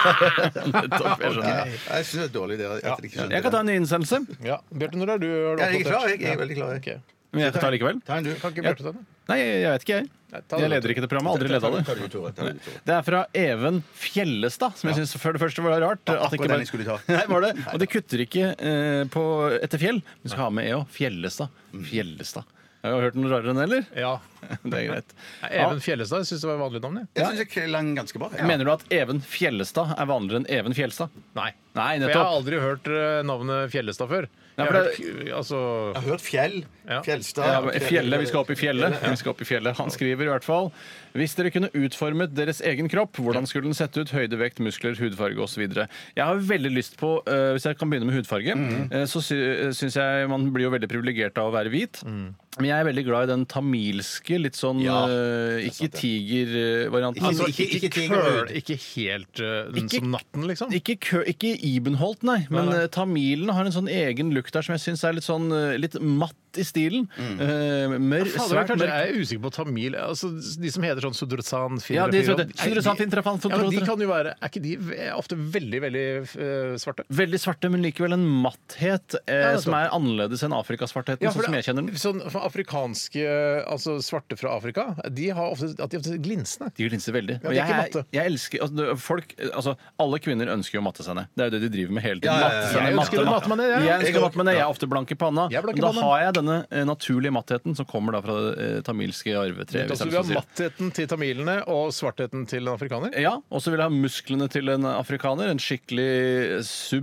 [SPEAKER 6] Nettopp, jeg
[SPEAKER 7] Ja,
[SPEAKER 6] skjønner.
[SPEAKER 7] ja. Jeg syns det er dårlig det at jeg ikke skjønner
[SPEAKER 6] Jeg kan ta
[SPEAKER 7] det.
[SPEAKER 6] en innsendelse,
[SPEAKER 5] Ja, Bjarte, når er du har du
[SPEAKER 7] Ja, jeg er
[SPEAKER 5] oppdatert?
[SPEAKER 7] klar, jeg. Jeg er veldig klar, jeg.
[SPEAKER 5] Ok.
[SPEAKER 6] men jeg kan ta likevel.
[SPEAKER 7] Ta en du.
[SPEAKER 5] Kan ikke Bjarte ta den?
[SPEAKER 6] Nei, jeg vet ikke, jeg.
[SPEAKER 5] Nei, ta
[SPEAKER 6] Jeg
[SPEAKER 5] den,
[SPEAKER 6] leder ikke det programmet. Aldri leda
[SPEAKER 7] Ta
[SPEAKER 6] det.
[SPEAKER 7] du, Tore. Ta du, Tore.
[SPEAKER 6] Det er fra Even Fjellestad, som jeg syns for det første var rart. at det
[SPEAKER 7] akkurat
[SPEAKER 6] ikke
[SPEAKER 7] den
[SPEAKER 6] bare-
[SPEAKER 7] jeg skulle ta.
[SPEAKER 6] Nei, var det? Og det kutter ikke eh, på etter fjell. Vi skal ha med E òg. Fjellestad.
[SPEAKER 7] Mm.
[SPEAKER 6] Fjellestad. Har du hørt noe rarere enn det, eller?
[SPEAKER 5] Ja.
[SPEAKER 6] Det er greit.
[SPEAKER 5] Even Fjellestad syns det var et vanlig navn. jeg.
[SPEAKER 7] Jeg syns jeg klang ganske bra. Ja.
[SPEAKER 6] Mener du at Even Fjellestad er vanligere enn Even Fjelstad?
[SPEAKER 5] Nei.
[SPEAKER 6] Nei,
[SPEAKER 5] For jeg har
[SPEAKER 6] nettopp.
[SPEAKER 5] aldri hørt eh, navnet Fjellestad før.
[SPEAKER 6] Nei,
[SPEAKER 5] Jeg
[SPEAKER 6] for
[SPEAKER 5] har
[SPEAKER 6] det-
[SPEAKER 5] hørt, altså,
[SPEAKER 7] Jeg har hørt fjell.
[SPEAKER 5] Ja.
[SPEAKER 7] Fjellstad.
[SPEAKER 6] Ja, men fjellet, Vi skal opp i fjellet. Vi skal opp i fjellet. Han skriver i hvert fall Hvis dere kunne utformet deres egen kropp, hvordan skulle den sett ut? Høyde, vekt, muskler, hudfarge osv. Jeg har veldig lyst på øh, Hvis jeg kan begynne med hudfarge,
[SPEAKER 7] Mm.
[SPEAKER 6] øh, så sy syns jeg man blir jo veldig privilegert av å være hvit. Men jeg er veldig glad i den tamilske, litt sånn
[SPEAKER 7] Mm. Ja,
[SPEAKER 6] øh, ikke tiger-varianten.
[SPEAKER 7] Ikke-
[SPEAKER 6] Altså,
[SPEAKER 7] ikke- ikke- ikke- ikke-
[SPEAKER 5] køl, ikke helt eh, den
[SPEAKER 6] Ikke-
[SPEAKER 5] som natten, liksom.
[SPEAKER 6] ikke, kø, ikke Ibenholt, nei, men
[SPEAKER 5] Nei, nei.
[SPEAKER 6] eh, tamilene har en sånn egen lukt der som jeg syns er litt sånn eh, litt matt i stilen. Eh, mør,
[SPEAKER 5] Mm. Fader,
[SPEAKER 6] svært
[SPEAKER 5] kanskje
[SPEAKER 6] mørk.
[SPEAKER 5] jeg er usikker på tamil. Altså, de som heter sånn Sudrutsan
[SPEAKER 6] Ja, de som heter Sudrutsan, Finn, Trafan,
[SPEAKER 5] ja, men de
[SPEAKER 6] Sudrutsan.
[SPEAKER 5] kan jo være Er ikke de ve- ofte veldig, veldig eh, svarte?
[SPEAKER 6] Veldig svarte, men likevel en matthet eh,
[SPEAKER 5] nettopp.
[SPEAKER 6] som er annerledes enn afrikasvartheten. sånn som jeg kjenner den.
[SPEAKER 5] Sånn, for afrikanske, altså svarte fra Afrika, de har ofte, at de er ofte glinsende.
[SPEAKER 6] De glinser veldig.
[SPEAKER 5] Ja, det er
[SPEAKER 6] og jeg,
[SPEAKER 5] ikke matte.
[SPEAKER 6] jeg elsker altså, det- folk, altså, Alle kvinner ønsker jo å matte seg ned. Det er jo det de driver med hele tiden.
[SPEAKER 7] Ja, ja, ja.
[SPEAKER 6] Matte seg ned,
[SPEAKER 5] Jeg ønsker å matte meg ned, jeg.
[SPEAKER 6] Jeg ønsker å matte meg ned. Jeg er ofte blank i panna.
[SPEAKER 5] Jeg er blank i
[SPEAKER 6] men da
[SPEAKER 5] panna.
[SPEAKER 6] har jeg denne eh, naturlige mattheten som kommer da fra det eh, tamilske arvetreet. hvis
[SPEAKER 5] Altså,
[SPEAKER 6] jeg
[SPEAKER 5] vi har
[SPEAKER 6] har lyst til å si det.
[SPEAKER 5] mattheten til tamilene og svartheten til en afrikaner.
[SPEAKER 6] Ja, og så vil jeg ha musklene til en afrikaner, en skikkelig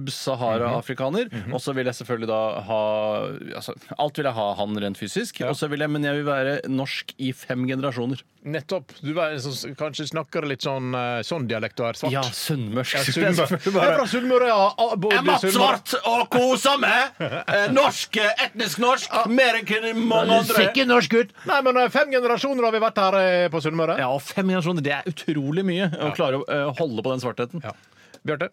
[SPEAKER 6] sub-Sahara-afrikaner.
[SPEAKER 5] Mhm.
[SPEAKER 6] Og så vil jeg selvfølgelig da ha altså, Alt vil jeg ha han rent fysisk. Og så vil jeg, men jeg vil være norsk i fem generasjoner.
[SPEAKER 5] Nettopp. Du er en som kanskje snakker litt sånn eh, sånn dialekt og er svart.
[SPEAKER 6] Ja, sunnmørsk.
[SPEAKER 5] Ja,
[SPEAKER 6] Jeg
[SPEAKER 5] Sunnmøre. Jeg er fra Sunnmøre, ja. Ah, bodde i Sunnmøre.
[SPEAKER 6] og koser meg! Eh, Norsk, etnisk norsk, mer enn mange
[SPEAKER 5] Sikker norsk gutt. Nei, men eh, fem generasjoner har vi vært her eh, på Sunnmøre.
[SPEAKER 6] Ja, og fem generasjoner, det er utrolig mye å klare å eh, holde på den svartheten.
[SPEAKER 5] Ja. Bjarte?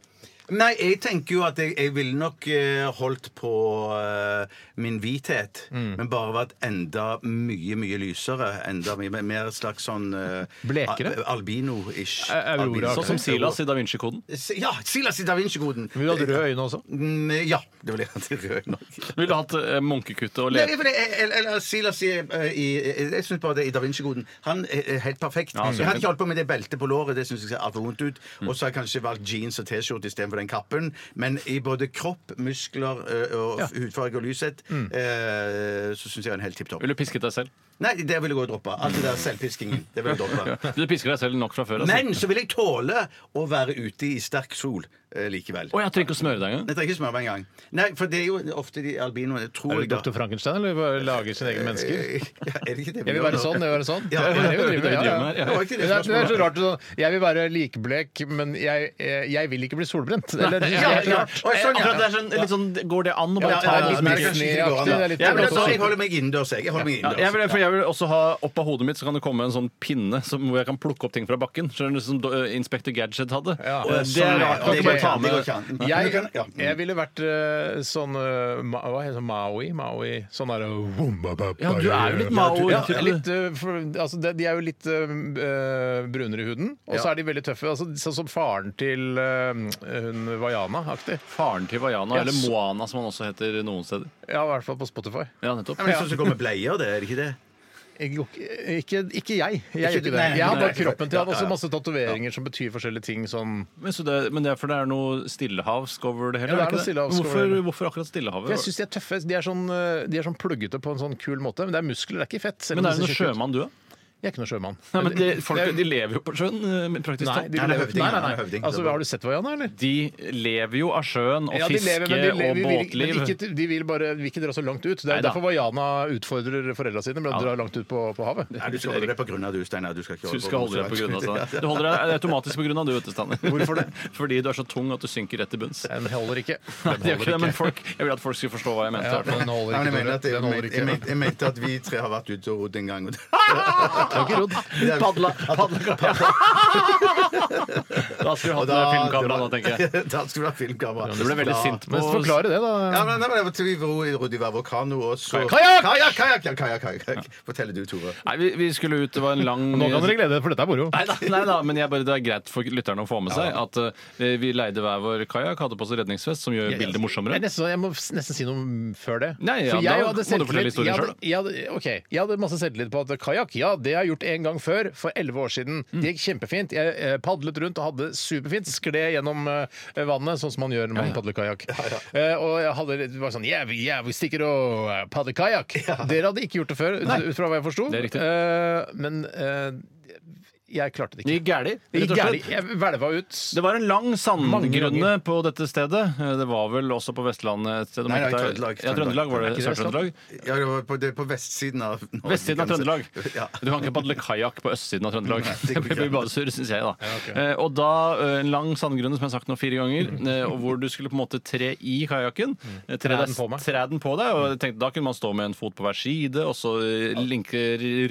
[SPEAKER 7] Nei, jeg tenker jo at jeg, jeg ville nok eh, holdt på eh, min hvithet, men bare vært enda mye, mye lysere. Enda mye mer- mer slags sånn eh,
[SPEAKER 5] Blekere?
[SPEAKER 7] al- Albino-ish.
[SPEAKER 5] Eh, Aurora.
[SPEAKER 7] Albino.
[SPEAKER 6] Sånn som Silas i Da Vinci-koden.
[SPEAKER 7] Si- Ja, Silas i Da Vinci-koden.
[SPEAKER 5] Vi hadde røde øyne også.
[SPEAKER 7] Mm, Ja, det var litt rød nok.
[SPEAKER 6] Ville du hatt eh, munkekuttet og
[SPEAKER 7] Nei,
[SPEAKER 6] le...
[SPEAKER 7] for det- eller- eller Silas i, eh, i eh, Jeg syns bare det i Da Vinci-koden. Han er er helt perfekt.
[SPEAKER 6] Ja,
[SPEAKER 7] jeg hadde ikke holdt på med det beltet på låret, det syns jeg ser altfor vondt ut. Og så har jeg kanskje valgt jeans og T-skjorte istedenfor den kappen. Men i både kropp, muskler, eh, og hudfarge og lyshet eh, så syns jeg han er helt tipp topp.
[SPEAKER 6] Ville du pisket deg selv?
[SPEAKER 7] Nei, det vil jeg gå og droppe. Alt det der selvpiskingen. Det vil jeg droppe.
[SPEAKER 6] Du pisker deg selv nok fra før. altså.
[SPEAKER 7] Men så vil jeg tåle å være ute i sterk sol eh, likevel.
[SPEAKER 6] Å, jeg trenger ikke å smøre deg engang.
[SPEAKER 7] Jeg trenger ikke smøre meg engang. Nei, for det er jo ofte de albinoene, tror
[SPEAKER 5] Er
[SPEAKER 7] jeg
[SPEAKER 5] du
[SPEAKER 7] da.
[SPEAKER 5] Dr. Frankenstein, eller bare lager sine egne mennesker?
[SPEAKER 7] Ja, er det ikke det vi
[SPEAKER 5] Jeg vil
[SPEAKER 7] gjør
[SPEAKER 5] være
[SPEAKER 7] nå?
[SPEAKER 5] sånn, jeg vil være sånn.
[SPEAKER 7] Ja, ja,
[SPEAKER 5] Det er jo
[SPEAKER 6] det er
[SPEAKER 5] drivet,
[SPEAKER 6] jo
[SPEAKER 5] ja,
[SPEAKER 6] drømmen her, ja.
[SPEAKER 5] ja.
[SPEAKER 7] Det var ikke
[SPEAKER 5] Det er,
[SPEAKER 7] det
[SPEAKER 5] det er så
[SPEAKER 7] spørsmålet.
[SPEAKER 5] rart sånn, Jeg vil være likblek, men jeg, eh, jeg vil ikke bli solbrent. Eller, det
[SPEAKER 7] ja,
[SPEAKER 5] er helt
[SPEAKER 7] ja.
[SPEAKER 5] rart.
[SPEAKER 7] Oi, sånn, ja.
[SPEAKER 6] Akkurat det er sånn, litt sånn, Går det an å bare
[SPEAKER 7] Ja,
[SPEAKER 6] ta
[SPEAKER 7] ja,
[SPEAKER 6] en
[SPEAKER 7] ja,
[SPEAKER 6] liten
[SPEAKER 7] men
[SPEAKER 5] mer
[SPEAKER 7] det er kanskje
[SPEAKER 5] sneaktig,
[SPEAKER 7] ikke det går an,
[SPEAKER 5] det
[SPEAKER 7] da.
[SPEAKER 5] er litt
[SPEAKER 7] Ja, men
[SPEAKER 5] rart
[SPEAKER 7] altså,
[SPEAKER 5] også.
[SPEAKER 7] Jeg holder meg innendørs, jeg. jeg, holder meg
[SPEAKER 6] ja,
[SPEAKER 7] innendørs.
[SPEAKER 6] jeg, vil, for jeg vil også ha Oppå hodet mitt så kan det komme en sånn pinne som, hvor jeg kan plukke opp ting fra bakken. Skjønner du, Som eh, Inspector Gadget hadde.
[SPEAKER 5] Ja.
[SPEAKER 6] Eh, Det
[SPEAKER 7] Sånn,
[SPEAKER 6] er
[SPEAKER 7] ja,
[SPEAKER 6] rart.
[SPEAKER 7] det
[SPEAKER 6] Kan ikke
[SPEAKER 7] går
[SPEAKER 6] bare ta
[SPEAKER 7] ikke an, det går
[SPEAKER 6] med
[SPEAKER 7] ikke an. Men du
[SPEAKER 5] Jeg,
[SPEAKER 7] kan- ja.
[SPEAKER 5] jeg ville vært eh, sånn eh, ma- Hva heter det? Maui? Maui? Sånn derre
[SPEAKER 6] Ja, du er jo litt Mao.
[SPEAKER 5] Ja, litt, eh, for, altså, de, de er jo litt eh, brunere i huden, og så er de veldig tøffe. Altså, sånn som faren til eh, hun Vaiana-aktig.
[SPEAKER 6] Faren til Vaiana,
[SPEAKER 5] Ja,
[SPEAKER 6] eller
[SPEAKER 5] så-
[SPEAKER 6] Moana som han også heter noen steder.
[SPEAKER 5] Ja, i hvert fall på Spotify.
[SPEAKER 6] Ja, nettopp.
[SPEAKER 7] Ja, men sånn som går med bleier, det, er det ikke det?
[SPEAKER 5] Jeg går ikke- Ikke, ikke jeg. Jeg gjør
[SPEAKER 7] Ikke du,
[SPEAKER 5] ikke det.
[SPEAKER 7] nei, nei,
[SPEAKER 5] Jeg har
[SPEAKER 7] nei,
[SPEAKER 5] bare
[SPEAKER 7] nei.
[SPEAKER 5] kroppen til
[SPEAKER 7] Ja,
[SPEAKER 5] han, og
[SPEAKER 7] ja,
[SPEAKER 5] så
[SPEAKER 7] ja.
[SPEAKER 5] masse tatoveringer som betyr forskjellige ting sånn
[SPEAKER 6] Men, så det, men det er for det er noe stillehavsk over det hele?
[SPEAKER 5] Ja, det er
[SPEAKER 6] ikke
[SPEAKER 5] noe stillehavsk over
[SPEAKER 6] hvorfor,
[SPEAKER 5] det hele.
[SPEAKER 6] hvorfor akkurat Stillehavet?
[SPEAKER 5] For jeg syns de er tøffe. De er, sånn, eh, de er sånn pluggete på en sånn kul måte. Men det er muskler, det er ikke fett. selv om
[SPEAKER 6] men er
[SPEAKER 5] det
[SPEAKER 6] du noen
[SPEAKER 5] ser kjekt ut.
[SPEAKER 6] sjømann, du, da?
[SPEAKER 5] Jeg er ikke noe sjømann.
[SPEAKER 6] Nei, men de, folk,
[SPEAKER 5] Det er-
[SPEAKER 6] de lever jo på sjøen, eh, praktisk
[SPEAKER 5] Nei,
[SPEAKER 6] talt.
[SPEAKER 5] de
[SPEAKER 7] Nei, det er
[SPEAKER 5] lever-
[SPEAKER 7] høvding,
[SPEAKER 5] nei, nei,
[SPEAKER 7] det er
[SPEAKER 5] nei.
[SPEAKER 7] høvding.
[SPEAKER 5] Altså, har du sett Vaiana, eller?
[SPEAKER 6] De lever jo av sjøen og
[SPEAKER 5] de
[SPEAKER 6] fiske
[SPEAKER 5] lever, men de lever-
[SPEAKER 6] og
[SPEAKER 5] vi vil ikke-
[SPEAKER 6] båtliv.
[SPEAKER 5] Men ikke, de vil bare vil ikke dra så langt ut. Det er
[SPEAKER 6] Nei
[SPEAKER 5] jo
[SPEAKER 6] da.
[SPEAKER 5] derfor Vaiana utfordrer foreldra sine med å dra langt ut på, på havet.
[SPEAKER 7] Nei, du skal holde deg på grunn av du, Steinar. Du skal ikke
[SPEAKER 6] Du skal holde deg på grunn av
[SPEAKER 7] Ja,
[SPEAKER 6] Steinar. Du holder deg automatisk på grunn av du, vet du, Steinar. Hvorfor det? Fordi du er så tung at du synker rett til bunns.
[SPEAKER 5] Den holder ikke.
[SPEAKER 6] Nei,
[SPEAKER 5] Den
[SPEAKER 6] det gjør ikke det,
[SPEAKER 5] holder
[SPEAKER 6] men
[SPEAKER 5] ikke.
[SPEAKER 6] folk, jeg vil at folk skulle forstå hva jeg mente. i
[SPEAKER 5] Ja,
[SPEAKER 6] hvert fall.
[SPEAKER 5] den holder
[SPEAKER 7] Nei, men
[SPEAKER 5] ikke.
[SPEAKER 7] jeg, mener at
[SPEAKER 5] Tore. Den holder
[SPEAKER 7] jeg, jeg,
[SPEAKER 5] ikke.
[SPEAKER 7] mente, jeg mente at vi tre har vært ute og rodd en gang. Og det,
[SPEAKER 5] Har ikke rodd.
[SPEAKER 6] Padla, padla, Da skulle du hatt med filmkamera nå, tenker jeg.
[SPEAKER 7] da skulle du ha filmkamera.
[SPEAKER 6] Du ble veldig
[SPEAKER 7] Da-
[SPEAKER 6] sint
[SPEAKER 5] Men
[SPEAKER 6] på
[SPEAKER 5] forklare det,
[SPEAKER 7] Ja,
[SPEAKER 5] da.
[SPEAKER 7] men, nei, men, jeg- Vi ro i rodde i hver vår kano, og så
[SPEAKER 5] Kajakk!
[SPEAKER 7] Kajakk! Kajakk! ja, kajakk, kajakk. Forteller du, Tore.
[SPEAKER 6] Nei, vi, vi skulle ut, det var en lang
[SPEAKER 5] Nå kan dere glede dere, for dette er moro.
[SPEAKER 6] Nei da, men jeg bare, det er greit for lytterne å få med seg at eh, vi leide hver vår kajakk, hadde på oss redningsvest, som gjør bildet morsommere.
[SPEAKER 5] Jeg, er nesten, jeg må s- nesten si noe før det.
[SPEAKER 6] Nei, ja,
[SPEAKER 5] For
[SPEAKER 6] da
[SPEAKER 5] jeg
[SPEAKER 6] må
[SPEAKER 5] hadde
[SPEAKER 6] du fortelle
[SPEAKER 5] selvtillit-
[SPEAKER 6] historien
[SPEAKER 5] jeg
[SPEAKER 6] selv,
[SPEAKER 5] hadde- jeg hadde- ok, jeg hadde masse selvtillit på at kajakk, ja, det har jeg gjort en gang før, for elleve år siden. Det gikk kjempefint. Jeg eh, padlet rundt og hadde superfint. Skled gjennom eh, vannet, sånn som man gjør når man padler kajakk. Eh, og jeg hadde litt- var sånn Yeah, vi- yeah, vi stikker og eh, padler kajakk. Dere hadde ikke gjort det før, ut- ut fra hva jeg forsto.
[SPEAKER 6] Det er riktig.
[SPEAKER 5] Eh, men eh, jeg klarte det
[SPEAKER 6] Det
[SPEAKER 5] ikke.
[SPEAKER 6] gikk gæli,
[SPEAKER 5] Det
[SPEAKER 6] rett
[SPEAKER 5] gikk
[SPEAKER 6] og
[SPEAKER 5] gærlig.
[SPEAKER 6] slett.
[SPEAKER 5] Jeg hvelva ut.
[SPEAKER 6] Det var en lang sandgrunne
[SPEAKER 5] ganger.
[SPEAKER 6] på dette stedet. Eh, Det var vel også på Vestlandet et sted. om
[SPEAKER 7] Nei,
[SPEAKER 6] ikke
[SPEAKER 7] nei,
[SPEAKER 6] det er-
[SPEAKER 7] Trøndelag,
[SPEAKER 6] Ja, Trøndelag var
[SPEAKER 5] Er
[SPEAKER 6] det.
[SPEAKER 5] ikke det
[SPEAKER 6] Sør-Trøndelag.
[SPEAKER 7] Ja, det, var på, det er på vestsiden av Norge,
[SPEAKER 6] Vestsiden av
[SPEAKER 7] kanskje.
[SPEAKER 6] Trøndelag.
[SPEAKER 7] Ja.
[SPEAKER 6] Du kan ikke padle kajakk på østsiden av Trøndelag.
[SPEAKER 7] det
[SPEAKER 6] Det
[SPEAKER 7] går ikke
[SPEAKER 6] blir
[SPEAKER 7] an.
[SPEAKER 6] bare surr, syns jeg, da. Eh, Og da eh, en lang sandgrunne, som jeg har sagt nå fire ganger, eh, og hvor du skulle på en måte tre i kajakken. eh, Tre
[SPEAKER 5] Træ den
[SPEAKER 6] deg-
[SPEAKER 5] på meg.
[SPEAKER 6] træ den på deg. Og jeg tenkte, da kunne man stå med en fot på hver side, og så eh, linke,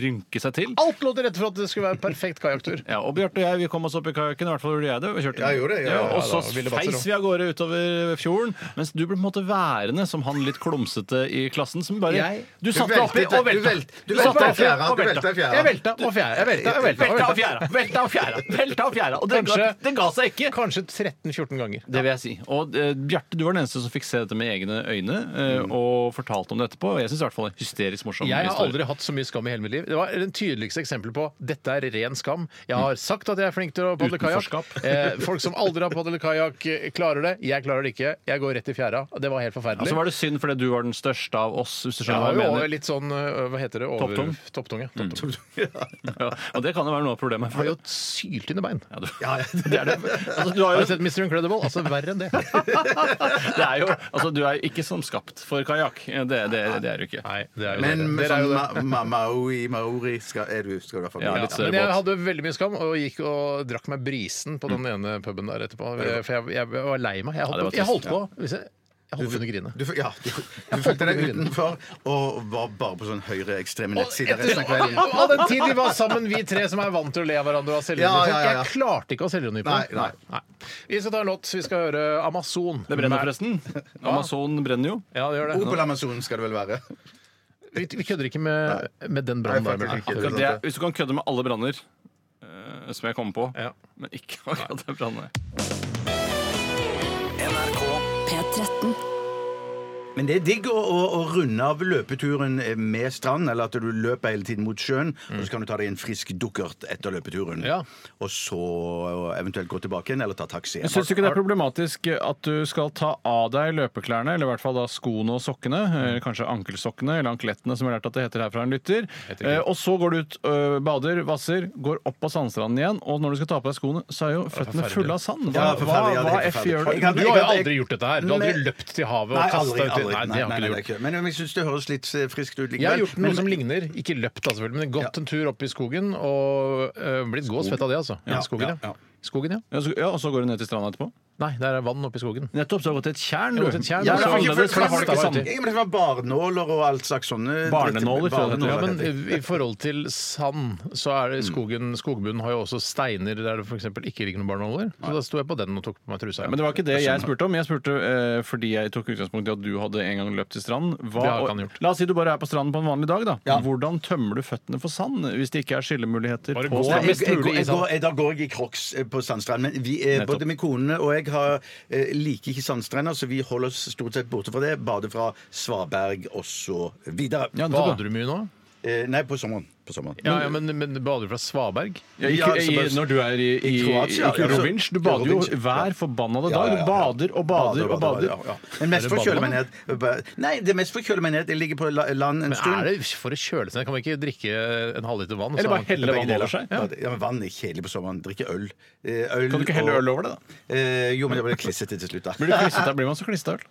[SPEAKER 6] rynke seg til.
[SPEAKER 5] Alt lå til rette for at det skulle være en perfekt kajakktur.
[SPEAKER 6] Ja, og Bjarte og jeg vi kom oss opp i kajakken. I hvert fall gjorde jeg det. og kjørte.
[SPEAKER 7] Ja, jeg gjorde det, ja, ja,
[SPEAKER 6] og så
[SPEAKER 5] da, ville Batzer
[SPEAKER 6] feis vi av gårde utover fjorden. Mens du ble på en måte værende som han litt klumsete i klassen. Som bare,
[SPEAKER 5] Jeg?
[SPEAKER 6] du satte deg oppi
[SPEAKER 7] veltet-
[SPEAKER 6] og
[SPEAKER 7] du
[SPEAKER 6] velta.
[SPEAKER 7] velt- du velta
[SPEAKER 6] satte deg
[SPEAKER 7] i fjæra,
[SPEAKER 6] oppi og
[SPEAKER 7] du
[SPEAKER 6] velta.
[SPEAKER 7] velta i fjæra.
[SPEAKER 5] Jeg velta og fjæra. Jeg velta, jeg velta,
[SPEAKER 6] Velta
[SPEAKER 5] og
[SPEAKER 6] av fjæra, velta av fjæra, velta av fjæra. Og det,
[SPEAKER 5] Kanskje-
[SPEAKER 6] ga, det ga seg ikke.
[SPEAKER 5] Kanskje 13-14 ganger.
[SPEAKER 6] Det vil jeg si. Og eh, Bjarte, du var den eneste som fikk se dette med egne øyne, eh,
[SPEAKER 7] Mm.
[SPEAKER 6] og fortalte om det etterpå. Og jeg syns i hvert fall det er hysterisk morsom
[SPEAKER 5] Jeg har
[SPEAKER 6] historie.
[SPEAKER 5] aldri hatt så mye skam i hele mitt liv. Det var det tydeligste eksempelet på dette er ren skam. Jeg har sagt at jeg er flink til å padle kajakk.
[SPEAKER 6] Utenforskap.
[SPEAKER 5] Eh, folk som aldri har padlet kajakk, eh, klarer det. Jeg klarer det ikke. Jeg går rett i fjæra. og Det var helt
[SPEAKER 6] Og
[SPEAKER 5] forferdelig.
[SPEAKER 6] så var det synd fordi du var den største av oss, hvis du
[SPEAKER 5] Jeg
[SPEAKER 6] skjønner
[SPEAKER 5] var
[SPEAKER 6] hva jeg
[SPEAKER 5] jo
[SPEAKER 6] mener.
[SPEAKER 5] litt sånn eh, Hva heter det? Over...
[SPEAKER 6] Topptung. Mm.
[SPEAKER 5] Topptung, ja. Topptung.
[SPEAKER 6] Ja, og det kan jo være noe av problemet.
[SPEAKER 5] Jeg har jo syltynne bein.
[SPEAKER 6] Ja, du-
[SPEAKER 7] Ja, ja.
[SPEAKER 6] Det er det. Altså, du har
[SPEAKER 5] Har
[SPEAKER 6] jo
[SPEAKER 5] du sett Mr. Incredible? Altså verre enn det.
[SPEAKER 6] det er jo, altså, du er jo ikke som skapt for kajakk. Det, det, det er du ikke.
[SPEAKER 5] Nei, det er jo
[SPEAKER 7] Men
[SPEAKER 5] dere.
[SPEAKER 7] med
[SPEAKER 5] Dere er
[SPEAKER 7] sånn
[SPEAKER 5] jo det.
[SPEAKER 7] ma ma maori, maori skal, er du, skal du ha familie.
[SPEAKER 6] Ja, litt
[SPEAKER 7] ja.
[SPEAKER 6] større
[SPEAKER 5] Men jeg
[SPEAKER 6] båt.
[SPEAKER 5] hadde veldig mye skam og gikk og drakk meg brisen på den ene puben der etterpå. For jeg, jeg var lei meg. Jeg holdt,
[SPEAKER 6] Ja, det var
[SPEAKER 5] på- jeg
[SPEAKER 6] trist.
[SPEAKER 5] holdt på. Hvis jeg, jeg holdt på å grine.
[SPEAKER 7] Du, f- ja, du, du følte deg utenfor og var bare på sånn høyreekstreme nettsider resten av kvelden.
[SPEAKER 5] Av den tid vi var sammen, vi tre som er vant til å le av hverandre og ha selvironi.
[SPEAKER 7] Ja, ja, ja, ja.
[SPEAKER 5] Jeg klarte ikke å ha selvironi på det.
[SPEAKER 7] Nei, nei.
[SPEAKER 5] Vi skal ta en låt. Vi skal høre Amazon.
[SPEAKER 6] Det brenner forresten. Amazon brenner jo.
[SPEAKER 5] Ja, det gjør det.
[SPEAKER 7] Opel Amazon skal det vel være.
[SPEAKER 5] Vi, vi kødder ikke med, med den brannen
[SPEAKER 7] Nei,
[SPEAKER 5] der. Bjørn.
[SPEAKER 7] faktisk ikke.
[SPEAKER 6] Akkurat det, hvis du kan kødde med alle branner eh, som jeg kommer på,
[SPEAKER 5] Ja.
[SPEAKER 6] men ikke akkurat den brannen.
[SPEAKER 1] P13.
[SPEAKER 7] Men det er digg å, å, å runde av løpeturen eh, med strand, eller at du løper hele tiden mot sjøen, og så kan du ta deg en frisk dukkert etter løpeturen.
[SPEAKER 5] Mm. Ja.
[SPEAKER 7] Og så eventuelt gå tilbake igjen, eller ta taxi.
[SPEAKER 6] Syns du ikke det er problematisk at du skal ta av deg løpeklærne, eller i hvert fall da skoene og sokkene, eller kanskje ankelsokkene eller anklettene, som jeg har lært at Mm. det heter her fra en lytter, eh, og så går du ut, øh, bader, vasser, går opp på sandstranden igjen, og når du skal ta på deg skoene, så er jo føttene
[SPEAKER 5] forferdelig.
[SPEAKER 6] fulle av sand. Hva,
[SPEAKER 7] Ja, forferdelig,
[SPEAKER 6] hva,
[SPEAKER 7] ja, det er
[SPEAKER 6] hva
[SPEAKER 7] helt
[SPEAKER 6] F
[SPEAKER 7] forferdelig.
[SPEAKER 6] gjør
[SPEAKER 7] Jeg
[SPEAKER 6] du?
[SPEAKER 7] kan-
[SPEAKER 5] Du har jo
[SPEAKER 7] jeg-
[SPEAKER 5] aldri gjort dette her. Du har
[SPEAKER 7] Men-
[SPEAKER 5] aldri løpt til havet og
[SPEAKER 7] Nei, aldri,
[SPEAKER 5] kasta uti
[SPEAKER 7] aldri.
[SPEAKER 5] Nei, det har ikke
[SPEAKER 7] Nei, nei,
[SPEAKER 5] du
[SPEAKER 7] nei,
[SPEAKER 5] gjort.
[SPEAKER 7] ikke. Men jeg syns det høres litt eh, friskt ut likevel.
[SPEAKER 5] Jeg har gjort
[SPEAKER 7] Men-
[SPEAKER 5] noe som ligner. Ikke løpt, da, selvfølgelig, men gått en tur opp i skogen og øh, blitt gås fett av det, altså. Ja, skogen,
[SPEAKER 7] ja, ja.
[SPEAKER 5] ja. Skogen, ja.
[SPEAKER 6] Ja, så- Ja, og så går du ned til stranda etterpå?
[SPEAKER 5] Nei, der er vann oppi skogen.
[SPEAKER 6] Nettopp, så har du gått til et
[SPEAKER 5] Jeg
[SPEAKER 6] tjern, du.
[SPEAKER 5] har gått til et tjern,
[SPEAKER 6] Ja,
[SPEAKER 5] og
[SPEAKER 6] det sånn.
[SPEAKER 5] så-
[SPEAKER 6] er annerledes, for da har du ikke
[SPEAKER 5] Flasta var
[SPEAKER 6] sand.
[SPEAKER 5] ute.
[SPEAKER 7] Jeg mener, det var barnåler og alt slags sånne
[SPEAKER 6] Barnenåler, tror jeg det Mm. heter.
[SPEAKER 7] Barnenåler,
[SPEAKER 5] Ja, men
[SPEAKER 7] heter det.
[SPEAKER 5] i i forhold til sand, så er det skogen Skogbunnen har jo også steiner der det f.eks. ikke ligger noen barnåler. Så da sto jeg på den og tok på meg trusa.
[SPEAKER 6] Men det var ikke det jeg spurte om. Jeg spurte eh, fordi jeg tok utgangspunkt i at du hadde en gang løpt til stranden. Hva-
[SPEAKER 5] Det har ikke han gjort.
[SPEAKER 6] La oss si du bare er på stranden på en vanlig dag. da. Hvordan tømmer du føttene for sand hvis det ikke er skillemuligheter?
[SPEAKER 5] Bare gå.
[SPEAKER 6] på
[SPEAKER 7] Nei,
[SPEAKER 6] stranden?
[SPEAKER 7] jeg,
[SPEAKER 5] mest
[SPEAKER 7] jeg,
[SPEAKER 5] mulig
[SPEAKER 7] går-
[SPEAKER 5] i
[SPEAKER 7] jeg,
[SPEAKER 5] sand.
[SPEAKER 7] går- jeg, da går jeg i crocs eh, på sandstrand. Men vi er,
[SPEAKER 6] Nettopp.
[SPEAKER 7] både min kone og jeg har, eh, liker ikke sandstrender, så vi holder oss stort sett borte fra det. Bader fra Svaberg og så videre.
[SPEAKER 6] Ja, nettopp, da.
[SPEAKER 5] Bader du mye nå?
[SPEAKER 7] Eh, nei, på sommeren. På sommeren.
[SPEAKER 5] Ja, ja, men, men bader du fra Svaberg?
[SPEAKER 6] Ja, ikke,
[SPEAKER 7] Ja, altså,
[SPEAKER 6] i,
[SPEAKER 7] bare-
[SPEAKER 6] når du er i, i,
[SPEAKER 7] I Kroatia,
[SPEAKER 6] i
[SPEAKER 7] altså.
[SPEAKER 6] Rovinj. Du bader jo
[SPEAKER 7] Rovinj, ja.
[SPEAKER 6] hver forbannede dag.
[SPEAKER 7] Ja, ja,
[SPEAKER 6] Du
[SPEAKER 7] ja.
[SPEAKER 6] bader og bader og bader.
[SPEAKER 7] ja, ja. Men mest
[SPEAKER 5] Er det
[SPEAKER 7] forkjøler meg
[SPEAKER 5] badevann?
[SPEAKER 7] ned. ba- Nei, det mest forkjøler meg ned. Jeg ligger på la- land en
[SPEAKER 5] Men er
[SPEAKER 7] stund.
[SPEAKER 5] det for å kjøle seg? Kan man ikke drikke en halvliter vann?
[SPEAKER 6] Eller
[SPEAKER 5] så-
[SPEAKER 6] bare helle
[SPEAKER 7] Begge
[SPEAKER 6] vann
[SPEAKER 7] deler.
[SPEAKER 6] over seg.
[SPEAKER 7] Ja. ja, men Vann er kjedelig på sommeren. Drikke øl. Eh, øl
[SPEAKER 6] Kan du ikke helle øl over det, da?
[SPEAKER 7] Eh, jo, men det blir klissete til slutt, da.
[SPEAKER 6] Blir, du klissete, blir man så klissete av øl?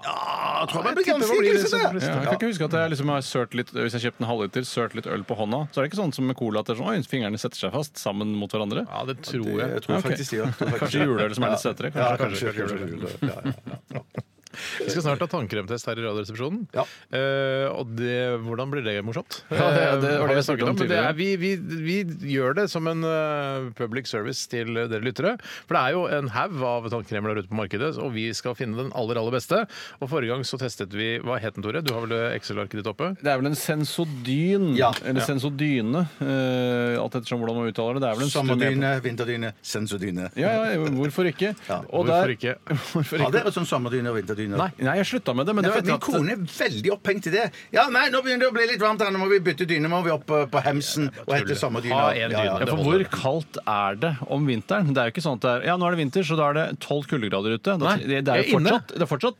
[SPEAKER 7] Ja, tror jeg man
[SPEAKER 5] Jeg
[SPEAKER 7] blir
[SPEAKER 5] tipper
[SPEAKER 7] ganske
[SPEAKER 5] man blir
[SPEAKER 7] klissete.
[SPEAKER 5] liksom
[SPEAKER 6] Ja, jeg kan ikke huske at jeg liksom har sørt litt Hvis jeg kjøpte en halvliter, sørt litt øl på hånda, så er det ikke sånn som med cola at det er sånn, oi, fingrene setter seg fast sammen mot hverandre.
[SPEAKER 5] Ja, det tror
[SPEAKER 7] Jeg,
[SPEAKER 5] jeg.
[SPEAKER 7] tror
[SPEAKER 6] Ok.
[SPEAKER 7] faktisk det. jeg tror faktisk
[SPEAKER 6] Kanskje
[SPEAKER 7] det.
[SPEAKER 6] juleøl som er litt søtere.
[SPEAKER 7] Ja,
[SPEAKER 6] Kanskje,
[SPEAKER 7] kanskje.
[SPEAKER 6] kanskje,
[SPEAKER 7] kanskje,
[SPEAKER 6] juleøl.
[SPEAKER 7] juleøl. Ja, ja, ja.
[SPEAKER 5] Vi skal snart ha tannkremtest her i Radioresepsjonen.
[SPEAKER 7] Ja.
[SPEAKER 5] Eh, og det, hvordan blir det morsomt?
[SPEAKER 6] Ja, det- det var det
[SPEAKER 5] Eh, har
[SPEAKER 6] jeg
[SPEAKER 5] vi
[SPEAKER 6] snakket
[SPEAKER 5] snakket
[SPEAKER 6] om
[SPEAKER 5] om, men det er,
[SPEAKER 6] tidligere.
[SPEAKER 5] vi, vi, vi gjør det som en eh, public service til dere lyttere. For det er jo en haug av tannkremer der ute på markedet, og vi skal finne den aller, aller beste. Og forrige gang så testet vi Hva het den, Tore? Du har vel Excel-arket ditt oppe?
[SPEAKER 6] Det er vel en sensodyn,
[SPEAKER 7] Ja.
[SPEAKER 6] eller sensodyne, eh, alt ettersom hvordan man uttaler det. Det er vel en studie-
[SPEAKER 7] Sommerdyne, vinterdyne, sensordyne.
[SPEAKER 6] Ja, ja, hvorfor ikke? Og
[SPEAKER 5] Hvorfor
[SPEAKER 6] der-
[SPEAKER 5] ikke?
[SPEAKER 6] Hvorfor
[SPEAKER 7] Har
[SPEAKER 6] ikke?
[SPEAKER 7] dere sånn sommerdyne og vinterdyne?
[SPEAKER 6] Nei, nei, jeg slutta med det. Men
[SPEAKER 7] Nei,
[SPEAKER 6] det
[SPEAKER 7] for
[SPEAKER 6] var
[SPEAKER 7] at Min kone er veldig opphengt i det. Ja, nei, nå begynner det å bli litt varmt her, nå må vi bytte dyne. Må vi opp eh, på Hemsen og hete sommerdyne.
[SPEAKER 5] Ha en dyne.
[SPEAKER 6] Ja, for Hvor kaldt er det om vinteren? Det er jo ikke sånn at det er, ja, Nå er det vinter, så da er det 12 kuldegrader ute. Da,
[SPEAKER 5] Nei,
[SPEAKER 6] det, det er
[SPEAKER 5] jeg er
[SPEAKER 6] jo
[SPEAKER 5] inne.
[SPEAKER 6] fortsatt, det er fortsatt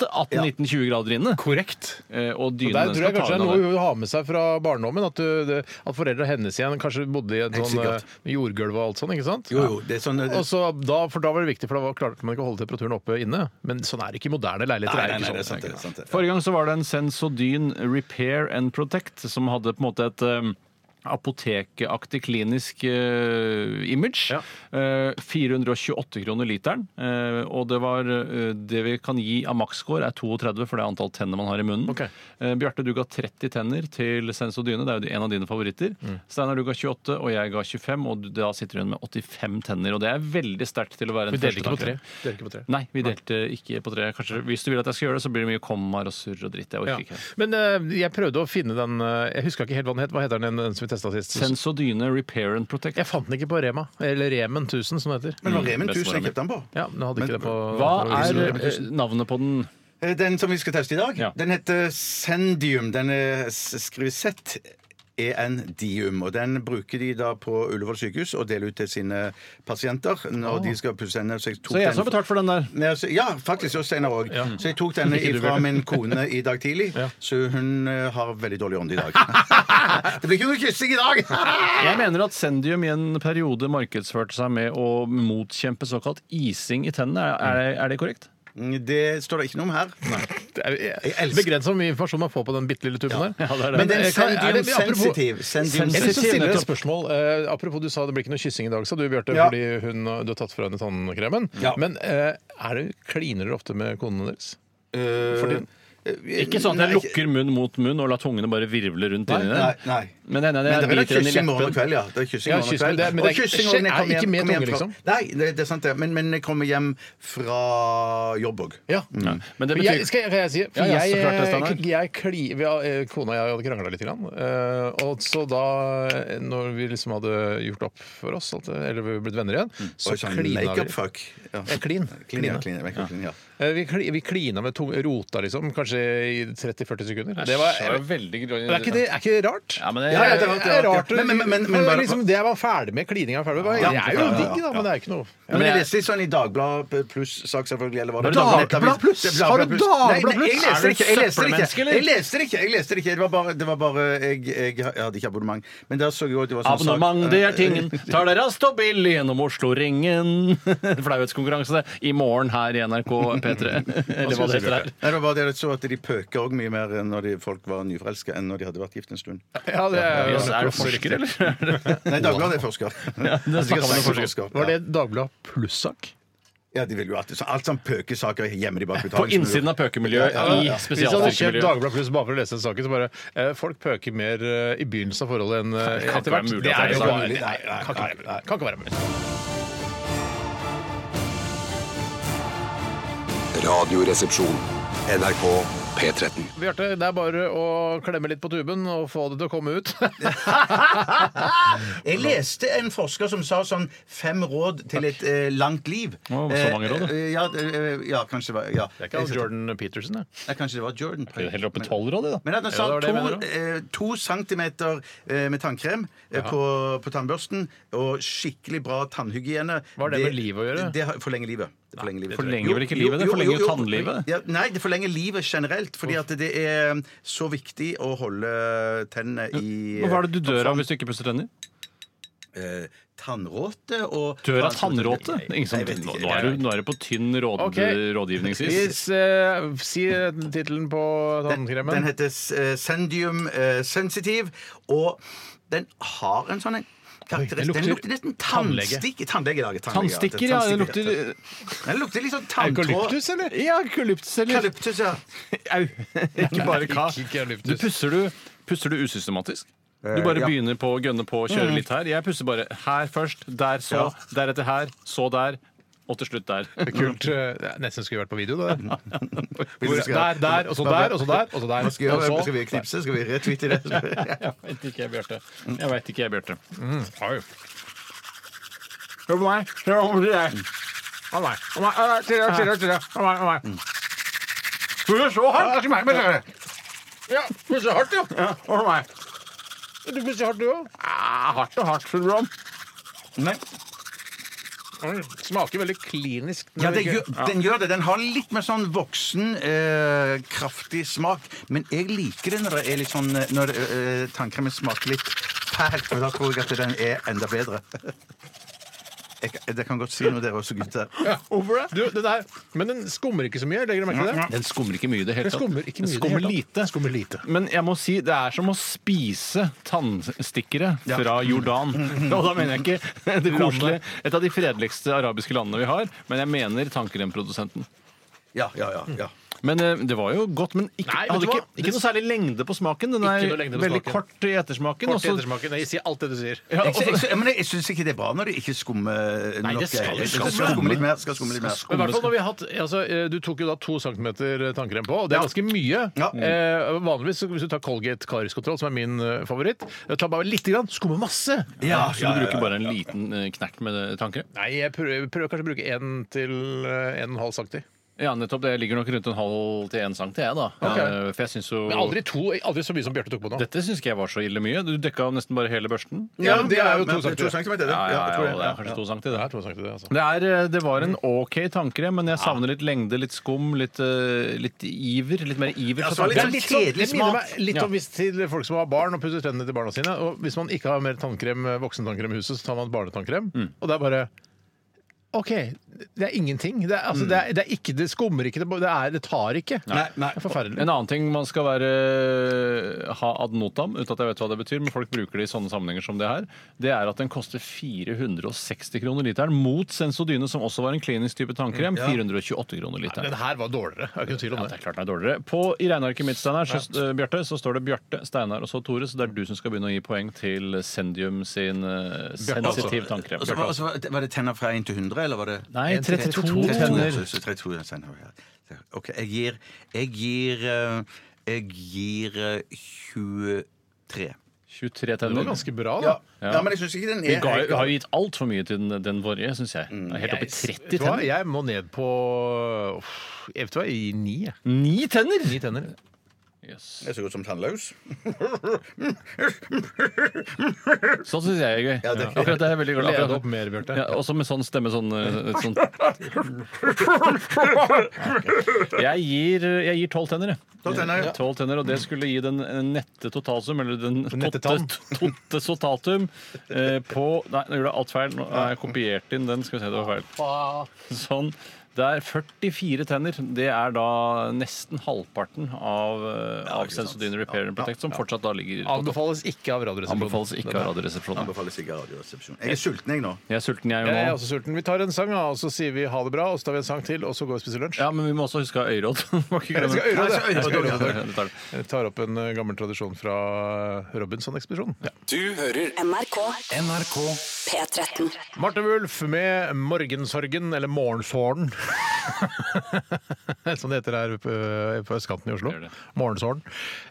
[SPEAKER 6] 18-19-20 grader inne.
[SPEAKER 5] Korrekt.
[SPEAKER 6] Eh, Og
[SPEAKER 5] Og
[SPEAKER 6] dynen
[SPEAKER 5] Der
[SPEAKER 6] den
[SPEAKER 5] tror jeg
[SPEAKER 6] skal ta
[SPEAKER 5] kanskje det er noe
[SPEAKER 6] unna det.
[SPEAKER 5] hun har med seg fra barndommen. At, du- det- at foreldra hennes igjen kanskje bodde i et
[SPEAKER 7] Helt
[SPEAKER 5] sånn
[SPEAKER 7] sikkert.
[SPEAKER 5] eh, jordgulv og alt sånn, ikke sant?
[SPEAKER 7] Jo, jo, det er sånn eh,
[SPEAKER 5] Og så da, for da var det viktig, for da var- klarte man ikke å holde temperaturen oppe inne. Men sånn er det ikke i moderne leiligheter.
[SPEAKER 7] Nei,
[SPEAKER 5] er
[SPEAKER 7] nei,
[SPEAKER 5] det ikke
[SPEAKER 7] nei, det er
[SPEAKER 5] sånn.
[SPEAKER 7] sant, det er sant. det.
[SPEAKER 6] Forrige gang så var det en Sensodyn Repair and Protect som hadde på en måte et um, Apotekeaktig klinisk eh, image.
[SPEAKER 5] Ja.
[SPEAKER 6] Eh, 428 kroner literen. Eh, og det var eh, det vi kan gi av maksscore, er 32 for det er antall tenner man har i munnen.
[SPEAKER 5] Ok.
[SPEAKER 6] Eh, Bjarte, du ga 30 tenner til Sensodyne. Det er jo en av dine favoritter.
[SPEAKER 5] Mm.
[SPEAKER 6] Steinar, du ga 28, og jeg ga 25, og du- da sitter du igjen med 85 tenner. Og det er veldig sterkt til å være en
[SPEAKER 5] Vi delte ikke på
[SPEAKER 6] førstetanker.
[SPEAKER 5] tre. Delte ikke på tre.
[SPEAKER 6] Nei, vi delte ikke på tre. Kanskje, hvis du vil at jeg skal gjøre det, så blir det mye kommaer og surr og dritt. Jeg orker
[SPEAKER 5] Ja.
[SPEAKER 6] ikke.
[SPEAKER 5] Men eh, jeg prøvde å finne den eh, Jeg huska ikke helt hva den het. Hva heter den, den som vi testa sist?
[SPEAKER 6] Sensodyne Repair and Protect.
[SPEAKER 5] Jeg fant den ikke på Rema. Eller Remen 1000, som det
[SPEAKER 7] Men
[SPEAKER 5] heter.
[SPEAKER 7] det var Remen
[SPEAKER 6] best
[SPEAKER 7] 1000 jeg
[SPEAKER 6] var
[SPEAKER 7] kjøpte den på.
[SPEAKER 5] Ja, men jeg hadde ikke det på
[SPEAKER 6] Hva
[SPEAKER 5] på-
[SPEAKER 6] er eh, navnet på den?
[SPEAKER 7] Eh, Den som vi skal teste i dag,
[SPEAKER 6] Ja.
[SPEAKER 7] den heter Sendium. Den er s- skrives Z. EN-dium, og Den bruker de da på Ullevål sykehus og deler ut til sine pasienter. når
[SPEAKER 5] Ah.
[SPEAKER 7] de skal pusse henne. Så jeg tok
[SPEAKER 6] Så jeg
[SPEAKER 7] den-
[SPEAKER 6] som har betalt for den der.
[SPEAKER 7] Nei, altså, Ja, faktisk. Og Steinar òg. Så jeg tok denne ifra min kone i dag tidlig. Så hun eh, har veldig dårlig ånd i dag. det blir ikke noe kyssing i dag!
[SPEAKER 6] Jeg mener at Sendium i en periode markedsførte seg med å motkjempe såkalt ising i tennene. Er, er, det- er det korrekt?
[SPEAKER 7] det står det ikke noe om her.
[SPEAKER 5] Det er-
[SPEAKER 7] Jeg
[SPEAKER 5] jeg-
[SPEAKER 7] elsker-
[SPEAKER 5] Begrenset hvor mye informasjon man får på den bitte lille tuben der.
[SPEAKER 6] det er det.
[SPEAKER 7] Men den
[SPEAKER 5] Eh, kan- er
[SPEAKER 7] sendium
[SPEAKER 5] det- apropos-
[SPEAKER 7] sensitiv. Sendium
[SPEAKER 5] Jeg vil
[SPEAKER 6] Sensitiv,
[SPEAKER 5] stille deg et
[SPEAKER 6] nettopp.
[SPEAKER 5] spørsmål. Eh, apropos, du sa det blir ikke noe kyssing i dag, sa du, Bjarte,
[SPEAKER 7] Ja.
[SPEAKER 5] fordi hun, du har tatt fra henne tannkremen.
[SPEAKER 7] Ja.
[SPEAKER 5] Men eh, er det, kliner dere ofte med konene deres?
[SPEAKER 7] Eh,
[SPEAKER 5] Fordi-
[SPEAKER 7] eh,
[SPEAKER 6] Ikke sånn at jeg
[SPEAKER 7] nei,
[SPEAKER 6] lukker munn mot munn og lar tungene bare virvle rundt inni
[SPEAKER 7] Nei,
[SPEAKER 6] der.
[SPEAKER 7] nei.
[SPEAKER 6] Men det ene
[SPEAKER 7] Men
[SPEAKER 6] er
[SPEAKER 7] det
[SPEAKER 6] jeg
[SPEAKER 7] er vel
[SPEAKER 6] biter den i
[SPEAKER 7] kyssing morgen og
[SPEAKER 6] leppen.
[SPEAKER 7] kveld, ja. Det er kyssing
[SPEAKER 5] Ja,
[SPEAKER 7] morgen og
[SPEAKER 5] kyssing,
[SPEAKER 7] kveld.
[SPEAKER 5] det er- men det er ikke-
[SPEAKER 7] kyssing også når jeg
[SPEAKER 5] er
[SPEAKER 7] kommer
[SPEAKER 5] ikke
[SPEAKER 7] hjem-
[SPEAKER 5] med
[SPEAKER 7] kommer hjem
[SPEAKER 5] tunge,
[SPEAKER 7] fra-
[SPEAKER 5] liksom?
[SPEAKER 7] Nei, det, det er sant det. Men, men jeg kommer hjem fra jobb òg.
[SPEAKER 5] Ja.
[SPEAKER 6] Ja. Men det
[SPEAKER 5] Men jeg,
[SPEAKER 6] betyr
[SPEAKER 5] skal jeg, kan jeg si det? For
[SPEAKER 6] Ja, ja, så
[SPEAKER 5] jeg,
[SPEAKER 6] klart det, Steinar.
[SPEAKER 5] jeg, jeg kli, vi, har- eh, Kona og jeg hadde krangla litt. Grann, eh, og så da, eh, når vi liksom hadde gjort opp for oss, alt det- eller vi blitt venner igjen, så klina vi.
[SPEAKER 7] Makeup-fuck. sånn Ja.
[SPEAKER 5] Ja, klin.
[SPEAKER 7] Klin, ja,
[SPEAKER 5] Kline.
[SPEAKER 7] klin, makeup, klin, ja.
[SPEAKER 5] Eh, Vi, kli, vi klina med tung, rota, liksom, kanskje i 30-40 sekunder. Det
[SPEAKER 6] Æsj,
[SPEAKER 5] var,
[SPEAKER 6] det var veldig grå-
[SPEAKER 5] Men er ikke det, er ikke det rart?
[SPEAKER 6] Ja, men det-
[SPEAKER 5] ja, ja, det,
[SPEAKER 7] er rart, det
[SPEAKER 5] det
[SPEAKER 7] er
[SPEAKER 5] er
[SPEAKER 7] rart,
[SPEAKER 5] rart.
[SPEAKER 7] ja. Men- men- men- men
[SPEAKER 5] det,
[SPEAKER 7] bare-
[SPEAKER 5] er liksom, det jeg var ferdig med klininga ferdig med,
[SPEAKER 7] Ja,
[SPEAKER 5] det er jo
[SPEAKER 7] ja, ja, ja,
[SPEAKER 5] digg, da, men det er ikke noe
[SPEAKER 7] Ja, men jeg leste litt sånn i Dagbladet pluss-sak, selvfølgelig. Eller var det
[SPEAKER 6] Dagbladet
[SPEAKER 7] Nettavis?
[SPEAKER 6] Pluss?
[SPEAKER 7] Det er Dagbladet
[SPEAKER 6] Har du Dagbladet
[SPEAKER 7] Nei,
[SPEAKER 6] Pluss?
[SPEAKER 7] nei, jeg leste
[SPEAKER 6] Er
[SPEAKER 7] det
[SPEAKER 6] du
[SPEAKER 7] ikke. Jeg leste det
[SPEAKER 6] søppelmenneske,
[SPEAKER 7] ikke.
[SPEAKER 6] eller?
[SPEAKER 7] Jeg leste det ikke. Jeg leste det ikke. Det var bare, det var bare jeg, jeg, hadde ikke abonnement. Men da så jeg jo at det var sånn sak-
[SPEAKER 6] Abonnement, det er tingen. Tar deg raskt og billig gjennom Oslo-ringen. Flauhetskonkurranse i morgen her i NRK P3. Eller hva det heter der.
[SPEAKER 7] Nei, det var bare det jeg så at de pøker òg mye mer når de, folk var nyforelska, enn når de hadde vært gift en stund.
[SPEAKER 5] Ja, det er,
[SPEAKER 6] Jøss, altså, er du forsker, eller?
[SPEAKER 7] Nei, Dagbladet er forsker. Ja,
[SPEAKER 6] det snakker man om forsker.
[SPEAKER 5] Var det Dagbladet pluss-sak?
[SPEAKER 7] Ja, de vil jo alltid så Alt sånn pøkesaker gjemmer de bak
[SPEAKER 6] På
[SPEAKER 7] betalingsmuren.
[SPEAKER 6] innsiden av pøkemiljøet i
[SPEAKER 5] Hvis jeg hadde kjøpt
[SPEAKER 6] spesialstyrkemiljøet.
[SPEAKER 5] Dagbladet Pluss bare for å lese den saken, så bare eh, Folk pøker mer eh, i begynnelsen av forholdet enn eh,
[SPEAKER 6] kan ikke
[SPEAKER 5] etter
[SPEAKER 6] være
[SPEAKER 5] hvert.
[SPEAKER 6] mulig
[SPEAKER 5] Det
[SPEAKER 6] at
[SPEAKER 5] er
[SPEAKER 6] det
[SPEAKER 5] jo
[SPEAKER 6] er
[SPEAKER 5] bare
[SPEAKER 7] mulig.
[SPEAKER 5] Nei, nei, kan ikke være mulig. Kan ikke være mulig.
[SPEAKER 2] Radioresepsjon. NRK P13.
[SPEAKER 5] Bjarte, det er bare å klemme litt på tuben og få det til å komme ut.
[SPEAKER 7] Jeg leste en forsker som sa sånn fem råd til et eh, langt liv.
[SPEAKER 6] Å, så mange råd, da.
[SPEAKER 7] Eh, ja, eh, ja, kanskje det var ja.
[SPEAKER 5] Det er ikke han Jordan Peterson, det.
[SPEAKER 7] Ja, kanskje det var Jordan.
[SPEAKER 6] Heller opp i tolvrådet, da.
[SPEAKER 7] Men at han
[SPEAKER 6] Ja,
[SPEAKER 7] sa
[SPEAKER 6] det var det jeg
[SPEAKER 7] to,
[SPEAKER 6] mener også.
[SPEAKER 7] eh, to centimeter eh, med tannkrem eh, på, på tannbørsten og skikkelig bra tannhygiene
[SPEAKER 5] Hva har det med livet å gjøre?
[SPEAKER 7] Det har- forlenger livet. Det forlenger livet.
[SPEAKER 6] Forlenger vel ikke livet? Det forlenger jo tannlivet.
[SPEAKER 7] Ja, nei, det forlenger livet generelt. Fordi at det er så viktig å holde tennene i
[SPEAKER 6] Men Hva er det du dør av hvis du ikke pusser tenner?
[SPEAKER 7] eh, Tannråte og
[SPEAKER 6] Dør av tannråte? Det er Ingen som,
[SPEAKER 7] Jeg vet ikke.
[SPEAKER 6] nå, nå er du, nå er du på tynn råd,
[SPEAKER 5] Ok.
[SPEAKER 6] rådgivningsvis.
[SPEAKER 5] Hvis, eh, si tittelen på
[SPEAKER 7] Den, den
[SPEAKER 5] tannkremen.
[SPEAKER 7] heter eh, Sendium eh, Sensitive, og den har en sånn en
[SPEAKER 5] den
[SPEAKER 7] karakteristikk
[SPEAKER 5] lukter
[SPEAKER 7] Den lukter nesten
[SPEAKER 5] tannlege.
[SPEAKER 7] tannstikk. Tannlege. lager tannlege,
[SPEAKER 6] Tannstikker, ja. Det lukter
[SPEAKER 7] Den lukter litt sånn tanntråd.
[SPEAKER 5] Eukalyptus, eller?
[SPEAKER 6] Ja, eukalyptus eller
[SPEAKER 7] Kalyptus, ja.
[SPEAKER 6] Au. Ikke bare ka.
[SPEAKER 5] Ikke
[SPEAKER 6] Du
[SPEAKER 5] eukalyptus.
[SPEAKER 6] pusser, du, pusser du usystematisk? Du bare
[SPEAKER 7] Eh, ja. Mm.
[SPEAKER 6] begynner på å gønne på å kjøre litt her. Jeg pusser bare her først, der så, deretter her, så der, og til slutt der.
[SPEAKER 5] Kult. eh, det er Nesten skulle vært på video, det. Hvor,
[SPEAKER 7] du
[SPEAKER 5] der,
[SPEAKER 7] skal-
[SPEAKER 5] der, og så der, og så der, og så der.
[SPEAKER 7] Hva Skal, vi
[SPEAKER 6] altså-
[SPEAKER 7] gjøre?
[SPEAKER 5] og så-
[SPEAKER 7] skal vi knipse? Skal vi retweete det?
[SPEAKER 6] Jeg veit ikke, jeg, Bjarte. Jeg vet ikke, jeg, Bjarte.
[SPEAKER 5] Oi.
[SPEAKER 6] Hør på meg. Hør på deg.
[SPEAKER 5] Å nei. Å nei, å nei, til deg, til deg, til deg. Å nei, å nei.
[SPEAKER 6] Mm. Skal du så hardt?
[SPEAKER 5] Ja, til meg, men så- Ja, pusser hardt, ja.
[SPEAKER 6] Ja, hør på meg.
[SPEAKER 5] Du pusser hardt, du òg.
[SPEAKER 6] Ah, hardt og hardt, skjønner du om.
[SPEAKER 5] Smaker veldig klinisk.
[SPEAKER 7] Ja, det gjør, den gjør det. Den har litt mer sånn voksen, eh, kraftig smak. Men jeg liker det når det er litt sånn eh, Når eh, tannkremen smaker litt fælt. For da tror jeg at den er enda bedre. Jeg, kan- det kan godt si noe, dere også, gutter.
[SPEAKER 5] Hvorfor det? Du, den er, men den skummer ikke så mye, legger du merke til det?
[SPEAKER 6] Den skummer ikke mye i det hele
[SPEAKER 5] Den
[SPEAKER 6] tatt.
[SPEAKER 5] skummer ikke mye. i
[SPEAKER 6] Den
[SPEAKER 5] det
[SPEAKER 6] skummer
[SPEAKER 5] hele tatt.
[SPEAKER 6] lite.
[SPEAKER 5] Skummer lite.
[SPEAKER 6] Men jeg må si, det er som å spise tannstikkere fra Jordan. Og da mener jeg ikke det koselige, et av de fredeligste arabiske landene vi har, men jeg mener tannkremprodusenten.
[SPEAKER 7] Ja, ja, ja. ja.
[SPEAKER 6] Men eh, det var jo godt, men ikke,
[SPEAKER 5] Nei, vet
[SPEAKER 6] hadde
[SPEAKER 5] du
[SPEAKER 6] ikke,
[SPEAKER 5] hva?
[SPEAKER 6] ikke noe særlig lengde på smaken. Den er
[SPEAKER 5] Ikke noe lengde på
[SPEAKER 6] veldig
[SPEAKER 5] smaken.
[SPEAKER 6] kort i ettersmaken.
[SPEAKER 5] Kort
[SPEAKER 6] og så-
[SPEAKER 5] ettersmaken. Jeg sier alt det du sier.
[SPEAKER 6] Ja,
[SPEAKER 7] Jeg,
[SPEAKER 6] og så-
[SPEAKER 7] jeg, jeg, men jeg syns ikke det er bra når det ikke skummer nok.
[SPEAKER 5] det skal- det
[SPEAKER 7] Jeg synes
[SPEAKER 5] skal
[SPEAKER 7] det skal skumme litt mer. Skal skumme litt
[SPEAKER 5] Men
[SPEAKER 7] mer.
[SPEAKER 5] i hvert fall når vi har hatt, altså, eh, Du tok jo da to centimeter eh, tannkrem på, og det er ganske mye.
[SPEAKER 7] Ja.
[SPEAKER 5] Eh, vanligvis så hvis du tar Colgate Kariskontroll, som er min eh, favoritt, eh, ta bare lite grann, skummer masse.
[SPEAKER 7] Ja,
[SPEAKER 6] Så du bruker bare en liten eh, knert med tanker?
[SPEAKER 5] Nei, jeg prøver, prøver kanskje å bruke én til eh, en og en halv centimeter.
[SPEAKER 6] Ja, nettopp. Det ligger nok rundt en halv til en centimeter, jeg, da. Eh, For jeg syns jo
[SPEAKER 5] Men aldri to, aldri så mye som Bjarte tok på nå.
[SPEAKER 6] Dette syns ikke jeg var så ille mye. Du dekka jo nesten bare hele børsten.
[SPEAKER 5] Ja, men det er jo to
[SPEAKER 7] men-
[SPEAKER 5] centimeter.
[SPEAKER 7] to centimeter. det.
[SPEAKER 6] Ja, ja,
[SPEAKER 7] jeg
[SPEAKER 6] ja,
[SPEAKER 7] tror det.
[SPEAKER 6] det er kanskje to
[SPEAKER 5] Det
[SPEAKER 6] centimeter. det.
[SPEAKER 5] er to centimeter, altså.
[SPEAKER 6] Det, er, eh, det var en OK tankekrem, men jeg savner litt lengde, litt skum, litt, eh, litt iver. Litt mer iver.
[SPEAKER 7] Ja,
[SPEAKER 6] fra
[SPEAKER 7] så var det
[SPEAKER 5] Det er
[SPEAKER 6] tanken.
[SPEAKER 7] Litt
[SPEAKER 5] litt sånn,
[SPEAKER 7] sånn kjedelig
[SPEAKER 5] det minner
[SPEAKER 7] smak.
[SPEAKER 5] meg litt
[SPEAKER 6] Ja.
[SPEAKER 5] om hvis til folk som har barn og pusser tennene til barna sine. Og hvis man ikke har mer tannkrem, eh, voksentannkrem i huset, så tar man barnetannkrem.
[SPEAKER 6] Mm.
[SPEAKER 5] Og det er bare OK, det er ingenting. Det, er,
[SPEAKER 6] Mm.
[SPEAKER 5] altså, det, er, det, er ikke, det skummer ikke, det, bare- det, er, det tar ikke. Det er forferdelig.
[SPEAKER 6] En annen ting man skal være ha ad notam, uten at jeg vet hva det betyr, men folk bruker det i sånne sammenhenger som det her, det er at den koster 460 kroner literen mot Sensodyne, som også var en klinisk type tannkrem. 428 kroner literen.
[SPEAKER 5] Den her var dårligere. Det er ikke noe tvil om
[SPEAKER 6] Det
[SPEAKER 5] det.
[SPEAKER 6] er klart den er dårligere. På, I regnearket mitt Steinar, så, eh, Bjarte, så står det Bjarte, Steinar og så Tore, så det er du som skal begynne å gi poeng til Sendium sin eh,
[SPEAKER 5] altså.
[SPEAKER 6] sensitiv tannkrem.
[SPEAKER 7] Og så var- og så var- Var det tenner fra 1 til 100, eller var det
[SPEAKER 6] Nei, 32
[SPEAKER 7] tenner.
[SPEAKER 6] tenner.
[SPEAKER 7] Så- så 32 tenner, ja. sånn, OK, jeg gir Jeg gir eh, Jeg gir eh, 23.
[SPEAKER 6] 23
[SPEAKER 5] Det var
[SPEAKER 6] tenner.
[SPEAKER 5] ganske bra, da.
[SPEAKER 7] Ja, ja, men jeg syns ikke den
[SPEAKER 6] Vi
[SPEAKER 7] er
[SPEAKER 6] ga,
[SPEAKER 7] helt-
[SPEAKER 6] har jo gitt altfor mye til den, den forrige, syns jeg. Det er Helt oppi
[SPEAKER 5] Mm,
[SPEAKER 6] 30
[SPEAKER 5] Vet du hva?
[SPEAKER 6] tenner.
[SPEAKER 5] Jeg må ned på uff, Jeg vet hva, jeg gir ni. jeg.
[SPEAKER 6] Ni tenner!
[SPEAKER 5] Ni tenner.
[SPEAKER 6] Yes.
[SPEAKER 7] Jeg er så godt som tannløs.
[SPEAKER 6] Sånn syns jeg er gøy.
[SPEAKER 7] det-
[SPEAKER 6] Akkurat det er jeg veldig glad
[SPEAKER 5] Lede
[SPEAKER 6] for.
[SPEAKER 5] opp mer, Bjarte.
[SPEAKER 6] Ja, også med sånn stemme sånn, eh, et sånt. Jeg gir, jeg gir tolv tenner, jeg.
[SPEAKER 7] Tolv tenner, ja.
[SPEAKER 6] Tolv tenner, og det skulle gi den eh, nette totalsum, eller den totte,
[SPEAKER 5] Nettetann.
[SPEAKER 6] totte sotatum, eh, på Nei, nå gjorde jeg alt feil. Nå har jeg kopiert inn den. Skal vi se, det var feil. Sånn. Det er 44 tenner. Det er da nesten halvparten av, eh, av Sensodyne Repair and Protect, som fortsatt da ligger på topp.
[SPEAKER 5] Anbefales ikke av Radioresepsjonen.
[SPEAKER 6] Anbefales ikke av Radioresepsjonen.
[SPEAKER 7] Anbefaler sikkert Radioresepsjonen. Jeg er sulten, jeg nå.
[SPEAKER 6] Jeg er sulten, jeg
[SPEAKER 5] Jeg er
[SPEAKER 6] nå.
[SPEAKER 5] også sulten. Vi tar en sang, ja, og så sier vi ha det bra, og så tar vi en sang til, og så går vi og spiser lunsj.
[SPEAKER 6] Ja, men vi må også huske å ha øyråd. Må ikke
[SPEAKER 5] Jeg
[SPEAKER 6] glemme-
[SPEAKER 5] skal øyråde.
[SPEAKER 6] Nei, jeg skal
[SPEAKER 5] Jeg skal øyråde.
[SPEAKER 6] øyråde. Det tar det.
[SPEAKER 5] Jeg tar opp en eh, gammel tradisjon fra eh, Robinson-ekspedisjonen. Ja.
[SPEAKER 2] Du hører
[SPEAKER 1] NRK
[SPEAKER 2] NRK
[SPEAKER 1] P13.
[SPEAKER 5] Marte Wulf med 'Morgensorgen', eller 'Morgensorgen'. som det heter her på, på østkanten i Oslo.
[SPEAKER 6] Det gjør det.
[SPEAKER 5] Morgensorgen.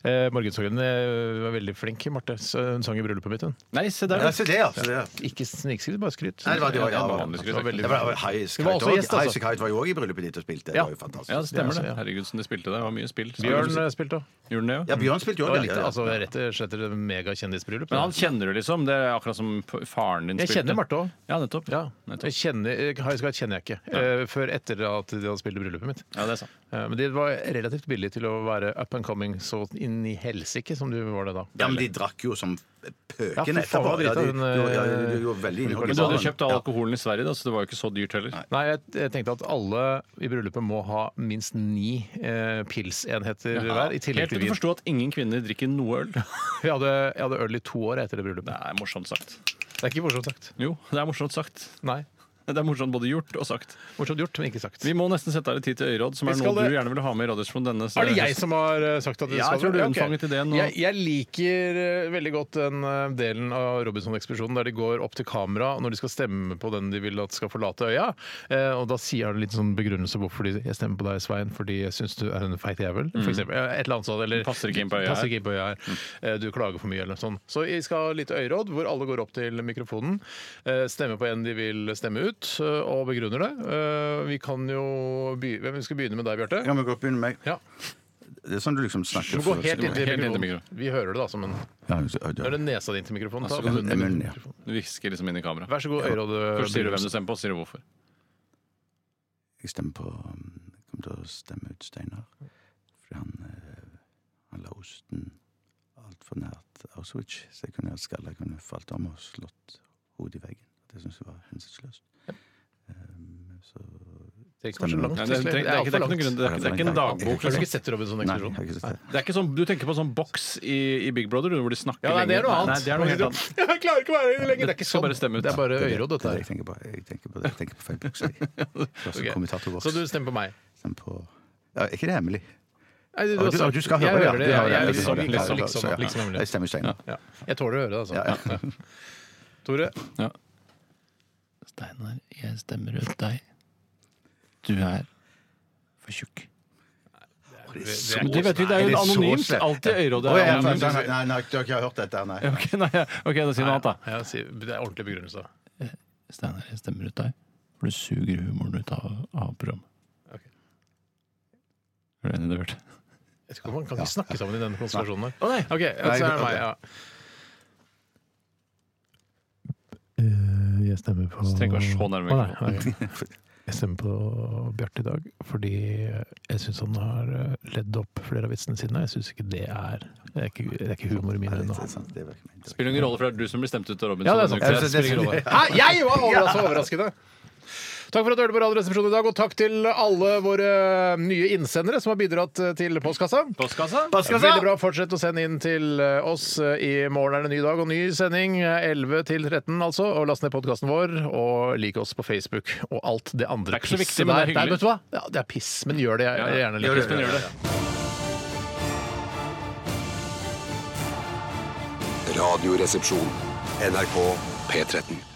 [SPEAKER 5] Eh, Morgensorgen eh, var veldig flink, Marte. Så Hun sang i bryllupet mitt, hun.
[SPEAKER 6] Nei, se der.
[SPEAKER 7] Ja, se det, ja. Se det, ja.
[SPEAKER 5] Ikke snikskryt, bare skryt.
[SPEAKER 7] Nei, det var- det var-
[SPEAKER 5] Ja,
[SPEAKER 7] ja,
[SPEAKER 6] vanlig skryt,
[SPEAKER 5] det var veldig
[SPEAKER 7] Det
[SPEAKER 5] bra.
[SPEAKER 7] var High
[SPEAKER 5] Det var også gjest, altså.
[SPEAKER 7] Kite var jo òg i bryllupet ditt og spilte. Det
[SPEAKER 5] Ja.
[SPEAKER 7] var jo fantastisk.
[SPEAKER 6] Ja, det stemmer
[SPEAKER 5] Ja,
[SPEAKER 6] det.
[SPEAKER 5] ja.
[SPEAKER 6] Herregud, som de spilte der. Det var mye spill.
[SPEAKER 5] Bjørn eh, spilte òg.
[SPEAKER 6] Gjorde den det,
[SPEAKER 7] Ja,
[SPEAKER 6] jo?
[SPEAKER 7] Bjørn spilte jo òg.
[SPEAKER 5] Altså, rett og slett et megakjendisbryllup.
[SPEAKER 6] Men han kjenner du, liksom. Det er akkurat som p- faren din
[SPEAKER 5] Jeg
[SPEAKER 6] spilte.
[SPEAKER 5] kjenner Marte òg.
[SPEAKER 6] Ja, nettopp.
[SPEAKER 5] Ja. Jeg
[SPEAKER 6] nettopp.
[SPEAKER 5] kjenner, High Sky kjenner jeg ikke. eh, Før etter at de hadde spilt i bryllupet mitt.
[SPEAKER 6] ja, det er sant.
[SPEAKER 5] Eh, Men de var relativt billige til å være up and coming så inn i helsike som du var det da.
[SPEAKER 7] Ja, men de drakk jo som
[SPEAKER 5] Ja, fy
[SPEAKER 7] pøken
[SPEAKER 5] faen,
[SPEAKER 7] etterpå.
[SPEAKER 5] hva
[SPEAKER 7] Ja,
[SPEAKER 5] drita
[SPEAKER 7] de
[SPEAKER 5] hun, eh,
[SPEAKER 7] gjorde- ja, de gjorde veldig innhogg i
[SPEAKER 6] Men du hadde jo
[SPEAKER 7] baren.
[SPEAKER 6] kjøpt all alkoholen i Sverige, da, så det var jo ikke så dyrt heller.
[SPEAKER 5] Nei, jeg, jeg tenkte at alle i bryllupet må ha minst ni eh, pilsenheter hver, i tillegg
[SPEAKER 6] Helt
[SPEAKER 5] til
[SPEAKER 6] til du
[SPEAKER 5] vin.
[SPEAKER 6] forsto at ingen kvinner drikker noe øl. Det
[SPEAKER 5] Jeg hadde, jeg hadde øl i to år etter det bryllupet.
[SPEAKER 6] er morsomt sagt.
[SPEAKER 5] Det er ikke morsomt sagt.
[SPEAKER 6] Jo, det er morsomt sagt.
[SPEAKER 5] Nei.
[SPEAKER 6] Det er morsomt både gjort og sagt.
[SPEAKER 5] Morsomt gjort, men ikke sagt.
[SPEAKER 6] Vi må nesten sette av litt tid til øyråd, som
[SPEAKER 5] Vi
[SPEAKER 6] er
[SPEAKER 5] skal
[SPEAKER 6] noe
[SPEAKER 5] det.
[SPEAKER 6] du gjerne vil ha med i Radioresepsjonen denne
[SPEAKER 5] Er det jeg som har eh, sagt at det
[SPEAKER 6] Ja, jeg tror du
[SPEAKER 5] ok.
[SPEAKER 6] unnfanget ideen nå.
[SPEAKER 5] Jeg, jeg liker eh, veldig godt den eh, delen av Robinson-ekspedisjonen der de går opp til kamera når de skal stemme på den de vil at skal forlate øya. Eh, Og da sier han litt sånn begrunnelse hvorfor de jeg stemmer på deg, Svein, fordi jeg syns du er en feit jævel. For eksempel. Eh, Et eller annet sånt. Eller
[SPEAKER 6] Mm. Passer ikke inn på øya Mm.
[SPEAKER 5] passer
[SPEAKER 6] her.
[SPEAKER 5] ikke inn på øya her. Eh, Du klager for mye, eller noe sånt. Så vi skal ha litt øyråd, hvor alle går opp til mikrofonen, eh, stemmer på en de vil stemme ut, eh, og begrunner det. Eh, Vi kan jo by Hvem skal begynne med deg, Bjarte?
[SPEAKER 7] Ja, men gå opp under meg.
[SPEAKER 5] Ja.
[SPEAKER 7] Det er sånn du liksom
[SPEAKER 5] Du
[SPEAKER 7] snakker
[SPEAKER 5] må gå
[SPEAKER 7] for-
[SPEAKER 5] helt inntil
[SPEAKER 6] Helt inntil
[SPEAKER 5] mikrofonen.
[SPEAKER 6] mikrofonen.
[SPEAKER 5] Vi hører det, da. som en...
[SPEAKER 7] Ja, så- ja. Altså,
[SPEAKER 5] Nå er det nesa di inntil mikrofonen. Ta
[SPEAKER 7] Ja,
[SPEAKER 5] munnen din.
[SPEAKER 7] munnen, ja.
[SPEAKER 6] Du hvisker liksom inn i kamera.
[SPEAKER 5] Vær så god, øyråd. eh,
[SPEAKER 6] Først sier du hvem du stemmer på, og så sier du hvorfor.
[SPEAKER 7] Jeg stemmer på um, Jeg kommer til å stemme ut Steinar. Fordi han, eh, han la osten altfor nært Auschwitz. Så jeg kunne hatt skalle, jeg kunne falt om og slått hodet i veggen. Det syns jeg var hensynsløst. Um, så
[SPEAKER 5] Det er ikke så langt.
[SPEAKER 6] Nei, det, er- det, er- det, er ikke- det er ikke noen grunn til det. er ikke- Det er ikke en dagbok.
[SPEAKER 5] Har du
[SPEAKER 6] Liksom.
[SPEAKER 5] ikke sett Robinson
[SPEAKER 7] Nei, jeg
[SPEAKER 5] Explosion?
[SPEAKER 7] har ikke sett det.
[SPEAKER 6] Det er ikke sånn, du tenker på sånn boks i, i Big Brother du, hvor de snakker
[SPEAKER 5] Ja, nei, det er noe
[SPEAKER 6] lenge.
[SPEAKER 5] annet.
[SPEAKER 6] Nei, det er noe helt annet.
[SPEAKER 5] Jeg klarer ikke å være her lenger. Det er ikke
[SPEAKER 6] Skal
[SPEAKER 5] sånn.
[SPEAKER 6] bare stemme ut.
[SPEAKER 5] Det er bare
[SPEAKER 7] Det er det-
[SPEAKER 5] øyråd,
[SPEAKER 7] det er
[SPEAKER 5] dette
[SPEAKER 7] det
[SPEAKER 5] her.
[SPEAKER 7] Jeg tenker på Jeg tenker på det. Jeg tenker på feil bukse. jeg. Jeg er også
[SPEAKER 5] Ok.
[SPEAKER 7] kommentatorboks.
[SPEAKER 5] Så du stemmer på meg?
[SPEAKER 7] Stemmer på Ja, er ikke det hemmelig?
[SPEAKER 5] Nei, du,
[SPEAKER 7] Ja, du- ja, du skal høre
[SPEAKER 5] jeg
[SPEAKER 7] det, ja.
[SPEAKER 5] hører det.
[SPEAKER 7] Du
[SPEAKER 5] Jeg,
[SPEAKER 7] hører
[SPEAKER 5] jeg, er
[SPEAKER 7] det, du hører
[SPEAKER 5] liksom, liksom,
[SPEAKER 7] det. Ja,
[SPEAKER 5] liksom,
[SPEAKER 7] ja.
[SPEAKER 5] liksom
[SPEAKER 7] Jeg
[SPEAKER 5] hemmelig.
[SPEAKER 7] stemmer Steinar.
[SPEAKER 5] Ja. Jeg tåler å høre det, altså.
[SPEAKER 7] Ja, ja.
[SPEAKER 5] Ja. Tore?
[SPEAKER 6] Steinar, jeg stemmer ut deg. Du er for tjukk. Men det vet vi, det er jo
[SPEAKER 7] Er det så
[SPEAKER 6] anonymt.
[SPEAKER 7] slemt?
[SPEAKER 6] Alltid øyrådet
[SPEAKER 7] Å,
[SPEAKER 6] er
[SPEAKER 7] ja, ja,
[SPEAKER 6] anonymt.
[SPEAKER 7] nei, nei, nei, du har ikke hørt dette, nei.
[SPEAKER 6] Ok, nei, ja. ok, da sier vi noe annet, da.
[SPEAKER 5] Ja, si- det er ordentlig begrunnelse.
[SPEAKER 6] Steinar, jeg stemmer ut deg, for du suger humoren ut av, av programmet.
[SPEAKER 5] Ok.
[SPEAKER 6] Er du enig i det, Bjarte?
[SPEAKER 5] Jeg tror Man kan ikke snakke sammen i denne konstellasjonen her.
[SPEAKER 6] Å nei!
[SPEAKER 5] OK, ja, så er det meg. Ja. Eh, Jeg stemmer på
[SPEAKER 6] Så trenger ikke sånn være så nærme
[SPEAKER 5] Å, nei, nei. Jeg stemmer på Bjarte i dag fordi jeg syns han har eh, ledd opp flere av vitsene sine. Jeg syns ikke det er Det er ikke, det er ikke humor i mine øyne.
[SPEAKER 7] Det er sant, det var ikke min- det var
[SPEAKER 6] Spiller ingen rolle, for det er du som blir stemt ut av Robinson.
[SPEAKER 5] Ja, det er sant.
[SPEAKER 6] Så
[SPEAKER 5] Det
[SPEAKER 6] jeg
[SPEAKER 5] spiller ingen rolle. Hæ, jeg var overras- så overraskende! Takk for at du hørte på Radioresepsjonen i dag, og takk til alle våre eh, nye innsendere som har bidratt eh, til postkassa.
[SPEAKER 6] Postkassa?
[SPEAKER 5] Veldig bra. Fortsett å sende inn til eh, oss. I morgen er det ny dag og ny sending. eh, 11 til 13, altså. Og last ned podkasten vår. Og lik oss på Facebook og alt det andre
[SPEAKER 6] Det er ikke så
[SPEAKER 5] pisset
[SPEAKER 6] viktig, men det er
[SPEAKER 5] der.
[SPEAKER 6] hyggelig.
[SPEAKER 5] Nei, vet du hva? Ja, det er piss, men gjør det jeg,
[SPEAKER 6] Ja, ja.
[SPEAKER 5] gjerne
[SPEAKER 6] Gjør
[SPEAKER 5] litt.
[SPEAKER 6] det, Espen, gjør det.
[SPEAKER 2] Radioresepsjon. NRK P13.